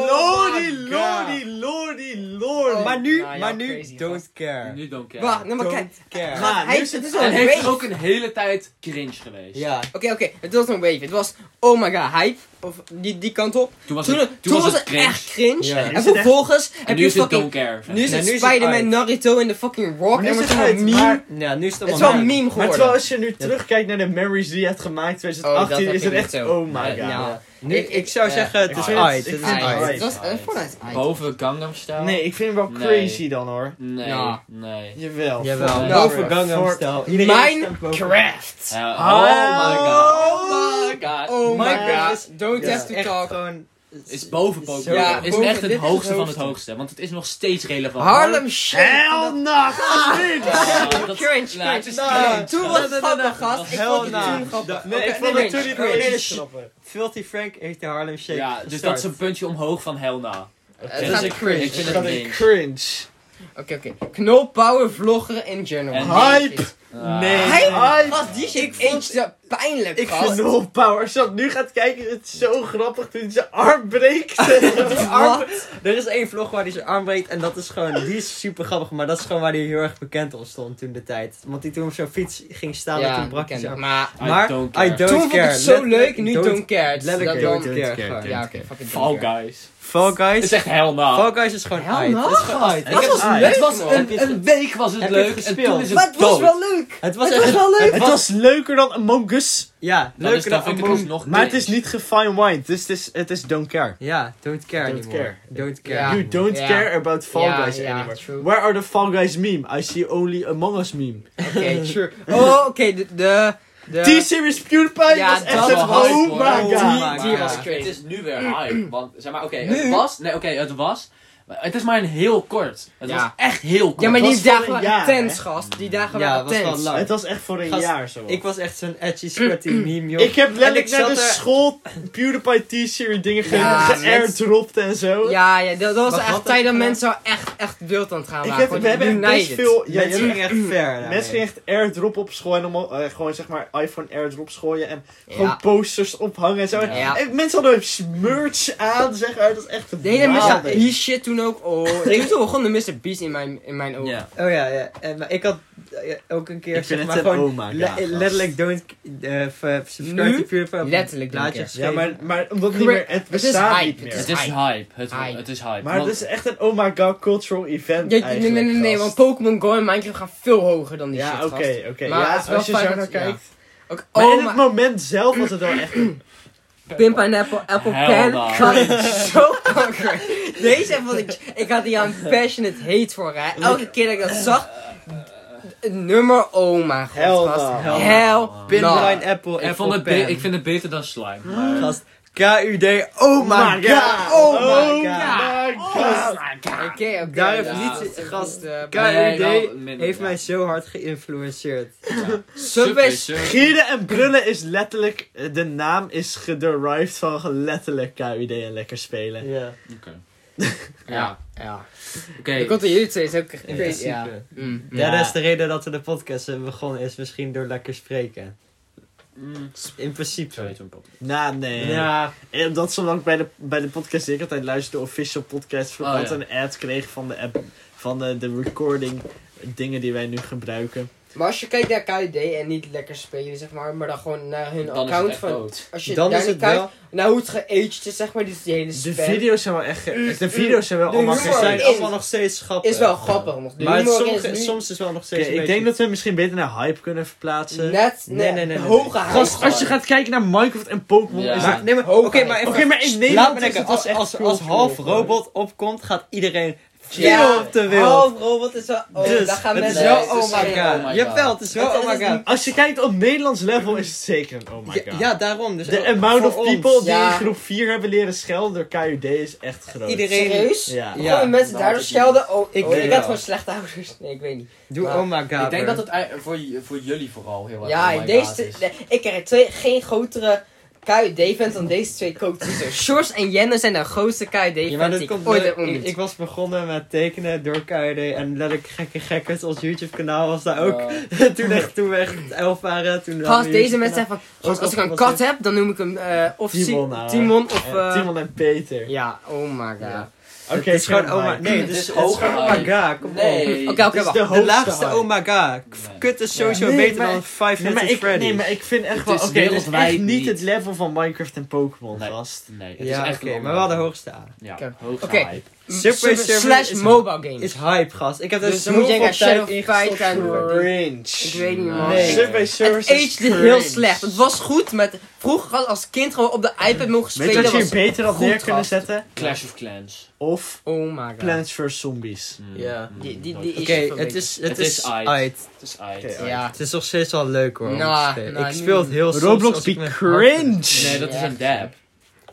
Speaker 1: Lordy,
Speaker 4: my
Speaker 1: lordy, lordy,
Speaker 4: god.
Speaker 1: lordy.
Speaker 4: Maar nu,
Speaker 3: Nou ja,
Speaker 4: maar nu,
Speaker 3: crazy,
Speaker 4: don't
Speaker 3: gast.
Speaker 4: care.
Speaker 2: Nu don't care.
Speaker 3: Wacht, nou maar
Speaker 4: don't
Speaker 3: kijk.
Speaker 4: care.
Speaker 1: Maar
Speaker 3: Hij-
Speaker 1: nu is het-
Speaker 3: het is al
Speaker 2: en
Speaker 3: een
Speaker 2: heeft
Speaker 3: week.
Speaker 2: ook een hele tijd cringe geweest.
Speaker 4: ja.
Speaker 3: Oké, oké, het was een wave. Het was, oh my god, hype. Of die, die kant op.
Speaker 2: Toen was
Speaker 3: Toen,
Speaker 2: het,
Speaker 3: toen,
Speaker 2: toen was het cringe.
Speaker 3: echt cringe.
Speaker 4: Ja.
Speaker 1: Nu
Speaker 3: En
Speaker 1: is het echt-
Speaker 3: vervolgens
Speaker 2: En
Speaker 3: heb
Speaker 2: nu
Speaker 3: je
Speaker 2: is het don't
Speaker 3: fucking...
Speaker 2: care.
Speaker 3: Nu is
Speaker 4: Nee,
Speaker 3: het
Speaker 4: nu is het
Speaker 3: Spider-Man,
Speaker 4: uit.
Speaker 3: Naruto in de fucking rock.
Speaker 1: Nu
Speaker 3: en
Speaker 1: is
Speaker 3: wordt
Speaker 1: het
Speaker 3: gewoon
Speaker 1: uit,
Speaker 3: meme.
Speaker 1: maar-
Speaker 4: Ja, nu is het
Speaker 3: Het is
Speaker 4: allemaal
Speaker 3: wel
Speaker 4: hype.
Speaker 3: een meme
Speaker 1: Maar
Speaker 3: geworden.
Speaker 1: terwijl als je nu terugkijkt naar de memories die je hebt gemaakt in
Speaker 3: Oh, dat
Speaker 1: 2018,
Speaker 3: heb
Speaker 1: is het
Speaker 3: ik
Speaker 1: echt,
Speaker 3: niet zo.
Speaker 1: oh my
Speaker 3: Nee,
Speaker 1: god.
Speaker 3: nou,
Speaker 4: Nu,
Speaker 3: Ik-
Speaker 4: ik,
Speaker 3: ik-
Speaker 4: zou
Speaker 3: ja.
Speaker 4: zeggen, het
Speaker 1: Ik
Speaker 4: is
Speaker 1: vind het-
Speaker 4: uit.
Speaker 1: ik
Speaker 4: Het
Speaker 1: vind
Speaker 4: is
Speaker 1: het
Speaker 4: uit.
Speaker 1: uit.
Speaker 3: Het was een Fortnite item.
Speaker 2: Boven Gangnam Style?
Speaker 1: Nee, ik vind hem wel
Speaker 2: Nee.
Speaker 1: crazy dan hoor.
Speaker 2: Nee.
Speaker 3: Ja.
Speaker 2: Nee.
Speaker 1: Jawel.
Speaker 4: Jawel,
Speaker 1: Fuck.
Speaker 3: Nou,
Speaker 4: boven Gangnam
Speaker 1: Fort-
Speaker 4: Style. Iedereen stemt boven.
Speaker 3: Minecraft!
Speaker 2: Ja,
Speaker 1: Oh
Speaker 2: oh my god. Oh my god.
Speaker 3: Oh my
Speaker 1: Minecraft
Speaker 3: god, don't
Speaker 4: Ja.
Speaker 3: have to
Speaker 4: Echt
Speaker 3: talk.
Speaker 4: gewoon...
Speaker 2: Is boven Pokémon.
Speaker 3: Ja,
Speaker 2: is
Speaker 3: boven-
Speaker 2: echt
Speaker 3: dit
Speaker 2: het
Speaker 3: is
Speaker 2: hoogste,
Speaker 3: het
Speaker 2: van het
Speaker 3: hoogste.
Speaker 2: hoogste. Want het is nog steeds relevant.
Speaker 3: Harlem Shake!
Speaker 1: Hell no!
Speaker 2: Ah, dat-
Speaker 3: Cringe,
Speaker 2: nou, het is
Speaker 3: cringe.
Speaker 2: cringe.
Speaker 4: Nee,
Speaker 3: Toen was
Speaker 4: Nou,
Speaker 3: het
Speaker 4: nou, nou,
Speaker 3: grappig, gast. Ik
Speaker 4: hell
Speaker 3: vond het
Speaker 4: nah.
Speaker 3: toen grappig.
Speaker 1: Nee, ik
Speaker 3: Oké,
Speaker 1: vond het toen
Speaker 3: cringe,
Speaker 1: niet
Speaker 3: cringe.
Speaker 1: meer
Speaker 4: Filthy Frank heeft de Harlem Shake
Speaker 2: Ja, dus
Speaker 4: gestart.
Speaker 2: dat is een puntje omhoog van Helna.
Speaker 3: Het
Speaker 2: Dat
Speaker 3: gaat
Speaker 2: is
Speaker 3: cringe.
Speaker 2: Ik vind het
Speaker 1: Dat
Speaker 2: cringe.
Speaker 1: is cringe.
Speaker 3: Oké, oké. Knolpower vlogger in general.
Speaker 2: En-
Speaker 1: Hype!
Speaker 2: Ah.
Speaker 3: Hij-
Speaker 1: Hype!
Speaker 3: Gast, die shit
Speaker 1: Ik
Speaker 3: eet
Speaker 1: vond-
Speaker 3: ze pijnlijk,
Speaker 1: Ik
Speaker 3: gast.
Speaker 1: vind nul power. Als je dat nu gaat kijken, is het zo grappig toen hij zijn arm breekt. Die arm-
Speaker 4: Er is één vlog waar hij zijn arm breekt en dat is gewoon, die is super grappig, maar dat is gewoon waar hij heel erg bekend om stond toen de tijd. Want hij toen op zo'n fiets ging staan en toen brak hij
Speaker 3: bekend.
Speaker 4: zijn arm.
Speaker 3: Maar
Speaker 2: I
Speaker 4: Maar
Speaker 2: don't care.
Speaker 4: I don't
Speaker 3: toen vond ik
Speaker 4: care.
Speaker 3: het zo
Speaker 4: Letterlijk
Speaker 3: leuk, nu
Speaker 4: don't-
Speaker 3: don't care. Het is
Speaker 4: Letterlijk
Speaker 3: dat
Speaker 4: don't,
Speaker 3: dan-
Speaker 4: care.
Speaker 1: care.
Speaker 4: gewoon.
Speaker 3: Ja, oké, fucking
Speaker 2: Fall
Speaker 3: don't care.
Speaker 2: Guys.
Speaker 4: Fall
Speaker 2: Het
Speaker 4: Guys.
Speaker 2: is echt Helna.
Speaker 4: Fall Guys is gewoon
Speaker 3: Hell
Speaker 4: uit.
Speaker 3: no,
Speaker 4: Het is gewoon
Speaker 3: gast.
Speaker 4: uit.
Speaker 3: Dat
Speaker 4: Ik heb-
Speaker 3: was
Speaker 1: uit.
Speaker 3: leuk,
Speaker 2: Het was
Speaker 3: man.
Speaker 4: Heb je
Speaker 2: een,
Speaker 4: het
Speaker 2: een week was het
Speaker 4: Heb je
Speaker 2: leuk
Speaker 4: het
Speaker 2: en
Speaker 4: gespeeld?
Speaker 2: toen is
Speaker 3: Maar
Speaker 2: het
Speaker 3: het was
Speaker 2: dood.
Speaker 3: wel leuk.
Speaker 4: Het was
Speaker 3: Het was
Speaker 4: echt...
Speaker 3: wel leuk.
Speaker 1: Het was leuker dan Among Us.
Speaker 4: Ja,
Speaker 2: Dan is
Speaker 4: leuker dan
Speaker 2: dat vind ik
Speaker 4: Among-
Speaker 2: dus nog
Speaker 1: Maar het is
Speaker 2: cringe.
Speaker 1: niet gefine wine. Dus het is, het is don't care.
Speaker 4: Ja, don't care
Speaker 1: Don't
Speaker 4: anymore.
Speaker 1: care.
Speaker 4: Don't care.
Speaker 3: Ja.
Speaker 1: You don't
Speaker 3: Ja.
Speaker 1: care about Fall
Speaker 3: Ja,
Speaker 1: Guys
Speaker 3: ja,
Speaker 1: anymore.
Speaker 3: true.
Speaker 1: Where are the Fall Guys meme? I see only Among Us meme.
Speaker 3: Oké, true. Oh, oké, de... de, de
Speaker 1: T-Series PewDiePie
Speaker 3: Ja,
Speaker 1: was echt
Speaker 3: dat
Speaker 1: het
Speaker 3: was
Speaker 1: oh my
Speaker 2: hype,
Speaker 4: hoor.
Speaker 1: god.
Speaker 4: Oh my
Speaker 1: Oh
Speaker 4: god.
Speaker 3: Die was
Speaker 4: Ja.
Speaker 2: Het
Speaker 3: crazy.
Speaker 2: is nu weer hype. Want zeg maar, oké, het
Speaker 3: Nu?
Speaker 2: was. Nee, oké, het was. maar Het is maar een heel kort. Het
Speaker 3: Ja.
Speaker 2: was echt heel kort.
Speaker 3: Ja, maar
Speaker 1: was
Speaker 3: die
Speaker 1: voor
Speaker 3: dagen
Speaker 1: een
Speaker 3: waren
Speaker 1: jaar,
Speaker 3: intens,
Speaker 1: hè?
Speaker 3: gast. Die dagen
Speaker 4: Ja,
Speaker 3: waren
Speaker 4: was wel
Speaker 3: intens.
Speaker 4: lang.
Speaker 1: Het was echt voor een
Speaker 4: Gast,
Speaker 1: jaar zo.
Speaker 4: Ik was echt zo'n edgy, squatty meme, joh.
Speaker 1: Ik heb letterlijk
Speaker 4: En ik
Speaker 1: naar de
Speaker 4: zat er-
Speaker 1: school PewDiePie T-series dingen ge
Speaker 3: Ja,
Speaker 1: geairdropt en zo.
Speaker 3: Ja, ja, dat, dat was
Speaker 4: Wat had
Speaker 3: echt
Speaker 4: het
Speaker 3: tijd dat
Speaker 4: gedaan?
Speaker 3: mensen wel echt, echt wild aan het gaan
Speaker 1: Ik
Speaker 3: waren.
Speaker 1: heb,
Speaker 3: Gewoon
Speaker 1: we hebben echt best
Speaker 3: united.
Speaker 1: veel... Ja,
Speaker 4: Mensen
Speaker 1: jullie-
Speaker 4: gingen echt ver daarmee.
Speaker 1: Mensen gingen echt airdrop op school en allemaal, eh, gewoon zeg maar iPhone airdrop gooien en gewoon
Speaker 3: Ja.
Speaker 1: posters ophangen en zo.
Speaker 3: Ja.
Speaker 1: En mensen hadden merch aan, zeg maar. Dat is echt
Speaker 3: De hele
Speaker 1: waanzinnig.
Speaker 3: Mr. Beast shit toen ook. Oh, toen toen begon de Mr. Beast in mijn, in mijn ogen.
Speaker 2: Ja.
Speaker 4: Oh ja, ja. En, maar ik had eh, ook een keer
Speaker 1: Ik vind
Speaker 4: zeg
Speaker 1: het
Speaker 4: maar
Speaker 1: een oh
Speaker 4: gewoon
Speaker 1: oma.
Speaker 4: le- letterlijk don't eh, f- eh, subscribe
Speaker 3: Nu?
Speaker 4: to PewDiePie. op een
Speaker 3: Letterlijk don't
Speaker 4: blaadje
Speaker 3: care.
Speaker 1: Ja,
Speaker 4: geschreven.
Speaker 1: maar, maar omdat het niet
Speaker 3: Cra-
Speaker 1: meer, het
Speaker 3: is
Speaker 1: bestaat
Speaker 3: hype,
Speaker 1: niet meer.
Speaker 3: het
Speaker 2: Het is
Speaker 3: Hype.
Speaker 2: hype. Het,
Speaker 3: Hype.
Speaker 2: het is hype.
Speaker 1: maar
Speaker 2: Want-
Speaker 1: het is echt een oh my god cultural event
Speaker 3: Ja, nee,
Speaker 1: eigenlijk,
Speaker 3: nee, nee, nee,
Speaker 1: gast.
Speaker 3: want Pokémon Go en Minecraft gaan veel hoger dan die
Speaker 1: Ja,
Speaker 3: shit.
Speaker 1: oké,
Speaker 3: gast.
Speaker 1: oké.
Speaker 3: Maar
Speaker 1: Ja,
Speaker 3: het is wel
Speaker 1: als je zo
Speaker 3: fijn
Speaker 1: naar
Speaker 3: dat- ja.
Speaker 1: kijkt.
Speaker 3: Ook,
Speaker 1: Maar in
Speaker 3: oh,
Speaker 1: het
Speaker 3: maar
Speaker 1: moment zelf was het wel echt een...
Speaker 3: Pimpinappel, Apple
Speaker 2: Hell
Speaker 3: Pen,
Speaker 2: nah.
Speaker 3: Crying, zo kanker. Deze vond ik... Ik had hier een passionate hate voor, hè. Elke keer dat ik dat zag... Het nummer, oh mijn god,
Speaker 1: Hell
Speaker 3: gast.
Speaker 1: nah.
Speaker 3: Hell,
Speaker 2: nah.
Speaker 3: nah.
Speaker 4: Pinline Apple,
Speaker 2: ik,
Speaker 4: Apple
Speaker 2: vond het be-
Speaker 4: Pen.
Speaker 2: ik vind het beter dan slime. maar-
Speaker 4: Gast, KUD, oh my god, oh my god.
Speaker 3: Oh
Speaker 1: god.
Speaker 3: Oké, oké.
Speaker 4: Daar
Speaker 3: ja,
Speaker 4: heeft
Speaker 3: dat
Speaker 4: niet-
Speaker 3: is
Speaker 4: gast,
Speaker 3: goed, eh,
Speaker 2: Nee, wel
Speaker 4: KUD
Speaker 2: minder,
Speaker 4: heeft
Speaker 2: ja.
Speaker 4: mij zo hard geïnfluenceerd.
Speaker 3: Subway
Speaker 1: Gieren en brullen is letterlijk... eh, De naam is gederived van letterlijk KUD en lekker spelen.
Speaker 4: Ja.
Speaker 2: Oké.
Speaker 3: Ja, ja.
Speaker 2: Oké.
Speaker 3: Ik kon er jullie twee is ook
Speaker 4: In
Speaker 3: crazy.
Speaker 4: principe.
Speaker 3: Ja. Mm.
Speaker 4: Ja,
Speaker 2: Ja.
Speaker 4: dat is de reden dat we de podcast hebben begonnen, is misschien door lekker spreken.
Speaker 2: Mm,
Speaker 4: In principe.
Speaker 2: Sorry, toen pop.
Speaker 1: Nou, nee.
Speaker 4: Ja,
Speaker 1: En omdat ze lang bij de, bij de podcast die ik altijd luisterde, de official podcast, voor
Speaker 2: Oh,
Speaker 1: wat
Speaker 2: ja.
Speaker 1: een ad kreeg van de app, van de, de recording, dingen die wij nu gebruiken.
Speaker 3: Maar als je kijkt naar KUD en niet lekker spelen, zeg maar, maar dan gewoon naar hun
Speaker 2: Dan is het
Speaker 3: account
Speaker 2: echt
Speaker 3: van.
Speaker 2: dood.
Speaker 3: Als je
Speaker 4: dan
Speaker 3: daar
Speaker 4: is
Speaker 3: niet
Speaker 4: het
Speaker 3: kijkt,
Speaker 4: wel...
Speaker 3: naar hoe het geaged is, zeg maar, dus die hele
Speaker 1: De
Speaker 3: spel.
Speaker 1: video's zijn wel echt. ge- De video's zijn wel
Speaker 3: De
Speaker 1: allemaal
Speaker 4: Ze
Speaker 3: humor
Speaker 1: gezien.
Speaker 4: zijn
Speaker 3: is-
Speaker 4: allemaal nog steeds grappig.
Speaker 3: Is wel grappig nog. De
Speaker 4: Maar
Speaker 3: humor
Speaker 4: sommige,
Speaker 3: is nu
Speaker 4: soms is wel nog
Speaker 1: Oké,
Speaker 4: steeds een
Speaker 1: ik denk
Speaker 4: beetje-
Speaker 1: dat we misschien beter naar hype kunnen verplaatsen.
Speaker 3: net
Speaker 4: Nee,
Speaker 3: nee,
Speaker 4: nee, nee, nee,
Speaker 3: hoge
Speaker 4: nee.
Speaker 3: hype
Speaker 1: Gast, als je
Speaker 3: gewoon.
Speaker 1: gaat kijken naar Minecraft en Pokémon,
Speaker 2: Ja.
Speaker 1: is
Speaker 2: Maar-
Speaker 1: het.
Speaker 4: Maar, nee, maar,
Speaker 3: Hoog
Speaker 4: oké, maar
Speaker 3: aan.
Speaker 4: even-
Speaker 1: Oké, maar in
Speaker 4: Laat me
Speaker 1: Nederland is
Speaker 4: denken,
Speaker 1: het wel
Speaker 4: als,
Speaker 1: echt
Speaker 4: als,
Speaker 1: cultural
Speaker 4: als half
Speaker 1: geworden.
Speaker 4: robot opkomt, gaat iedereen Veel op de wereld.
Speaker 3: Oh bro, wat is dat? Oh,
Speaker 4: Dus,
Speaker 3: daar gaan
Speaker 4: het is
Speaker 3: mensen...
Speaker 4: wel
Speaker 3: oh
Speaker 4: oh my
Speaker 3: my
Speaker 4: god.
Speaker 2: Oh my
Speaker 4: Jawel,
Speaker 2: god.
Speaker 4: het is wel
Speaker 3: Het-
Speaker 4: oh
Speaker 3: het
Speaker 4: my
Speaker 3: is
Speaker 4: god.
Speaker 3: niet-
Speaker 1: Als je kijkt op Nederlands level is het zeker een oh my
Speaker 4: Ja,
Speaker 1: god.
Speaker 4: ja, daarom. Dus
Speaker 1: De
Speaker 4: ook
Speaker 1: amount
Speaker 4: voor
Speaker 1: of
Speaker 4: ons.
Speaker 1: people die
Speaker 3: Ja.
Speaker 1: in groep 4 hebben leren schelden door KUD is echt groot.
Speaker 4: Iedereen-
Speaker 3: Serieus?
Speaker 1: Ja.
Speaker 4: Ja.
Speaker 3: Gewoon mensen daardoor schelden? Oh,
Speaker 4: Ik
Speaker 3: ik,
Speaker 4: weet
Speaker 3: ik
Speaker 4: wel.
Speaker 3: had gewoon slechte ouders. Nee, ik weet niet.
Speaker 4: Doe
Speaker 3: Maar-
Speaker 4: oh my god.
Speaker 2: Ik denk
Speaker 4: bro.
Speaker 2: dat het ei- voor, j- voor jullie vooral heel erg
Speaker 3: ja,
Speaker 2: oh my
Speaker 3: deze
Speaker 2: god
Speaker 3: twee-
Speaker 2: is.
Speaker 3: nee, ik ken er twee, geen grotere KUD-fans dan deze twee coaches. Sjors en Jenne zijn de grootste
Speaker 4: Ja, maar
Speaker 3: KUD-fans
Speaker 4: dat
Speaker 3: die
Speaker 4: komt
Speaker 3: ik ooit
Speaker 4: door-
Speaker 3: heb
Speaker 4: ik,
Speaker 3: ontmoet.
Speaker 4: ik was begonnen met tekenen door KRD en letterlijk gekke gekkers. Ons YouTube kanaal was daar ook.
Speaker 2: Ja.
Speaker 4: toen, echt, toen we echt elf waren. Toen hadden
Speaker 3: Gast,
Speaker 4: we
Speaker 3: deze mensen
Speaker 4: YouTube kanaal.
Speaker 3: zeggen van, gast,
Speaker 4: Ook
Speaker 3: als ik
Speaker 4: al
Speaker 3: een
Speaker 4: was
Speaker 3: kat
Speaker 4: het-
Speaker 3: heb, dan noem ik hem eh, of Si-
Speaker 1: Timon, ouwe.
Speaker 3: Timon of...
Speaker 1: Eh,
Speaker 3: eh,
Speaker 1: Timon en Peter.
Speaker 3: ja, oh my god.
Speaker 2: Ja.
Speaker 1: Oké,
Speaker 4: het is gewoon
Speaker 1: never
Speaker 4: oh my...
Speaker 1: mind.
Speaker 4: Nee, het
Speaker 2: Het
Speaker 4: is
Speaker 2: is
Speaker 4: het is
Speaker 2: hoger
Speaker 4: gewoon oh my
Speaker 2: hype.
Speaker 4: god. Kom op.
Speaker 2: Nee.
Speaker 3: Oké, oké,
Speaker 1: Dit is
Speaker 3: wacht.
Speaker 1: de
Speaker 4: De
Speaker 1: hoogste
Speaker 4: laagste
Speaker 1: hype.
Speaker 4: oh my god.
Speaker 2: Nee.
Speaker 4: Kut is sowieso
Speaker 1: Nee,
Speaker 4: beter
Speaker 1: maar-
Speaker 4: dan Five
Speaker 1: Nee,
Speaker 4: Nights
Speaker 1: maar
Speaker 4: at
Speaker 1: ik, nee,
Speaker 4: Freddy's.
Speaker 1: maar ik vind echt
Speaker 2: Het
Speaker 1: wel...
Speaker 2: is
Speaker 1: Oké, dit is
Speaker 2: wereldwijd
Speaker 1: echt niet
Speaker 2: niet.
Speaker 1: het level van Minecraft en Pokémon,
Speaker 2: Nee.
Speaker 1: gast.
Speaker 2: Nee, het is
Speaker 4: Ja,
Speaker 2: echt
Speaker 4: oké,
Speaker 2: een
Speaker 4: maar wel de
Speaker 2: hoog.
Speaker 4: hoogste A.
Speaker 2: Ja,
Speaker 3: Oké.
Speaker 2: hoogste
Speaker 3: Oké.
Speaker 2: hype.
Speaker 4: Subway
Speaker 3: Super
Speaker 4: Surfer
Speaker 3: slash
Speaker 4: is-
Speaker 3: mobile games.
Speaker 4: Is hype, gast. Ik heb er
Speaker 3: Dus dan moet je
Speaker 4: zoveel
Speaker 3: gaan
Speaker 4: tijd
Speaker 3: Shadow
Speaker 4: in
Speaker 3: of Fight
Speaker 4: gestopt.
Speaker 3: aan doen. Ik
Speaker 1: Cringe.
Speaker 3: weet niet,
Speaker 2: Mm.
Speaker 3: man.
Speaker 4: Nee.
Speaker 1: Subway
Speaker 3: Het
Speaker 1: Surfers is
Speaker 3: aged heel
Speaker 1: cringe.
Speaker 3: slecht. Het was goed, maar het- vroeger had als kind gewoon op de iPad mogen
Speaker 1: Weet je
Speaker 3: spelen
Speaker 1: wat je
Speaker 3: was...
Speaker 1: hier beter had
Speaker 3: goed,
Speaker 1: neer kunnen
Speaker 3: gast.
Speaker 1: zetten?
Speaker 2: Clash of Clans.
Speaker 1: Of
Speaker 3: Oh my god.
Speaker 1: Plants vs. Zombies.
Speaker 2: Mm,
Speaker 4: Ja.
Speaker 2: mm,
Speaker 3: Die- die-
Speaker 2: dat-
Speaker 3: die is-
Speaker 4: Oké, het
Speaker 3: beter.
Speaker 4: is... Het
Speaker 2: Het
Speaker 4: is
Speaker 2: is hype.
Speaker 4: hype.
Speaker 2: Het is uit.
Speaker 1: Oké,
Speaker 3: Ja.
Speaker 4: Het is nog steeds wel leuk hoor. om te
Speaker 3: Nou,
Speaker 4: spelen.
Speaker 3: nou,
Speaker 4: ik
Speaker 3: nu-
Speaker 4: speel het heel soms
Speaker 1: Roblox
Speaker 4: als ik
Speaker 1: be
Speaker 4: met-
Speaker 1: cringe.
Speaker 2: Nee, dat is
Speaker 3: Ja.
Speaker 2: een dab.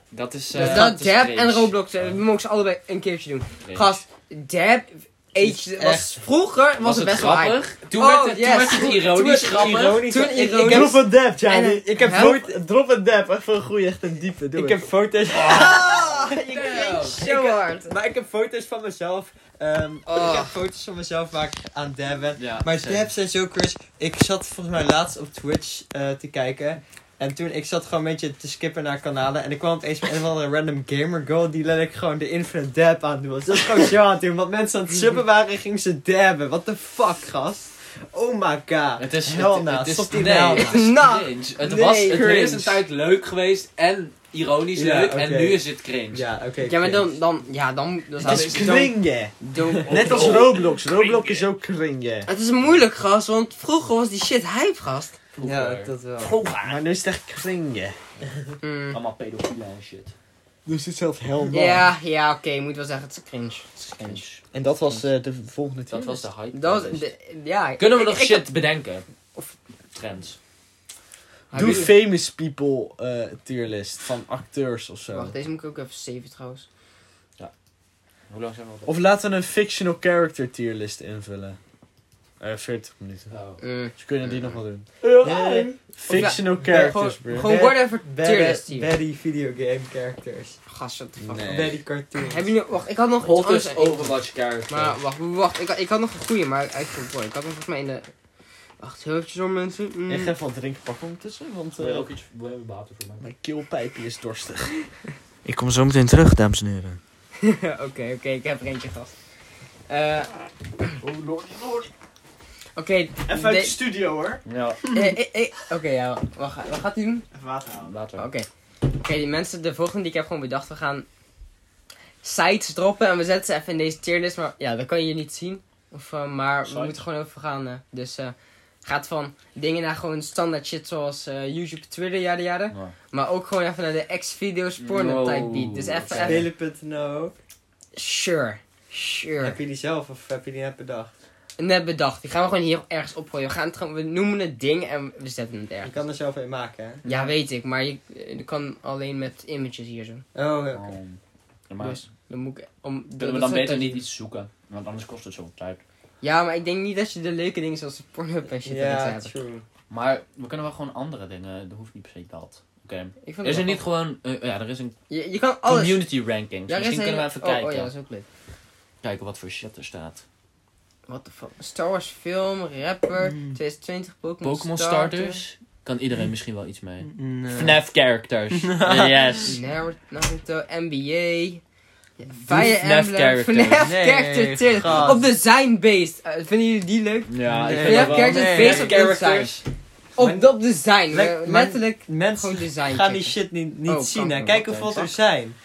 Speaker 2: Dat is... eh,
Speaker 3: Dus dat,
Speaker 2: is
Speaker 3: Dab
Speaker 2: cringe.
Speaker 3: en Roblox, eh,
Speaker 2: Ja.
Speaker 3: die mogen ze allebei een keertje doen.
Speaker 2: Cringe.
Speaker 3: Gast, Dab, aged, was,
Speaker 4: echt-
Speaker 3: vroeger was,
Speaker 2: Was het
Speaker 3: het best wel hype.
Speaker 2: grappig? Toen
Speaker 3: Oh,
Speaker 2: werd het-
Speaker 3: yes.
Speaker 2: toen werd het
Speaker 4: Toen
Speaker 2: ironisch
Speaker 4: werd het
Speaker 2: grappig.
Speaker 4: ironisch.
Speaker 3: Toen- ik- ik heb-
Speaker 1: Drop a dab, ja.
Speaker 3: En-
Speaker 1: die- Ik heb
Speaker 3: Help.
Speaker 1: drop- drop a dab. Echt wel een goeie, echt een diepe. Doe
Speaker 4: Ik
Speaker 1: het. Oh.
Speaker 4: heb foto's.
Speaker 3: Ik
Speaker 2: Damn.
Speaker 3: ging Oh, zo hard.
Speaker 4: Maar ik heb foto's van mezelf. ehm,
Speaker 3: Oh.
Speaker 4: Ik heb foto's van mezelf waar ik aan dab ben.
Speaker 2: Ja,
Speaker 4: maar
Speaker 2: same.
Speaker 4: dabs zijn zo cringe. Ik zat volgens mij laatst op Twitch eh, te kijken. En toen, ik zat gewoon een beetje te skippen naar kanalen. En ik kwam opeens met een of andere random gamer girl die letterlijk gewoon de infinite dab aan het doen was. Dat is gewoon zo aan het doen. Want mensen aan het subben waren en gingen ze dabben. What the fuck, gast? Oh my god.
Speaker 2: Het is...
Speaker 4: Hell
Speaker 2: het-
Speaker 4: nah,
Speaker 2: Het is...
Speaker 4: stop die
Speaker 2: Nee,
Speaker 4: hell nah.
Speaker 2: het is
Speaker 3: Nou,
Speaker 2: cringe. Het
Speaker 4: nee,
Speaker 2: was... Het is
Speaker 4: cringe.
Speaker 2: een tijd leuk geweest en ironisch
Speaker 4: Ja,
Speaker 2: leuk.
Speaker 4: oké.
Speaker 2: En nu is het cringe.
Speaker 4: Ja, oké.
Speaker 3: Ja, maar
Speaker 4: cringe.
Speaker 3: dan, dan, ja, dan, dan
Speaker 1: Het is cringe.
Speaker 3: dom.
Speaker 1: Net als Roblox. Roblox is ook cringe.
Speaker 3: Het is moeilijk, gast, want vroeger was die shit hype, gast.
Speaker 4: Ja, dat wel.
Speaker 1: Maar nu is het echt cringe.
Speaker 3: Mm.
Speaker 2: Allemaal pedofielen en shit.
Speaker 1: Nu is het zelfs helemaal.
Speaker 3: Ja, ja, oké, je moet wel zeggen, het is cringe.
Speaker 2: Cringe.
Speaker 1: En dat was eh, de volgende
Speaker 2: Dat
Speaker 1: team.
Speaker 2: was de hype.
Speaker 3: Dat was, de- ja.
Speaker 2: dus. Kunnen we
Speaker 3: ik-
Speaker 2: nog
Speaker 3: ik-
Speaker 2: shit bedenken?
Speaker 3: Of-
Speaker 2: Of trends?
Speaker 1: Doe
Speaker 3: Hebben-
Speaker 1: famous people eh tierlist van acteurs of zo.
Speaker 3: Wacht, deze moet ik ook even zeven trouwens.
Speaker 2: Hoe lang zijn we al?
Speaker 1: Of laten we een fictional character tierlist invullen. Eh 40 minuten.
Speaker 2: Oh.
Speaker 3: Mm.
Speaker 1: Dus we kunnen die nog wel doen.
Speaker 4: Nee.
Speaker 1: Fictional
Speaker 3: Gewoon,
Speaker 1: characters, bro.
Speaker 3: gewoon
Speaker 4: Bad-
Speaker 3: whatever tier
Speaker 4: Baddy,
Speaker 3: list hier.
Speaker 4: baddy videogame characters.
Speaker 3: Gast, what the fuck.
Speaker 1: Nee.
Speaker 4: Baddy cartoons.
Speaker 3: Heb je nu, wacht, ik had nog iets anders.
Speaker 2: Hottest dus Overwatch character.
Speaker 3: Maar wacht, wacht, ik, ik had nog een goeie, maar ik, ik, boy, ik had hem volgens mij in de... Wacht, heel eventjes om mensen. Mm.
Speaker 1: Ik ga even wat drinken pakken ondertussen, want
Speaker 2: Wil je
Speaker 1: eh,
Speaker 2: ook iets wil je water voor mij?
Speaker 1: mijn keelpijpje is dorstig. Ik kom zo meteen terug, dames en heren.
Speaker 3: Oké, oké, ik heb er eentje gast. Eh,
Speaker 1: Oh lordy, lordy.
Speaker 3: oké.
Speaker 1: Even uit de
Speaker 3: de-
Speaker 1: studio hoor.
Speaker 2: Ja,
Speaker 3: eh, eh, eh, Oké, ja, wacht, wat gaat hij doen? Oh,
Speaker 1: Even water halen.
Speaker 2: water.
Speaker 3: Oké. Oké, die mensen, de volgende die ik heb gewoon bedacht, we gaan sites droppen en we zetten ze even in deze tierlist, maar ja, dat kan je niet zien. Of, eh, maar we
Speaker 2: Sites.
Speaker 3: moeten gewoon over gaan. eh, dus eh gaat van dingen naar gewoon standaard shit zoals eh, YouTube, Twitter, jade jade.
Speaker 2: Ja.
Speaker 3: Maar ook gewoon even naar de X-video's porno
Speaker 2: Wow.
Speaker 3: type beat. Dus even,
Speaker 2: Oké.
Speaker 3: even.
Speaker 4: Spelen.nl.
Speaker 3: Sure. Sure.
Speaker 4: Heb je die zelf of heb je die net bedacht?
Speaker 3: Net bedacht. Die gaan we gewoon hier ergens opgooien. We, gaan het gewoon, we noemen het ding en we zetten het
Speaker 4: Je
Speaker 3: ergens.
Speaker 4: kan er zelf een maken, hè?
Speaker 3: Ja, weet ik. Maar je, je kan alleen met images hier zo.
Speaker 4: Oh, oké.
Speaker 2: Um, maar
Speaker 3: Dus dan moet ik... Om, dat-
Speaker 2: kunnen we dan
Speaker 3: dat is
Speaker 2: beter
Speaker 3: wat-
Speaker 2: niet iets zoeken? Want anders kost het zo'n tijd.
Speaker 3: Ja, maar ik denk niet dat je de leuke dingen zoals de Pornhub en shit erin zou
Speaker 4: Ja,
Speaker 3: hebben.
Speaker 4: true.
Speaker 2: Maar we kunnen wel gewoon andere dingen. Dat hoeft niet per se dat. Oké.
Speaker 3: Ik
Speaker 2: Is
Speaker 3: vind
Speaker 2: er
Speaker 3: het wel
Speaker 2: niet gewoon... eh, ja, er is een
Speaker 3: grappig. Je, je kan alles...
Speaker 2: community ranking.
Speaker 3: Ja, er is
Speaker 2: Misschien
Speaker 3: een-
Speaker 2: kunnen we even
Speaker 3: oh,
Speaker 2: kijken.
Speaker 3: Oh ja, dat is ook leuk.
Speaker 2: Kijken wat voor shit er staat.
Speaker 3: What the fuck? Star Wars film, rapper, 2020 Pokémon
Speaker 2: Hmm. Pokémon starters. Kan
Speaker 3: Hm.
Speaker 2: iedereen misschien wel iets mee.
Speaker 4: Nee.
Speaker 2: FNAF characters. yes.
Speaker 3: Naruto, Naruto, NBA. Ja,
Speaker 2: FNAF character.
Speaker 3: FNAF
Speaker 4: Nee,
Speaker 3: character tier.
Speaker 4: gast.
Speaker 3: Op design-based. Eh, vinden jullie die leuk?
Speaker 2: Ja,
Speaker 4: Nee.
Speaker 2: ik
Speaker 4: Ja,
Speaker 2: vind dat wel...
Speaker 3: kijk,
Speaker 2: Nee.
Speaker 3: dit feest op
Speaker 4: characters.
Speaker 3: Op,
Speaker 4: Maar-
Speaker 3: op design.
Speaker 4: Lek-
Speaker 3: eh,
Speaker 4: maar-
Speaker 3: letterlijk
Speaker 4: Mensen
Speaker 3: gewoon design.
Speaker 4: gaan die
Speaker 3: checken.
Speaker 4: shit niet, niet
Speaker 3: Oh,
Speaker 4: zien,
Speaker 3: kan
Speaker 4: hè?
Speaker 3: wel,
Speaker 4: Kijk
Speaker 2: oké.
Speaker 4: hoeveel er zijn.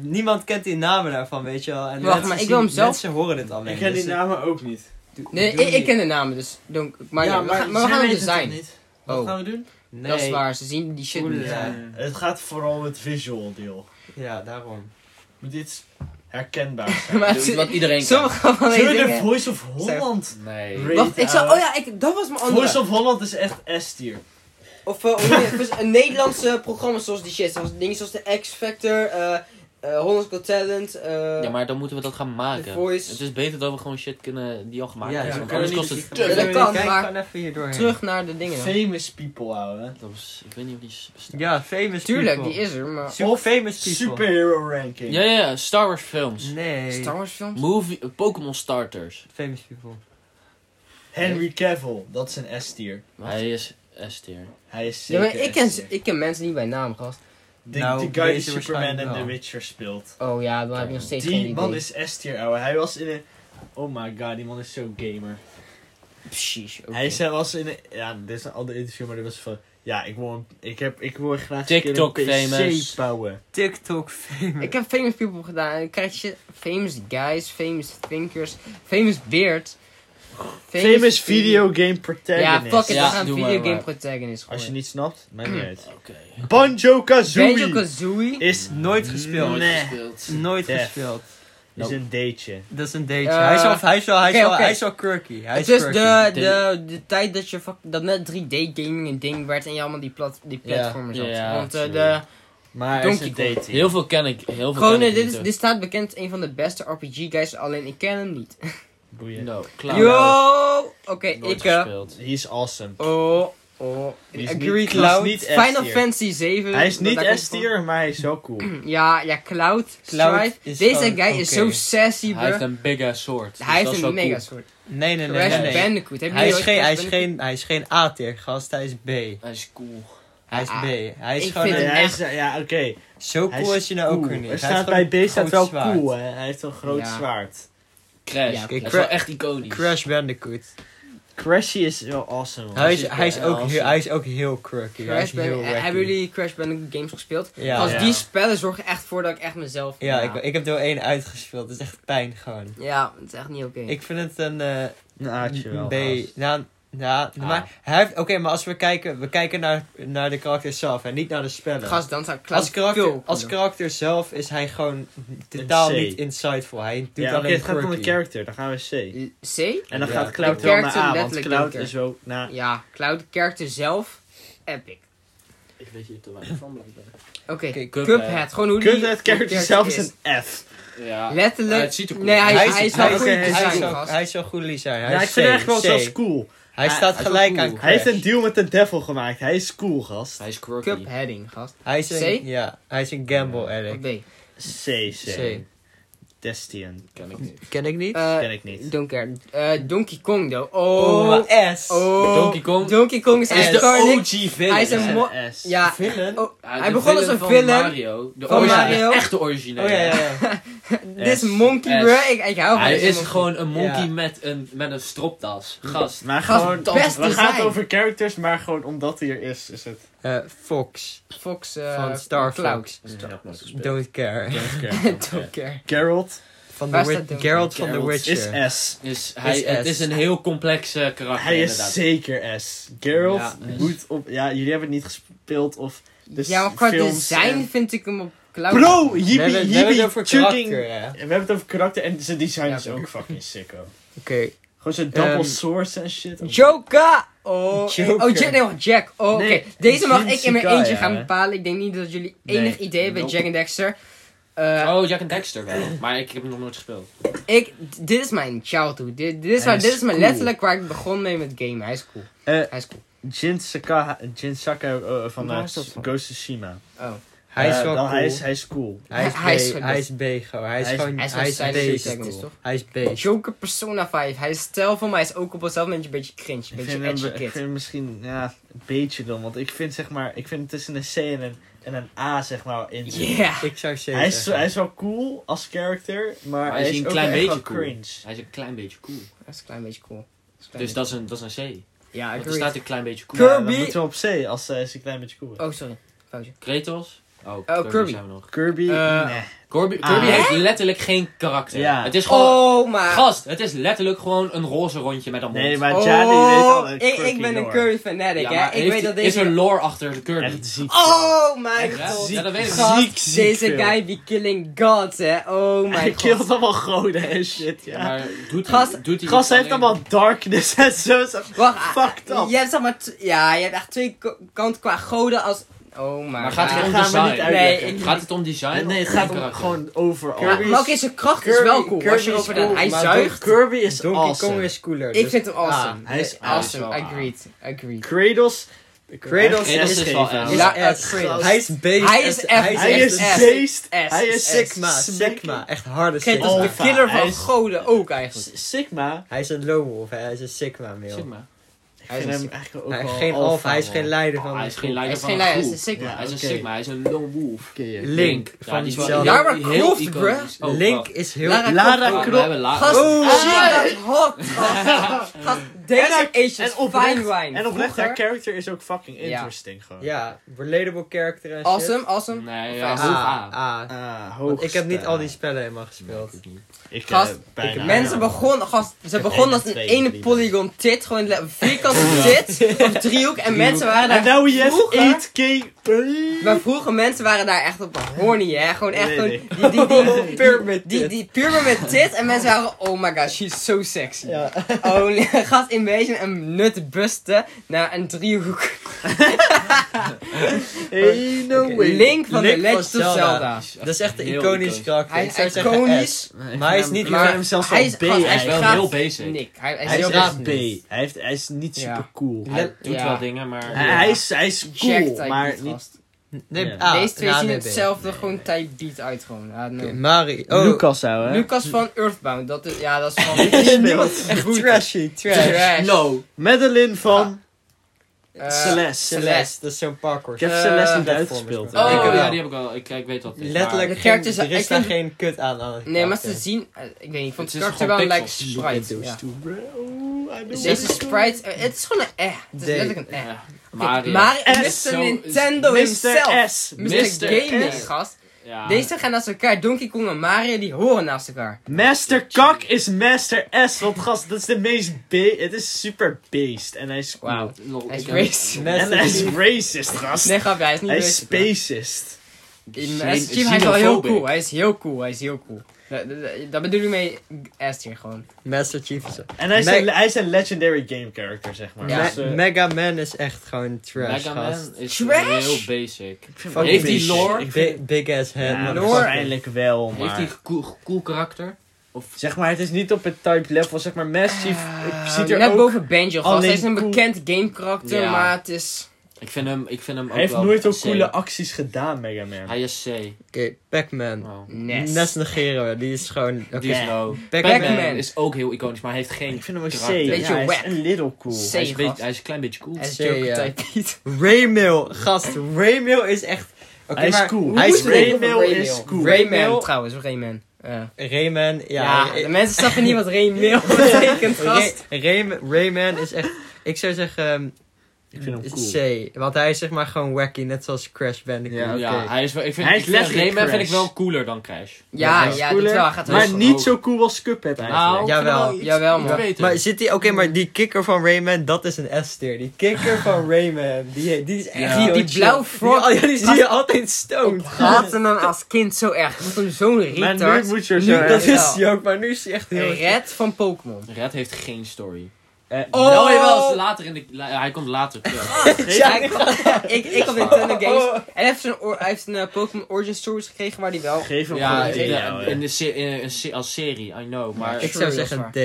Speaker 4: Niemand kent die namen daarvan, weet je wel. En
Speaker 3: Wacht,
Speaker 4: mensen
Speaker 3: maar ik
Speaker 4: zien-
Speaker 3: wil hem zelf-
Speaker 4: Mensen horen dit alleen.
Speaker 1: Ik ken die
Speaker 4: dus het-
Speaker 1: namen ook niet.
Speaker 4: doe-
Speaker 3: Nee,
Speaker 4: doe
Speaker 3: ik, ik
Speaker 4: niet.
Speaker 3: ken de namen, dus don't, maar, ja, we gaan- maar we gaan op design.
Speaker 1: Wat
Speaker 3: Oh,
Speaker 1: gaan we doen?
Speaker 4: Nee.
Speaker 3: dat is waar. Ze zien die shit
Speaker 4: Oeh,
Speaker 3: niet.
Speaker 4: ja.
Speaker 1: Het gaat vooral om het visual deel.
Speaker 4: Ja, daarom.
Speaker 1: Dit is herkenbaar zijn.
Speaker 3: Maar-
Speaker 2: Doe wat iedereen kan.
Speaker 3: Sommige van die
Speaker 1: Zullen we de
Speaker 3: dingen...
Speaker 1: Voice of Holland
Speaker 2: Nee.
Speaker 1: raten?
Speaker 3: Wacht, ik zou... Oh ja, ik, dat was mijn andere.
Speaker 1: Voice of Holland is echt S-tier.
Speaker 3: Of eh, hoe heet- dus een Nederlandse programma's zoals die shit. Zoals dingen zoals de X Factor, eh eh Holland's Got Talent. eh
Speaker 2: Ja, maar dan moeten we dat gaan
Speaker 3: The
Speaker 2: maken.
Speaker 3: Voice.
Speaker 2: Het is beter dat we gewoon shit kunnen die al gemaakt
Speaker 4: Ja,
Speaker 2: is.
Speaker 1: we
Speaker 2: want
Speaker 1: kunnen
Speaker 2: anders kost
Speaker 1: niet
Speaker 2: het
Speaker 1: die-
Speaker 2: te
Speaker 3: Ja,
Speaker 2: veel.
Speaker 3: dat kan,
Speaker 4: Kijk
Speaker 3: maar-
Speaker 4: gewoon even hier doorheen.
Speaker 3: Terug naar de dingen. dan.
Speaker 1: Famous people, ouwe.
Speaker 2: Dat was, ik weet niet of die s- bestaat.
Speaker 4: Ja, famous
Speaker 3: Tuurlijk,
Speaker 4: people.
Speaker 3: die is er, maar...
Speaker 4: Super famous people.
Speaker 1: Superhero ranking.
Speaker 2: Ja, ja, ja, Star Wars films.
Speaker 4: Nee.
Speaker 3: Star Wars films?
Speaker 2: Movie, eh, Pokémon starters.
Speaker 4: Famous people.
Speaker 1: Henry Cavill, dat is een S-tier.
Speaker 2: Hij is S-tier.
Speaker 1: Hij is
Speaker 3: Ja,
Speaker 1: zeker
Speaker 3: maar ik ken,
Speaker 1: S-tier.
Speaker 3: ik ken mensen niet bij naam, gast.
Speaker 1: De,
Speaker 4: Nou,
Speaker 1: de guy die
Speaker 4: deze
Speaker 1: Superman en
Speaker 4: waarschijnlijk
Speaker 1: The
Speaker 4: wel.
Speaker 1: Witcher speelt.
Speaker 3: Oh ja, dan heb ik nog steeds geen
Speaker 1: Die
Speaker 3: idee.
Speaker 1: man is S-tier, ouwe. Hij was in een... Oh my god, die man is zo gamer.
Speaker 2: Precies. oké.
Speaker 1: Hij zei, was in een... Ja, dit is een ander interview, maar dit was van... Ja, ik wil, een- ik heb, ik wil graag een keer
Speaker 2: TikTok
Speaker 1: een
Speaker 2: famous.
Speaker 1: PC bouwen.
Speaker 4: TikTok
Speaker 1: Hmm.
Speaker 4: famous.
Speaker 3: Ik heb famous people gedaan en dan krijg je shit- famous guys, famous thinkers, famous beard.
Speaker 1: Famous, videogame
Speaker 3: Ja,
Speaker 1: protagonist.
Speaker 3: fuck it, Hmm.
Speaker 2: Ja,
Speaker 3: we gaan
Speaker 2: doe maar,
Speaker 3: videogame
Speaker 2: maar.
Speaker 3: protagonist
Speaker 1: Als je
Speaker 3: gooien.
Speaker 1: niet snapt, maakt niet uit.
Speaker 2: Oké.
Speaker 1: Banjo-Kazooie
Speaker 3: Banjo-Kazooie?
Speaker 1: is...
Speaker 4: Nooit gespeeld.
Speaker 1: Nee.
Speaker 2: Gespeeld.
Speaker 4: Nooit
Speaker 1: Death.
Speaker 4: gespeeld.
Speaker 1: Is een dateje.
Speaker 4: Dat is een date.
Speaker 3: Eh,
Speaker 4: hij is al, hij is al, hij is
Speaker 3: oké,
Speaker 4: al-
Speaker 3: oké.
Speaker 4: hij is al quirky. Hij is
Speaker 3: Het is
Speaker 4: quirky.
Speaker 3: de, de, de tijd dat, je, fuck- dat net 3D gaming een ding werd en je allemaal die, plat, die
Speaker 1: Ja,
Speaker 3: platformers had.
Speaker 2: ja,
Speaker 3: Want eh,
Speaker 2: true.
Speaker 3: de,
Speaker 1: Maar
Speaker 3: hij is
Speaker 1: is
Speaker 3: Donkey
Speaker 1: een
Speaker 3: een Kong.
Speaker 1: dateje.
Speaker 2: Heel veel ken ik. Heel veel
Speaker 3: gewoon,
Speaker 2: ken
Speaker 3: eh,
Speaker 2: ik
Speaker 3: dit,
Speaker 2: niet,
Speaker 3: is,
Speaker 2: hoor.
Speaker 3: dit staat bekend een van de beste RPG guys, alleen ik ken hem niet.
Speaker 1: Boeien.
Speaker 2: No, klaar.
Speaker 3: Yo! Oké,
Speaker 2: Nooit
Speaker 3: ik... eh,
Speaker 2: gespeeld.
Speaker 1: He is awesome.
Speaker 3: oh, oh.
Speaker 1: Die is
Speaker 3: Agree
Speaker 1: niet- die is
Speaker 3: Cloud.
Speaker 1: niet
Speaker 3: Final
Speaker 1: S-tier.
Speaker 3: Fantasy 7.
Speaker 1: Hij is niet
Speaker 3: daar komt
Speaker 1: S-tier, maar hij is wel cool.
Speaker 3: van- Ja, ja, Cloud.
Speaker 4: Cloud
Speaker 3: Strife.
Speaker 4: is
Speaker 3: Deze guy
Speaker 4: gewoon
Speaker 3: is zo
Speaker 4: oké.
Speaker 3: sassy, bro.
Speaker 2: Hij heeft een big ass sword. dus
Speaker 3: Hij
Speaker 2: dat
Speaker 3: heeft
Speaker 2: is
Speaker 3: een
Speaker 2: wel
Speaker 3: mega
Speaker 2: cool.
Speaker 3: soort.
Speaker 4: Nee, nee, nee.
Speaker 3: Crash
Speaker 4: nee, nee.
Speaker 3: Bandicoot. Hebben
Speaker 4: Hij is
Speaker 3: jullie ooit
Speaker 4: geen, hij is
Speaker 3: Crash
Speaker 4: geen, hij is geen A-tier gast, hij is B.
Speaker 2: Hij is cool.
Speaker 4: Hij is
Speaker 3: Ah,
Speaker 4: B. Hij is
Speaker 3: ik
Speaker 4: gewoon
Speaker 3: vind
Speaker 1: Nee,
Speaker 3: hem
Speaker 4: een,
Speaker 1: hij
Speaker 3: echt-
Speaker 1: is, ja, oké.
Speaker 4: zo
Speaker 1: Hij
Speaker 4: cool
Speaker 1: is
Speaker 4: is hij nou ook
Speaker 1: cool.
Speaker 4: weer niet.
Speaker 1: Er
Speaker 4: Hij
Speaker 1: staat
Speaker 4: heeft
Speaker 1: bij
Speaker 4: gewoon
Speaker 1: B
Speaker 4: een
Speaker 1: staat
Speaker 4: groot
Speaker 1: wel
Speaker 4: zwaard.
Speaker 1: cool, hè. Hij heeft een groot
Speaker 3: Ja.
Speaker 1: zwaard.
Speaker 2: Crash.
Speaker 3: Ja,
Speaker 2: dat is
Speaker 4: Cra-
Speaker 2: wel echt iconisch.
Speaker 4: Crash Bandicoot.
Speaker 1: Crashy is wel awesome. man.
Speaker 4: Hij
Speaker 2: is
Speaker 4: is, hij is,
Speaker 2: wel
Speaker 4: ook,
Speaker 2: awesome.
Speaker 4: heel, hij is ook heel quirky. hij
Speaker 3: Crash
Speaker 4: is heel
Speaker 3: Bandicoot.
Speaker 4: wacky.
Speaker 3: Hebben jullie Crash Bandicoot games gespeeld?
Speaker 4: Ja,
Speaker 3: Als
Speaker 1: Ja.
Speaker 3: die spellen zorgen echt voor dat ik echt mezelf...
Speaker 4: ja, Ik, ik heb deel 1 uitgespeeld. Het is echt pijn gewoon.
Speaker 3: Ja, het is echt niet oké.
Speaker 4: Ik vind het een, eh,
Speaker 1: Een aardje wel.
Speaker 4: een B. Nou, nou,
Speaker 2: Ah.
Speaker 4: maar hij heeft... Oké, maar als we kijken, we kijken naar, naar de karakter zelf en niet naar de spellen.
Speaker 3: Gast, dan zou Cloud
Speaker 4: als, karakter,
Speaker 3: veel
Speaker 4: als
Speaker 3: cooler.
Speaker 4: karakter zelf is hij gewoon totaal
Speaker 1: C.
Speaker 4: niet insightful. Hij doet
Speaker 1: Ja, oké,
Speaker 4: alleen
Speaker 1: het gaat om de
Speaker 4: quirky.
Speaker 1: character. Dan gaan we C.
Speaker 3: C?
Speaker 1: En dan
Speaker 2: Ja.
Speaker 1: gaat Cloud
Speaker 3: De
Speaker 1: wel naar
Speaker 3: character
Speaker 1: A, want
Speaker 3: letterlijk
Speaker 1: Cloud
Speaker 3: de
Speaker 1: is wel naar...
Speaker 3: Ja, Cloud de karakter zelf. Epic.
Speaker 2: Ik weet hier te weinig van blijkbaar.
Speaker 3: Oké,
Speaker 4: Oké,
Speaker 3: Cuphead.
Speaker 2: Cuphead.
Speaker 3: Gewoon hoe die...
Speaker 1: Kunt het character zelf is een F.
Speaker 2: Ja.
Speaker 3: Letterlijk.
Speaker 2: Ah, het ziet er cool
Speaker 3: Nee,
Speaker 2: uit.
Speaker 3: hij,
Speaker 4: Hij
Speaker 3: hij,
Speaker 4: is-
Speaker 3: is wel
Speaker 4: hij is-
Speaker 3: goed
Speaker 1: oké, hij
Speaker 4: Hij
Speaker 3: design,
Speaker 4: is wel-
Speaker 3: gast.
Speaker 4: hij is wel goed design. Hij
Speaker 1: Ja,
Speaker 4: is
Speaker 1: ik vind
Speaker 4: C,
Speaker 1: hem echt wel
Speaker 4: C.
Speaker 1: zelfs cool.
Speaker 4: Hij
Speaker 1: Ja,
Speaker 4: staat
Speaker 2: hij is
Speaker 4: gelijk
Speaker 2: wel
Speaker 4: aan
Speaker 2: cool.
Speaker 1: Hij
Speaker 4: Crash.
Speaker 1: heeft een deal met de devil gemaakt. Hij is cool, gast.
Speaker 2: Hij is quirky.
Speaker 3: Cupheading, gast.
Speaker 4: Hij is een,
Speaker 3: C? Oh.
Speaker 4: ja, hij is een gamble addict.
Speaker 3: Wat ben je?
Speaker 1: C, C.
Speaker 4: C. Eh,
Speaker 1: Destian.
Speaker 2: Ken ik niet.
Speaker 4: Ken ik niet.
Speaker 3: Eh,
Speaker 1: Ken ik niet.
Speaker 3: Don't care. Eh, Donkey Kong, though. Oh,
Speaker 4: oh, maar S.
Speaker 3: oh.
Speaker 2: Donkey Kong
Speaker 3: Donkey Kong is
Speaker 2: is de
Speaker 3: iconic.
Speaker 2: OG villain.
Speaker 3: Hij is een mo-
Speaker 1: Een S.
Speaker 3: Ja.
Speaker 4: Villain?
Speaker 3: Oh,
Speaker 2: Ja, de
Speaker 3: hij begon als
Speaker 2: villain
Speaker 3: een
Speaker 2: van
Speaker 3: villain.
Speaker 2: Mario. De
Speaker 3: Van
Speaker 2: originele,
Speaker 3: Mario.
Speaker 2: echt de originele.
Speaker 4: Oh ja, ja, ja.
Speaker 3: Dit is
Speaker 1: S.
Speaker 3: Monkey,
Speaker 2: S.
Speaker 3: bro. Ik, ik hou van
Speaker 2: Hij
Speaker 3: deze
Speaker 2: is
Speaker 3: monkey.
Speaker 2: gewoon een monkey
Speaker 4: Ja.
Speaker 2: met, een, met een stropdas. Gast.
Speaker 1: Maar
Speaker 3: Gast,
Speaker 1: gewoon...
Speaker 3: dat best
Speaker 1: We gaan het
Speaker 3: design.
Speaker 1: over characters, maar gewoon omdat hij er is, is het...
Speaker 4: Eh, Fox.
Speaker 3: Fox eh,
Speaker 4: van Star Fox.
Speaker 1: Don't
Speaker 4: Don't care.
Speaker 1: care.
Speaker 3: Don't care.
Speaker 1: Geralt
Speaker 4: Van
Speaker 3: Waar
Speaker 4: de
Speaker 3: staat
Speaker 4: Wit
Speaker 3: Don't
Speaker 4: Geralt van
Speaker 2: Geralt
Speaker 4: The
Speaker 2: is
Speaker 1: is
Speaker 4: Witcher.
Speaker 1: S.
Speaker 2: Is, hij,
Speaker 4: Is
Speaker 2: het
Speaker 4: S.
Speaker 2: is een heel complex eh, karakter
Speaker 1: Hij is
Speaker 2: inderdaad.
Speaker 1: zeker S. Geralt
Speaker 2: Ja, dus- S.
Speaker 1: moet op... Ja, jullie hebben het niet gespeeld of... Dus
Speaker 3: ja, maar qua
Speaker 1: films
Speaker 3: design
Speaker 1: en-
Speaker 3: vind ik hem op Cloud.
Speaker 1: Bro,
Speaker 4: We hebben-
Speaker 1: hippie,
Speaker 4: we hebben het
Speaker 1: hippie,
Speaker 4: over
Speaker 1: chugging.
Speaker 4: karakter, hè.
Speaker 1: We hebben het over karakter en zijn design
Speaker 3: Ja,
Speaker 1: is
Speaker 3: oké.
Speaker 1: ook fucking sicko.
Speaker 4: Oké.
Speaker 1: Gewoon zijn double
Speaker 4: Ehm,
Speaker 1: swords en shit.
Speaker 3: Joker! Oh,
Speaker 4: Joker.
Speaker 3: oh Jack, nee, wacht, Jack. Oh, oké.
Speaker 1: Nee,
Speaker 3: Deze mag
Speaker 1: Jin
Speaker 3: ik in mijn
Speaker 1: Sakai,
Speaker 3: eentje
Speaker 1: ja,
Speaker 3: gaan
Speaker 1: hè.
Speaker 3: bepalen. Ik denk niet dat jullie enig
Speaker 1: Nee,
Speaker 3: idee hebben,
Speaker 2: nope.
Speaker 3: Jack en Dexter. Eh,
Speaker 2: Oh, Jack en Dexter wel. Maar ik heb hem nog nooit gespeeld.
Speaker 3: ik, dit is mijn childhood. Dit, dit is,
Speaker 1: Hij
Speaker 3: waar, dit
Speaker 1: is
Speaker 3: is mijn
Speaker 1: cool.
Speaker 3: letterlijk waar ik begon mee met gamen. Hij is cool.
Speaker 1: Eh,
Speaker 3: Hij is cool.
Speaker 1: Jin Saka, Jin Saka eh, van
Speaker 3: Waar
Speaker 1: eh,
Speaker 3: is dat van?
Speaker 1: Ghost of Tsushima.
Speaker 3: Oh.
Speaker 4: Hij is
Speaker 1: Eh,
Speaker 4: wel
Speaker 1: dan-
Speaker 4: cool.
Speaker 1: hij, is, hij is cool.
Speaker 4: Hij is
Speaker 3: Hij is
Speaker 4: B,
Speaker 3: gewoon-
Speaker 4: hij is B, gewoon. Hij is
Speaker 1: Hij is-
Speaker 4: gewoon,
Speaker 3: hij is
Speaker 4: hij is
Speaker 3: gewoon silent
Speaker 4: beest.
Speaker 3: protagonist, toch?
Speaker 4: Hij is beest.
Speaker 3: Joker Persona 5. Hij is stijl van mij is ook op hetzelfde moment een beetje cringe. Een
Speaker 1: Ik
Speaker 3: beetje
Speaker 1: vind, hem,
Speaker 3: edgy
Speaker 1: ik vind
Speaker 3: kid.
Speaker 1: hem misschien ja, een beetje dom. Want ik vind zeg maar, ik vind tussen een C en een, en een A zeg maar in. zitten.
Speaker 3: Yeah.
Speaker 4: Ik zou zeker.
Speaker 1: Hij, is, hij is wel cool als character, maar,
Speaker 2: Maar
Speaker 1: hij
Speaker 2: is
Speaker 1: is,
Speaker 2: hij een
Speaker 1: ook
Speaker 2: klein
Speaker 1: echt wel
Speaker 2: beetje cool?
Speaker 1: cringe.
Speaker 2: Hij is een klein beetje cool.
Speaker 3: Dat is een klein beetje cool. Dat is een klein
Speaker 2: Dus dat is een, dat is een C.
Speaker 3: beetje- Ja,
Speaker 2: Want
Speaker 3: ik
Speaker 2: er staat een klein beetje cool.
Speaker 3: Kirby-
Speaker 1: eh, Ja, dan moeten we op C als hij is een klein beetje cool. is.
Speaker 3: Oh, sorry. Foutje.
Speaker 2: Kratos? Oh,
Speaker 3: Kirby.
Speaker 2: Kirby zijn we nog.
Speaker 4: Kirby.
Speaker 2: Eh,
Speaker 4: nee.
Speaker 2: Kirby,
Speaker 4: Ah.
Speaker 2: Kirby
Speaker 4: Hè?
Speaker 2: heeft letterlijk geen karakter.
Speaker 4: Ja.
Speaker 2: Het is gewoon...
Speaker 3: Oh, maar...
Speaker 2: Gast, het is letterlijk gewoon een roze rondje met een mond.
Speaker 1: Nee, maar
Speaker 3: oh,
Speaker 1: Charlie weet al een
Speaker 3: ik, ik
Speaker 1: quirky
Speaker 3: ben een
Speaker 1: lore.
Speaker 3: Kirby fanatic,
Speaker 2: Ja,
Speaker 3: hè.
Speaker 2: maar
Speaker 3: Ik
Speaker 2: heeft-
Speaker 3: weet dat
Speaker 2: Is
Speaker 3: deze...
Speaker 2: er lore achter de Kirby?
Speaker 1: Echt ziek.
Speaker 3: Oh my
Speaker 2: Echt
Speaker 3: god.
Speaker 2: ziek. Ja, dat weet ik.
Speaker 3: Gast,
Speaker 1: Ziek, ziek
Speaker 3: Deze
Speaker 1: veel.
Speaker 3: guy be killing gods, hè. Oh
Speaker 1: Hij
Speaker 3: my
Speaker 1: killt
Speaker 3: god.
Speaker 1: allemaal goden en shit, ja.
Speaker 2: Ja, maar doet hij...
Speaker 3: Gast-
Speaker 2: doet hij
Speaker 1: Gast
Speaker 2: iets
Speaker 1: heeft
Speaker 2: alleen?
Speaker 1: allemaal darkness en zo. zo.
Speaker 3: Wacht, ah,
Speaker 1: Fucked up.
Speaker 3: je hebt zeg maar... tw- Ja, je hebt echt twee ko- kanten qua goden als... Oh my
Speaker 2: Maar gaat
Speaker 3: god.
Speaker 2: het om
Speaker 1: Gaan we
Speaker 2: design?
Speaker 1: niet uitleggen.
Speaker 3: Nee, ik-
Speaker 2: Gaat het om design?
Speaker 1: Nee, het
Speaker 2: of
Speaker 1: gaat om
Speaker 2: karakter?
Speaker 1: gewoon overal.
Speaker 3: Ja, maar oké, zijn kracht is wel cool. als je over dat... Hij zuigt.
Speaker 1: Kirby is
Speaker 4: Donkey
Speaker 1: awesome.
Speaker 4: Kong is cooler.
Speaker 3: Ik
Speaker 4: dus-
Speaker 3: vind hem awesome.
Speaker 1: Ah, hij is
Speaker 3: Nee, awesome.
Speaker 2: awesome.
Speaker 3: Agreed. Agreed.
Speaker 1: Kratos. Kratos
Speaker 2: Kratos
Speaker 1: is
Speaker 2: is
Speaker 1: geen
Speaker 2: wel
Speaker 1: fan.
Speaker 2: echt-
Speaker 1: Hij
Speaker 3: Ja,
Speaker 4: Hij is
Speaker 3: echt
Speaker 4: echt-
Speaker 3: groot.
Speaker 4: Hij is beest.
Speaker 3: Hij is
Speaker 4: as-
Speaker 3: echt-
Speaker 4: Hij
Speaker 1: Hij
Speaker 4: is
Speaker 1: is
Speaker 3: is echt-
Speaker 1: beest.
Speaker 3: echt-
Speaker 1: Hij is
Speaker 3: echt-
Speaker 1: Sigma.
Speaker 4: Sigma. Sigma. Echt harde
Speaker 3: Kratos
Speaker 1: Oh,
Speaker 3: is
Speaker 4: Sigma.
Speaker 3: de
Speaker 1: fuck.
Speaker 3: killer
Speaker 1: Hij
Speaker 3: van
Speaker 1: is-
Speaker 3: goden ook eigenlijk.
Speaker 1: Sigma.
Speaker 4: Hij is een lone wolf. hè. Hij is een Sigma male.
Speaker 2: Sigma.
Speaker 1: Hij is
Speaker 3: is een
Speaker 1: hem
Speaker 3: Sigma.
Speaker 1: eigenlijk ook
Speaker 4: Hij is
Speaker 1: wel
Speaker 4: geen
Speaker 1: alpha,
Speaker 4: alf. Hij is
Speaker 1: man.
Speaker 4: geen leider
Speaker 2: Ah,
Speaker 4: van
Speaker 2: hij
Speaker 4: de
Speaker 2: is geen
Speaker 4: groep.
Speaker 3: Hij
Speaker 2: leider
Speaker 3: is
Speaker 2: van
Speaker 3: geen
Speaker 2: een
Speaker 3: leider, hij
Speaker 2: groep.
Speaker 3: is een sigma.
Speaker 1: Ja.
Speaker 2: Hij is een
Speaker 1: Oké.
Speaker 2: Sigma, hij is een lone wolf.
Speaker 1: Oké, ja.
Speaker 4: Link.
Speaker 2: Ja,
Speaker 4: Van
Speaker 2: die is wel
Speaker 4: diezelfde-
Speaker 2: heel-
Speaker 3: Ja, maar
Speaker 2: heel
Speaker 3: Croft,
Speaker 2: iconisch.
Speaker 3: bruh.
Speaker 2: Oh,
Speaker 4: Link
Speaker 2: fuck.
Speaker 4: is heel...
Speaker 3: Lara
Speaker 1: Lara
Speaker 2: Ah,
Speaker 1: Croft.
Speaker 2: we hebben Lara.
Speaker 3: Gast,
Speaker 4: Oh,
Speaker 3: shit,
Speaker 1: shit.
Speaker 3: dat is hot. Gast, gast, deze Asian fine wine.
Speaker 1: En oprecht, haar
Speaker 3: Vroeger-
Speaker 1: character is ook fucking
Speaker 3: Ja.
Speaker 1: interesting gewoon.
Speaker 4: Ja, relatable character en shit.
Speaker 3: Awesome, awesome.
Speaker 2: Nee,
Speaker 3: Of
Speaker 2: ja,
Speaker 3: hij-
Speaker 2: hoef
Speaker 4: Ah,
Speaker 2: aan.
Speaker 4: ah.
Speaker 1: Ah,
Speaker 4: Want ik heb niet
Speaker 1: hoogste.
Speaker 4: al die spellen helemaal gespeeld.
Speaker 1: Ik, eh,
Speaker 3: Gast,
Speaker 1: bijna.
Speaker 4: ik-
Speaker 3: Mensen
Speaker 1: Ja.
Speaker 3: begonnen, gast, ze
Speaker 1: heb
Speaker 3: begonnen
Speaker 1: één
Speaker 3: als
Speaker 1: en
Speaker 3: een
Speaker 1: Nou. twee,
Speaker 3: ene
Speaker 1: drie.
Speaker 3: polygon tit, gewoon een vierkante tit, of driehoek, en mensen waren
Speaker 1: En
Speaker 3: daar...
Speaker 1: nou je
Speaker 3: Vroeger-
Speaker 1: hebt 8K.
Speaker 3: Maar vroeger mensen waren daar echt op horny, hè? Gewoon echt
Speaker 1: Nee,
Speaker 3: gewoon
Speaker 1: nee.
Speaker 3: die, die, die,
Speaker 4: Puur met
Speaker 3: die, die,
Speaker 4: dit.
Speaker 3: puur maar met tit, en mensen waren, oh my god, she's so sexy.
Speaker 4: Ja.
Speaker 3: Oh, nee, gast, imagine een nut busten naar een driehoek.
Speaker 1: Ain't no way.
Speaker 3: Link van de
Speaker 4: Link van
Speaker 3: Legend of
Speaker 4: Zelda.
Speaker 3: Zelda.
Speaker 4: Dat is echt een
Speaker 2: Heel
Speaker 4: iconisch
Speaker 2: iconisch.
Speaker 4: karakter.
Speaker 3: Hij
Speaker 4: Ik zou
Speaker 3: is
Speaker 4: zeggen
Speaker 3: iconisch.
Speaker 4: S. Maar hij is niet...
Speaker 1: Maar- hem zelfs wel B,
Speaker 3: gast,
Speaker 1: hij
Speaker 2: is wel
Speaker 3: gaat-
Speaker 2: heel basic.
Speaker 3: Nick, hij, hij
Speaker 1: Hij is
Speaker 3: is
Speaker 1: echt
Speaker 3: heel
Speaker 1: B.
Speaker 3: basic.
Speaker 1: Hij, heeft, hij is niet
Speaker 3: Ja.
Speaker 1: super cool. Hij,
Speaker 2: Hij doet
Speaker 3: Ja.
Speaker 2: wel dingen, maar...
Speaker 1: hij- hij is, hij is cool,
Speaker 3: Jacked,
Speaker 1: maar niet...
Speaker 4: Nee,
Speaker 1: Ja.
Speaker 4: ah,
Speaker 3: Deze twee
Speaker 4: nou,
Speaker 3: zien
Speaker 4: nee, nee.
Speaker 3: hetzelfde, gewoon type beat uit gewoon. Ah, no.
Speaker 4: Oké, Mario. Oh,
Speaker 1: Lucas zou, hè?
Speaker 3: Lucas van Earthbound, dat is, ja, dat is van...
Speaker 1: Niemand.
Speaker 4: Echt trashy, trash.
Speaker 3: Trash.
Speaker 2: No.
Speaker 1: Madeline van
Speaker 3: Eh,
Speaker 1: Celeste.
Speaker 4: Celeste, dat is zo'n parkour.
Speaker 1: Ik heb Celeste niet
Speaker 4: Eh,
Speaker 1: uitgespeeld.
Speaker 4: Oh.
Speaker 2: ik,
Speaker 1: Ik-
Speaker 2: ja, die heb ik al. Ik, ik weet wat. het is,
Speaker 4: Letterlijk,
Speaker 3: Maar-
Speaker 4: geen-
Speaker 3: Characters zijn-
Speaker 4: er is
Speaker 3: ik
Speaker 4: daar
Speaker 3: vind-
Speaker 4: geen kut aan. aan het
Speaker 3: Nee, maar
Speaker 4: karakter.
Speaker 3: ze zien, eh, ik weet niet, ik
Speaker 2: Het
Speaker 3: vond het
Speaker 2: is
Speaker 3: karakter wel
Speaker 2: gewoon
Speaker 3: een like
Speaker 2: pixels.
Speaker 1: Look at
Speaker 3: sprite.
Speaker 1: those
Speaker 3: ja.
Speaker 1: two, bro. I know
Speaker 3: Deze
Speaker 1: what you
Speaker 3: sprite, eh, het is gewoon een eh. Het is
Speaker 4: Nee.
Speaker 3: letterlijk een eh.
Speaker 2: Ja.
Speaker 3: Maar
Speaker 2: Mario.
Speaker 3: Mr.
Speaker 2: Zo-
Speaker 3: Nintendo
Speaker 1: Mr.
Speaker 3: himself.
Speaker 1: S.
Speaker 3: Mr.
Speaker 2: Mr.
Speaker 3: Gaming,
Speaker 2: S. Ah.
Speaker 3: gast.
Speaker 2: Ja.
Speaker 3: Deze gaan naast elkaar. Donkey Kong en Mario, die horen naast elkaar.
Speaker 1: Master Kak is Master S. Want gast, dat is de meest B. Het is super beest. En hij is cool.
Speaker 3: Wauw.
Speaker 2: Lol,
Speaker 3: Hij is
Speaker 2: ik heb-
Speaker 3: racist.
Speaker 1: En hij is
Speaker 4: Master Chief.
Speaker 1: racist, gast.
Speaker 3: Nee, grapje, hij is niet
Speaker 1: hij is
Speaker 3: racist, maar-
Speaker 1: spacist.
Speaker 3: In
Speaker 2: Zijn-
Speaker 3: Master Chief, hij is wel heel
Speaker 2: xenophobic.
Speaker 3: cool. Hij is heel cool, hij is heel cool. Da- da- da- Dat bedoel ik mee S hier gewoon.
Speaker 4: Master Chief is...
Speaker 1: En hij is,
Speaker 4: Nee.
Speaker 1: een, hij is een legendary game character, zeg maar.
Speaker 3: Ja.
Speaker 4: Me-
Speaker 1: Dus, eh,
Speaker 4: Mega Man is echt gewoon trash,
Speaker 2: Mega
Speaker 4: gast.
Speaker 2: Man is
Speaker 3: Trash?
Speaker 2: heel basic.
Speaker 1: ik vind
Speaker 4: Fuck
Speaker 1: hem
Speaker 2: Heeft
Speaker 1: een
Speaker 2: die
Speaker 1: beetje-
Speaker 2: lore?
Speaker 1: ik vind-
Speaker 4: Big, big ass head.
Speaker 1: Ja,
Speaker 4: man.
Speaker 3: lore?
Speaker 1: waarschijnlijk wel, maar...
Speaker 2: Heeft hij cool, cool karakter? Of
Speaker 1: Zeg maar, het is niet op het type level. Zeg maar, Master Chief
Speaker 3: Ah,
Speaker 1: eh, ziet er
Speaker 3: Ehm, Net
Speaker 1: ook...
Speaker 3: boven Banjo, gast.
Speaker 1: alleen
Speaker 3: Hij is een
Speaker 1: cool-
Speaker 3: bekend gamekarakter,
Speaker 2: Ja.
Speaker 3: maar het is...
Speaker 2: ik vind hem, ik vind hem ook
Speaker 1: Hij heeft
Speaker 2: wel
Speaker 1: nooit ook
Speaker 2: C.
Speaker 1: coole acties gedaan, Mega Man.
Speaker 2: Hij is C.
Speaker 4: Oké, Pac-Man.
Speaker 2: Wow.
Speaker 3: Nes.
Speaker 4: Nes negeren we, die is gewoon... oké.
Speaker 2: Die is low.
Speaker 4: Pac-Man.
Speaker 2: Pac-Man is ook heel iconisch, maar hij heeft geen...
Speaker 1: Ik vind hem ook C.
Speaker 2: karakter.
Speaker 1: Ja,
Speaker 3: Beetje
Speaker 1: hij is
Speaker 3: wack.
Speaker 1: een little cool.
Speaker 3: C.
Speaker 2: Hij is, een beetje-
Speaker 3: gast.
Speaker 2: hij is een klein beetje cool.
Speaker 3: Hij is
Speaker 4: Zee,
Speaker 3: Joker
Speaker 4: ja.
Speaker 3: type beat.
Speaker 4: Raymail, gast. Raymail is echt... Oké,
Speaker 1: Hij is
Speaker 4: maar-
Speaker 1: cool.
Speaker 4: Hij
Speaker 3: Hoe
Speaker 4: is
Speaker 3: moeten we denken
Speaker 4: Ray...
Speaker 1: Raymail
Speaker 3: over
Speaker 1: is cool.
Speaker 3: Rayman
Speaker 4: Raymail-
Speaker 3: trouwens, Rayman. Ja,
Speaker 4: Rayman, ja. eh,
Speaker 3: ja,
Speaker 4: Ray-
Speaker 3: de mensen snappen niet wat Raymail betekent, gast.
Speaker 4: Ray- Rayman, Rayman is echt... Ik zou zeggen... ehm,
Speaker 1: Ik vind hem cool.
Speaker 4: C. Want hij is zeg maar gewoon wacky, net zoals Crash Bandicoot.
Speaker 1: Ja,
Speaker 2: Ja, hij is wel... Ik vind,
Speaker 1: Hij
Speaker 2: hij
Speaker 1: is
Speaker 2: ik vind
Speaker 1: letterlijk
Speaker 2: Rayman vind
Speaker 1: Crash.
Speaker 2: ik wel cooler dan Crash.
Speaker 3: Ja,
Speaker 4: Dat is
Speaker 3: ja, dat
Speaker 1: cooler,
Speaker 3: wel. hij Gaat
Speaker 1: Maar
Speaker 3: heel
Speaker 1: niet zo cool als Cuphead
Speaker 2: Nou,
Speaker 1: eigenlijk.
Speaker 2: ik vind
Speaker 4: Jawel,
Speaker 2: hem wel iets-
Speaker 3: jawel,
Speaker 2: iets
Speaker 3: man.
Speaker 2: beter.
Speaker 4: Maar zit die... Oké, maar die kikker van Rayman, dat is een S-tier. Die kikker van Rayman, die, die is echt
Speaker 2: Ja.
Speaker 4: heel
Speaker 3: Die- die
Speaker 4: chill.
Speaker 3: blauwe frog-
Speaker 4: Die, oh ja, die zie je altijd stoned.
Speaker 3: Had hem dan als kind zo erg. Ik vond hem zo'n
Speaker 1: maar nu
Speaker 3: retard.
Speaker 1: moet je er zo...
Speaker 4: Nu, dat
Speaker 1: uit.
Speaker 3: Ja.
Speaker 4: is hij ook, maar nu is hij echt heel...
Speaker 3: Red van Pokémon.
Speaker 2: Red heeft geen story.
Speaker 1: Eh,
Speaker 3: Oh.
Speaker 2: Nou, jawel, is later in de... la- Hij komt later terug.
Speaker 3: Ja, ik, ik, ik op Nintendo Games.
Speaker 4: Oh.
Speaker 3: En hij heeft zo'n or- hij heeft een eh, Pokémon Origin Stories gekregen waar hij wel...
Speaker 1: Geef hem
Speaker 2: ja,
Speaker 1: gewoon een E.
Speaker 2: in,
Speaker 1: D, ouwe.
Speaker 2: de, in de se- in een se- als serie, I know. Maar
Speaker 4: Ik zou zeggen D.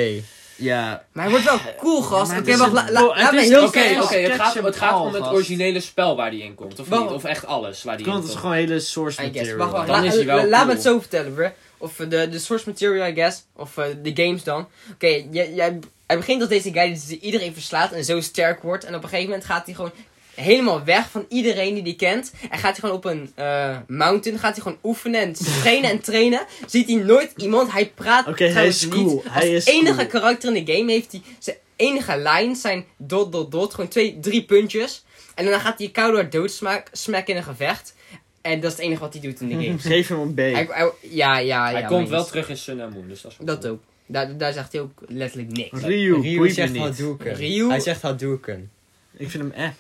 Speaker 1: Ja.
Speaker 3: Maar hij wordt wel cool, gast.
Speaker 1: maar
Speaker 3: Oké,
Speaker 1: het is
Speaker 3: wacht.
Speaker 1: een-
Speaker 3: la- la-
Speaker 1: Oh, het
Speaker 3: Laat me
Speaker 1: is-
Speaker 3: heel
Speaker 2: Oké,
Speaker 1: Oké,
Speaker 2: oké,
Speaker 3: serieus...
Speaker 1: sketch
Speaker 2: het gaat,
Speaker 1: hem
Speaker 2: het gaat
Speaker 1: al,
Speaker 2: om het
Speaker 1: gast.
Speaker 2: originele spel waar die in komt, of
Speaker 3: Waarom?
Speaker 2: niet? Of echt alles waar die in
Speaker 1: Komt
Speaker 2: komt.
Speaker 1: dus gewoon hele source
Speaker 3: I guess.
Speaker 1: material.
Speaker 3: Wacht, wacht.
Speaker 2: Dan
Speaker 3: la-
Speaker 2: is hij wel
Speaker 3: la- Laat me
Speaker 2: cool.
Speaker 3: het zo vertellen, bruh. Of eh, de, de source material, I guess. Of eh, de games dan. Oké, jij- jij- hij begint als deze guy die iedereen verslaat en zo sterk wordt. En op een gegeven moment gaat hij gewoon helemaal weg van iedereen die hij kent. En gaat hij gewoon op een eh, mountain, gaat hij gewoon oefenen en trainen en trainen. Ziet hij nooit iemand, hij praat
Speaker 1: Oké, hij
Speaker 3: trouwens
Speaker 1: is
Speaker 3: niet.
Speaker 1: cool.
Speaker 3: Als
Speaker 1: Hij is
Speaker 3: enige
Speaker 1: cool.
Speaker 3: karakter in de game heeft hij zijn enige lines zijn dot dot dot, gewoon twee, drie puntjes. En daarna gaat hij Koudor doodsmaak smack in een gevecht. En dat is het enige wat hij doet in de game.
Speaker 1: Geef hem een B.
Speaker 3: Hij- hij- ja, ja, ja.
Speaker 2: Hij komt
Speaker 3: maar
Speaker 2: wel
Speaker 3: niet.
Speaker 2: terug in Sun and Moon, dus dat is wel
Speaker 3: Dat
Speaker 2: cool.
Speaker 3: ook. Daar, daar zegt hij ook letterlijk niks.
Speaker 1: Ryu,
Speaker 4: Ryu
Speaker 1: boeit me
Speaker 4: zegt
Speaker 1: niet.
Speaker 4: Hadouken.
Speaker 3: Ryu-
Speaker 4: Hij zegt Hadouken.
Speaker 1: Ik vind hem eh.
Speaker 2: Ja,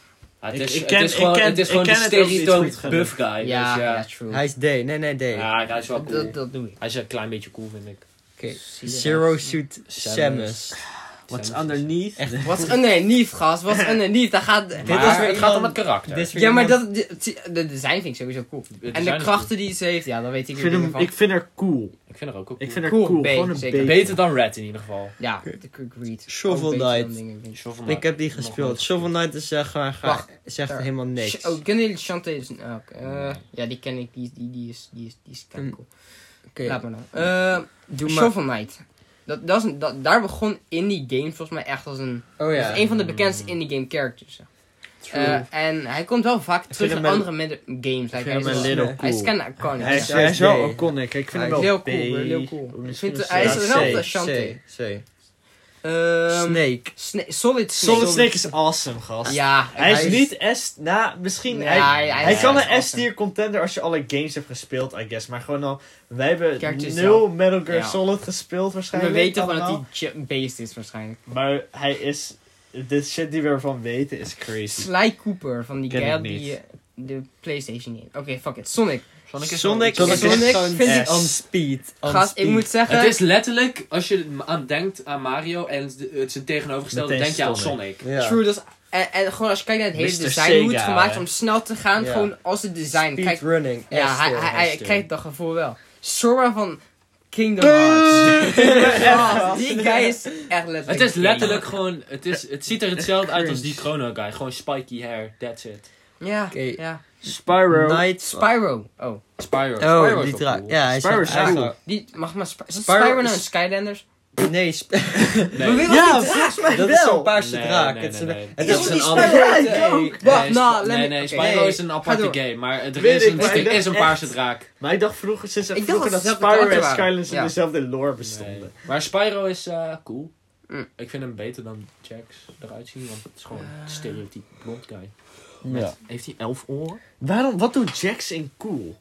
Speaker 2: Ah, het,
Speaker 1: Ik-
Speaker 2: is,
Speaker 1: ik
Speaker 2: het
Speaker 1: ken-
Speaker 2: is gewoon,
Speaker 1: ik ken-
Speaker 2: het is
Speaker 1: ik
Speaker 2: gewoon de
Speaker 1: ken het ook niet goed
Speaker 2: stereotype
Speaker 1: genoeg.
Speaker 2: buff guy.
Speaker 3: Ja,
Speaker 2: dus
Speaker 3: ja,
Speaker 2: ja.
Speaker 3: true.
Speaker 4: Hij is D. Nee, nee, D.
Speaker 2: Ja, hij is wel cool.
Speaker 3: dat, dat doe ik.
Speaker 2: Hij is een klein beetje cool, vind ik.
Speaker 4: Oké.
Speaker 3: Zie je
Speaker 4: Zero
Speaker 3: dat?
Speaker 4: Suit
Speaker 2: Samus.
Speaker 4: Samus.
Speaker 1: What's
Speaker 2: Samus is-
Speaker 1: underneath?
Speaker 4: Echt.
Speaker 3: Wat underneath, gast. Wat underneath. Daar gaat...
Speaker 4: Dit
Speaker 2: Maar
Speaker 4: is weer
Speaker 2: het gaat om
Speaker 4: iemand-
Speaker 2: het karakter.
Speaker 4: Dit is weer
Speaker 3: Ja, maar
Speaker 4: iemand-
Speaker 3: dat, die- zie- de design vind ik sowieso cool.
Speaker 2: Het
Speaker 3: En de
Speaker 2: design is
Speaker 3: krachten die ze heeft, ja, dan weet ik
Speaker 1: Ik
Speaker 3: weer
Speaker 1: vind,
Speaker 3: dingen
Speaker 1: hem,
Speaker 3: van.
Speaker 1: ik vind haar cool.
Speaker 2: cool. Ik vind haar ook wel cool.
Speaker 1: Ik vind haar
Speaker 3: Cool,
Speaker 1: cool.
Speaker 3: B,
Speaker 1: Gewoon een
Speaker 3: zeker.
Speaker 1: B.
Speaker 2: Beter dan Red in ieder geval.
Speaker 3: Ja, de Quick Read.
Speaker 4: Shovel
Speaker 3: Ook beter dan
Speaker 4: Knight.
Speaker 3: dingen, vind ik.
Speaker 2: Shovel
Speaker 4: Ik
Speaker 2: Knight.
Speaker 4: heb die
Speaker 2: Nog
Speaker 4: gespeeld.
Speaker 2: nooit
Speaker 4: Shovel Knight is echt gewoon... ga-
Speaker 3: Wacht.
Speaker 4: Zegt
Speaker 3: Daar.
Speaker 4: helemaal niks.
Speaker 3: Sh- Oh, kennen jullie Shantae? Ah, oké. Eh, ja, die ken ik. Die, die, die is, die is, die is kei
Speaker 4: Hmm.
Speaker 3: cool.
Speaker 4: Oké.
Speaker 3: Laat maar nou. Eh,
Speaker 4: Doe maar.
Speaker 3: Shovel Knight. Dat, dat is een- dat, daar begon indie game volgens mij echt als een...
Speaker 4: Oh
Speaker 3: Dat
Speaker 4: ja.
Speaker 3: is een van de bekendste indie game characters. zeg. Eh, en hij komt wel vaak terug
Speaker 4: hem
Speaker 3: in
Speaker 4: een-
Speaker 3: andere midden- games. Like, hij,
Speaker 1: vind
Speaker 3: is
Speaker 1: hem
Speaker 3: wel-
Speaker 4: een little
Speaker 3: eh, hij is
Speaker 1: cool.
Speaker 3: kind of iconic.
Speaker 1: Hij is,
Speaker 3: ja.
Speaker 1: hij is
Speaker 4: Ja,
Speaker 1: wel
Speaker 4: B.
Speaker 1: iconic. Ik vind
Speaker 3: Hij
Speaker 1: hem
Speaker 3: is
Speaker 1: wel
Speaker 3: heel
Speaker 1: B.
Speaker 3: cool, hoor, heel cool.
Speaker 1: Misschien
Speaker 3: Ik vind-
Speaker 1: is
Speaker 3: hij is
Speaker 1: ja,
Speaker 3: wel-
Speaker 1: C.
Speaker 3: Shantae.
Speaker 4: C.
Speaker 3: Ehm,
Speaker 4: Snake.
Speaker 3: Sna- Solid Snake.
Speaker 1: Solid Snake is awesome, gast.
Speaker 3: Ja.
Speaker 1: Hij is
Speaker 4: Hij is-
Speaker 1: niet S... Na, misschien...
Speaker 3: Nee,
Speaker 1: hij,
Speaker 3: hij-
Speaker 1: hij
Speaker 3: hij is
Speaker 1: kan
Speaker 3: echt
Speaker 1: een
Speaker 3: awesome.
Speaker 1: S-tier contender als je alle games hebt gespeeld, I guess. Maar gewoon al... Wij hebben
Speaker 3: Characters
Speaker 1: nul Metal Gear
Speaker 3: Ja.
Speaker 1: Solid gespeeld
Speaker 3: We
Speaker 1: waarschijnlijk.
Speaker 3: weten gewoon
Speaker 1: allemaal.
Speaker 3: dat hij ch- based is waarschijnlijk.
Speaker 1: Maar hij is... De shit die we ervan weten is crazy.
Speaker 3: Sly Cooper van die
Speaker 1: Ken ik
Speaker 3: guy
Speaker 1: niet.
Speaker 3: die eh, de Playstation niet. Oké, fuck it. Sonic.
Speaker 2: Sonic is
Speaker 4: Sonic,
Speaker 2: wel-
Speaker 3: Sonic
Speaker 4: is
Speaker 3: is
Speaker 4: gewoon
Speaker 3: vind ik-
Speaker 4: on speed. On
Speaker 3: Gast, ik
Speaker 4: speed.
Speaker 3: moet zeggen...
Speaker 2: Het is letterlijk, als je aan denkt aan Mario en het- het zijn tegenovergestelde,
Speaker 1: Meteen
Speaker 2: denk je aan
Speaker 1: Sonic.
Speaker 2: Sonic.
Speaker 4: Ja.
Speaker 3: True, dat is- en, en gewoon als je kijkt naar het hele
Speaker 1: Mr.
Speaker 3: design,
Speaker 1: Sega,
Speaker 3: hoe het gemaakt is
Speaker 1: hè?
Speaker 3: om snel te gaan,
Speaker 4: Ja.
Speaker 3: gewoon als het design.
Speaker 4: Speed
Speaker 3: Kijk,
Speaker 4: running.
Speaker 3: ja,
Speaker 4: S
Speaker 3: hij,
Speaker 4: tier,
Speaker 3: hij, hij
Speaker 4: S tier.
Speaker 3: krijgt dat gevoel wel. Sora van Kingdom Hearts. Gast, die guy is echt letterlijk.
Speaker 2: Het is
Speaker 3: king.
Speaker 2: letterlijk gewoon, het, is, het ziet er hetzelfde uit als die
Speaker 4: Cringe.
Speaker 2: Chrono Guy. Gewoon spiky hair, that's it.
Speaker 3: Ja,
Speaker 4: Oké.
Speaker 3: ja.
Speaker 1: Spyro.
Speaker 4: Knight.
Speaker 3: Spyro. Oh,
Speaker 2: Spyro. Spyro is
Speaker 4: Oh, die
Speaker 2: wel
Speaker 4: draak.
Speaker 2: cool.
Speaker 4: Ja, hij is
Speaker 1: Spyro
Speaker 4: echt
Speaker 1: is cool.
Speaker 4: eigenlijk-
Speaker 3: die mag maar. Spy- Spyro,
Speaker 4: Spyro
Speaker 3: Spyro nou
Speaker 4: is-
Speaker 3: een Skylanders?
Speaker 4: Nee, Sp-
Speaker 2: Nee.
Speaker 3: We willen
Speaker 1: Ja,
Speaker 3: niet-
Speaker 1: volgens mij
Speaker 4: dat is zo'n
Speaker 1: wel.
Speaker 4: paarse
Speaker 2: Nee,
Speaker 4: draak.
Speaker 2: nee,
Speaker 4: Het is
Speaker 2: nee,
Speaker 4: een-
Speaker 2: nee.
Speaker 4: Het
Speaker 2: Ja,
Speaker 4: is
Speaker 2: die
Speaker 4: een
Speaker 2: Spyro
Speaker 4: andere...
Speaker 1: is
Speaker 4: Nee,
Speaker 1: ook.
Speaker 4: nee,
Speaker 3: Wacht,
Speaker 2: Nee,
Speaker 3: nou,
Speaker 2: Sp-
Speaker 3: let
Speaker 2: nee,
Speaker 3: me-
Speaker 2: nee,
Speaker 3: oké.
Speaker 2: Spyro
Speaker 4: Nee.
Speaker 2: is een
Speaker 3: Ga
Speaker 2: aparte
Speaker 3: door.
Speaker 2: game, maar er
Speaker 1: Weet
Speaker 2: is
Speaker 1: ik,
Speaker 2: een,
Speaker 1: maar
Speaker 2: er
Speaker 1: ik
Speaker 2: is een
Speaker 1: dacht
Speaker 2: paarse
Speaker 1: echt-
Speaker 2: draak.
Speaker 1: Maar ik dacht vroeger, sinds
Speaker 3: Ik dacht
Speaker 1: vroeger
Speaker 3: dat
Speaker 1: dat
Speaker 3: ze zelf
Speaker 1: Spyro en
Speaker 3: waren.
Speaker 1: Skylines
Speaker 3: Ja.
Speaker 1: in dezelfde lore bestonden.
Speaker 2: Nee. Maar Spyro is eh, cool.
Speaker 3: Mm.
Speaker 2: Ik vind hem beter dan Jax eruit zien, want het is gewoon een stereotype blond guy.
Speaker 1: Ja.
Speaker 2: Heeft hij elf oren?
Speaker 1: Waarom, wat doet Jax in cool?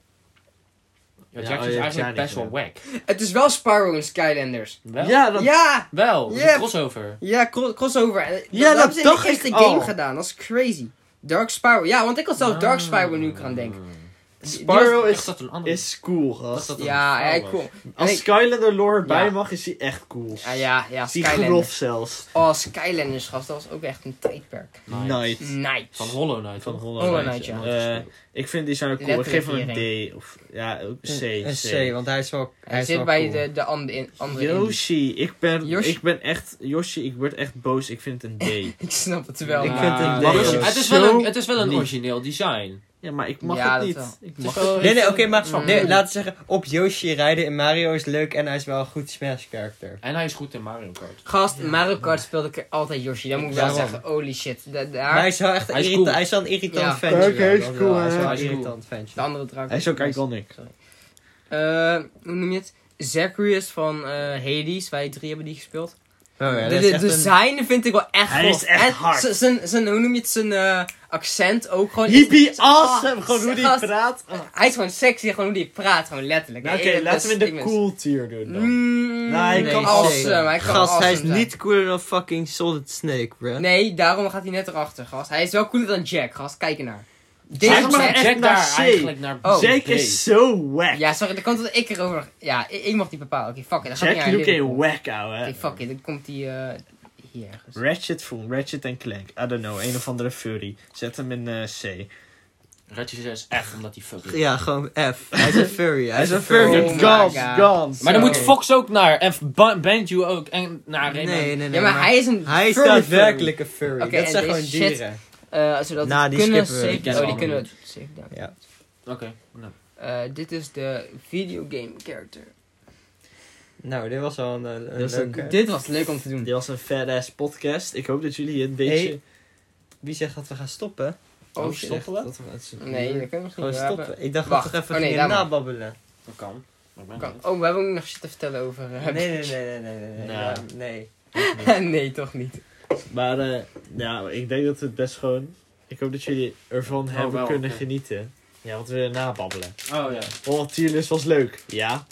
Speaker 2: Ja,
Speaker 1: Ja,
Speaker 2: Jax
Speaker 1: oh,
Speaker 2: is
Speaker 1: ja,
Speaker 2: eigenlijk
Speaker 1: ja,
Speaker 2: best wel
Speaker 1: ja.
Speaker 2: wack.
Speaker 3: Het is wel Spyro en Skylanders.
Speaker 2: Wel?
Speaker 1: Ja, dat,
Speaker 3: Ja!
Speaker 2: Wel,
Speaker 3: Yep.
Speaker 2: een crossover.
Speaker 3: Ja, cro- crossover. En
Speaker 1: Ja, dat
Speaker 3: hebben ze in
Speaker 1: dacht
Speaker 3: de eerste
Speaker 1: ik
Speaker 3: game
Speaker 1: al.
Speaker 3: gedaan. Dat is crazy. Dark Spyro. Ja, want ik had zelf Dark Spyro nu aan
Speaker 2: kan
Speaker 3: denken.
Speaker 1: Spyro
Speaker 2: Ah. Is
Speaker 1: is,
Speaker 2: dat een andere?
Speaker 1: is cool,
Speaker 2: dacht
Speaker 1: gast.
Speaker 2: dat het
Speaker 3: Ja,
Speaker 2: een vrouw
Speaker 3: hij
Speaker 2: was.
Speaker 3: cool.
Speaker 1: Als
Speaker 3: Nee.
Speaker 1: Skylander lore erbij
Speaker 2: Ja.
Speaker 1: mag, is hij echt cool.
Speaker 3: Ah, ja, ja,
Speaker 1: is hij
Speaker 3: Skylanders.
Speaker 1: grof zelfs.
Speaker 3: Oh, Skylanders, gast. Dat was ook echt een tijdperk.
Speaker 1: Night.
Speaker 3: Nice.
Speaker 2: Van Hollow Knight.
Speaker 1: Van
Speaker 2: toch?
Speaker 1: Hollow
Speaker 3: Hollow
Speaker 1: Knight,
Speaker 3: Knight, ja.
Speaker 1: ja. Eh, ik vind die zijn cool. Ik
Speaker 3: Letterlijk
Speaker 1: geef hem een D. Of, ja, ook C.
Speaker 4: Een
Speaker 1: C.
Speaker 4: Eh, C, want hij is wel
Speaker 3: Hij
Speaker 4: is
Speaker 3: zit
Speaker 4: wel
Speaker 3: bij
Speaker 4: cool.
Speaker 3: de, de andere in, andere indie.
Speaker 1: Yoshi, ik ben,
Speaker 3: Yoshi.
Speaker 1: ik ben echt, Yoshi, ik word echt boos. Ik vind het een D.
Speaker 3: Ik snap het wel.
Speaker 4: Ik
Speaker 3: maar-
Speaker 4: vind het
Speaker 2: Maar
Speaker 1: leuk.
Speaker 2: Yoshi- het, is
Speaker 1: Zo
Speaker 2: wel een, het is wel een
Speaker 1: lief.
Speaker 2: origineel design.
Speaker 1: ja, maar ik mag
Speaker 3: Ja,
Speaker 1: het
Speaker 3: dat
Speaker 1: niet.
Speaker 3: wel.
Speaker 1: Ik
Speaker 2: Het is
Speaker 1: mag
Speaker 2: wel-
Speaker 1: het
Speaker 4: Nee, nee, oké, maar
Speaker 3: Mm.
Speaker 4: nee, laten we zeggen, op Yoshi rijden in Mario is leuk en hij is wel een goed Smash-character.
Speaker 2: En hij is goed in Mario Kart.
Speaker 3: Gast, Mario Kart speelde ik altijd Yoshi. Dat moet ik wel
Speaker 4: Daarom.
Speaker 3: zeggen. Holy shit. Da-
Speaker 4: Maar hij
Speaker 3: daar,
Speaker 4: is wel echt
Speaker 2: Hij is
Speaker 4: irrita-
Speaker 2: cool.
Speaker 4: hij is wel een irritant
Speaker 3: Ja.
Speaker 4: ventje.
Speaker 1: Oké,
Speaker 4: ja,
Speaker 1: is
Speaker 4: dat wel.
Speaker 1: cool,
Speaker 4: Hij is
Speaker 1: hè?
Speaker 4: wel een
Speaker 2: Hij is cool.
Speaker 4: irritant
Speaker 3: de
Speaker 4: ventje.
Speaker 3: andere draak.
Speaker 1: Hij is ook iconic.
Speaker 3: Eh, hoe noem je het? Zacharias van eh, Hades. Wij drie hebben die gespeeld.
Speaker 4: Oh ja,
Speaker 3: de
Speaker 4: dat
Speaker 3: de-
Speaker 4: is echt een-
Speaker 3: design vind ik wel echt
Speaker 1: Hij
Speaker 3: tof.
Speaker 1: is echt
Speaker 3: En
Speaker 1: hard.
Speaker 3: z- Zijn, zijn, hoe noem je het? Zijn eh, accent ook gewoon.
Speaker 1: Hippie
Speaker 3: awesome,
Speaker 1: awesome!
Speaker 3: Ah, gewoon
Speaker 1: Gewoon
Speaker 3: hoe
Speaker 1: hoe
Speaker 3: die gast.
Speaker 1: die praat. Nou,
Speaker 3: Hij is gewoon sexy, gewoon hoe die praat, gewoon letterlijk.
Speaker 1: Oké,
Speaker 3: Nee, ik ben
Speaker 1: laten we
Speaker 3: best-
Speaker 1: de
Speaker 3: ik ben-
Speaker 1: cool tier doen dan.
Speaker 3: Mm,
Speaker 1: Nee, hij kan
Speaker 4: C.
Speaker 3: awesome, hij kan
Speaker 4: Gast, hij is
Speaker 3: awesome zijn.
Speaker 4: niet cooler dan fucking Solid Snake, bruh.
Speaker 3: Nee, daarom gaat hij net erachter, gast. Hij is wel cooler dan Jack, gast. Kijk ernaar.
Speaker 1: Zeg
Speaker 3: Deze
Speaker 1: maar
Speaker 3: man-
Speaker 1: echt
Speaker 2: Jack
Speaker 1: naar
Speaker 2: daar
Speaker 1: C.
Speaker 2: eigenlijk naar
Speaker 3: Oh.
Speaker 1: Jack
Speaker 2: B.
Speaker 1: is zo wack.
Speaker 3: Ja, sorry, dan komt dat ik erover... Ja, ik, ik mag niet bepalen. Oké, fuck it. Dan gaat
Speaker 1: Jack
Speaker 3: hij
Speaker 1: Luke
Speaker 3: naar
Speaker 1: en wack, ouwe.
Speaker 3: Oké, fuck it. Dan komt hij eh, hier ergens.
Speaker 1: Ratchet Fool, Ratchet en Clank. I don't know, een of andere furry. Zet hem in eh, C.
Speaker 2: Ratchet is echt omdat hij fuck is.
Speaker 4: Ja, gewoon F. Hij is een furry. Hij is een
Speaker 3: furry.
Speaker 1: Oh
Speaker 4: furry. Oh
Speaker 3: my
Speaker 1: Gans,
Speaker 3: God.
Speaker 1: gans.
Speaker 2: Maar dan
Speaker 3: Zo.
Speaker 2: moet Fox ook naar. En Ba- Banjo ook. En naar
Speaker 4: Nee,
Speaker 2: Rayman.
Speaker 4: nee, nee.
Speaker 3: ja, maar, hij is een
Speaker 4: Hij is
Speaker 3: furry
Speaker 4: daadwerkelijk een furry.
Speaker 3: Oké,
Speaker 4: dat
Speaker 3: en
Speaker 4: zijn
Speaker 3: deze
Speaker 4: gewoon
Speaker 3: shit-
Speaker 4: dieren.
Speaker 3: furry. Eh, zodat
Speaker 4: Nou,
Speaker 3: we
Speaker 4: die
Speaker 3: kunnen
Speaker 4: skippen we.
Speaker 2: Die
Speaker 3: save-
Speaker 2: kennen
Speaker 3: Oh,
Speaker 2: we
Speaker 3: die kunnen
Speaker 2: allemaal
Speaker 3: we save down.
Speaker 4: Ja.
Speaker 2: Oké. nou.
Speaker 3: Eh, dit is de videogame character.
Speaker 4: Nou, dit was al een, eh, een
Speaker 1: Dat is een-
Speaker 4: leuke.
Speaker 3: Dit was leuk om te doen.
Speaker 1: Dit was een fat-ass podcast. Ik hoop dat jullie een beetje...
Speaker 4: Hey, Wie zegt dat we gaan stoppen?
Speaker 3: Oh
Speaker 4: Oh,
Speaker 3: shit.
Speaker 4: stoppen we?
Speaker 1: Dat we uit zijn-
Speaker 3: Nee, dat kunnen we misschien
Speaker 4: Gewoon
Speaker 3: niet. We hebben-
Speaker 4: stoppen. Ik dacht
Speaker 3: Wacht.
Speaker 4: dat we toch even
Speaker 3: Oh, nee,
Speaker 4: gingen
Speaker 3: laat maar.
Speaker 4: nababbelen.
Speaker 2: Dat kan. Maar ik ben
Speaker 3: Kan-
Speaker 2: niet.
Speaker 3: Oh, we hebben ook nog shit te vertellen over... eh,
Speaker 4: Nee, nee, nee, nee, nee, nee. nee.
Speaker 1: Nou.
Speaker 4: Ja, nee.
Speaker 3: nee, toch niet.
Speaker 1: Maar eh, nou, ik denk dat we het best gewoon... Ik hoop dat jullie ervan
Speaker 2: Oh,
Speaker 1: hebben
Speaker 2: wel,
Speaker 1: kunnen
Speaker 2: oké.
Speaker 1: genieten. Ja, wat we nababbelen.
Speaker 2: Oh ja.
Speaker 1: Oh, tierlist was leuk. Ja,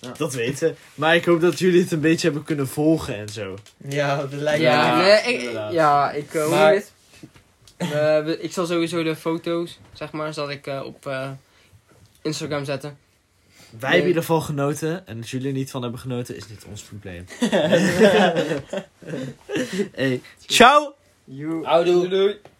Speaker 2: Ja.
Speaker 1: dat weten. Maar ik hoop dat jullie het een beetje hebben kunnen volgen en zo.
Speaker 4: Ja, dat lijkt
Speaker 1: Ja.
Speaker 4: me.
Speaker 3: nee, ik,
Speaker 1: inderdaad.
Speaker 3: ja, ik eh, hoe
Speaker 4: Maar-
Speaker 3: heet het? Eh, we- ik zal sowieso de foto's, zeg maar, zal ik eh, op eh, Instagram zetten.
Speaker 1: Wij
Speaker 3: Nee.
Speaker 1: hebben in ieder geval genoten. En als jullie er niet van hebben genoten, is dit ons probleem. hey, ciao!
Speaker 4: You.
Speaker 2: Houdoe.
Speaker 4: Doei.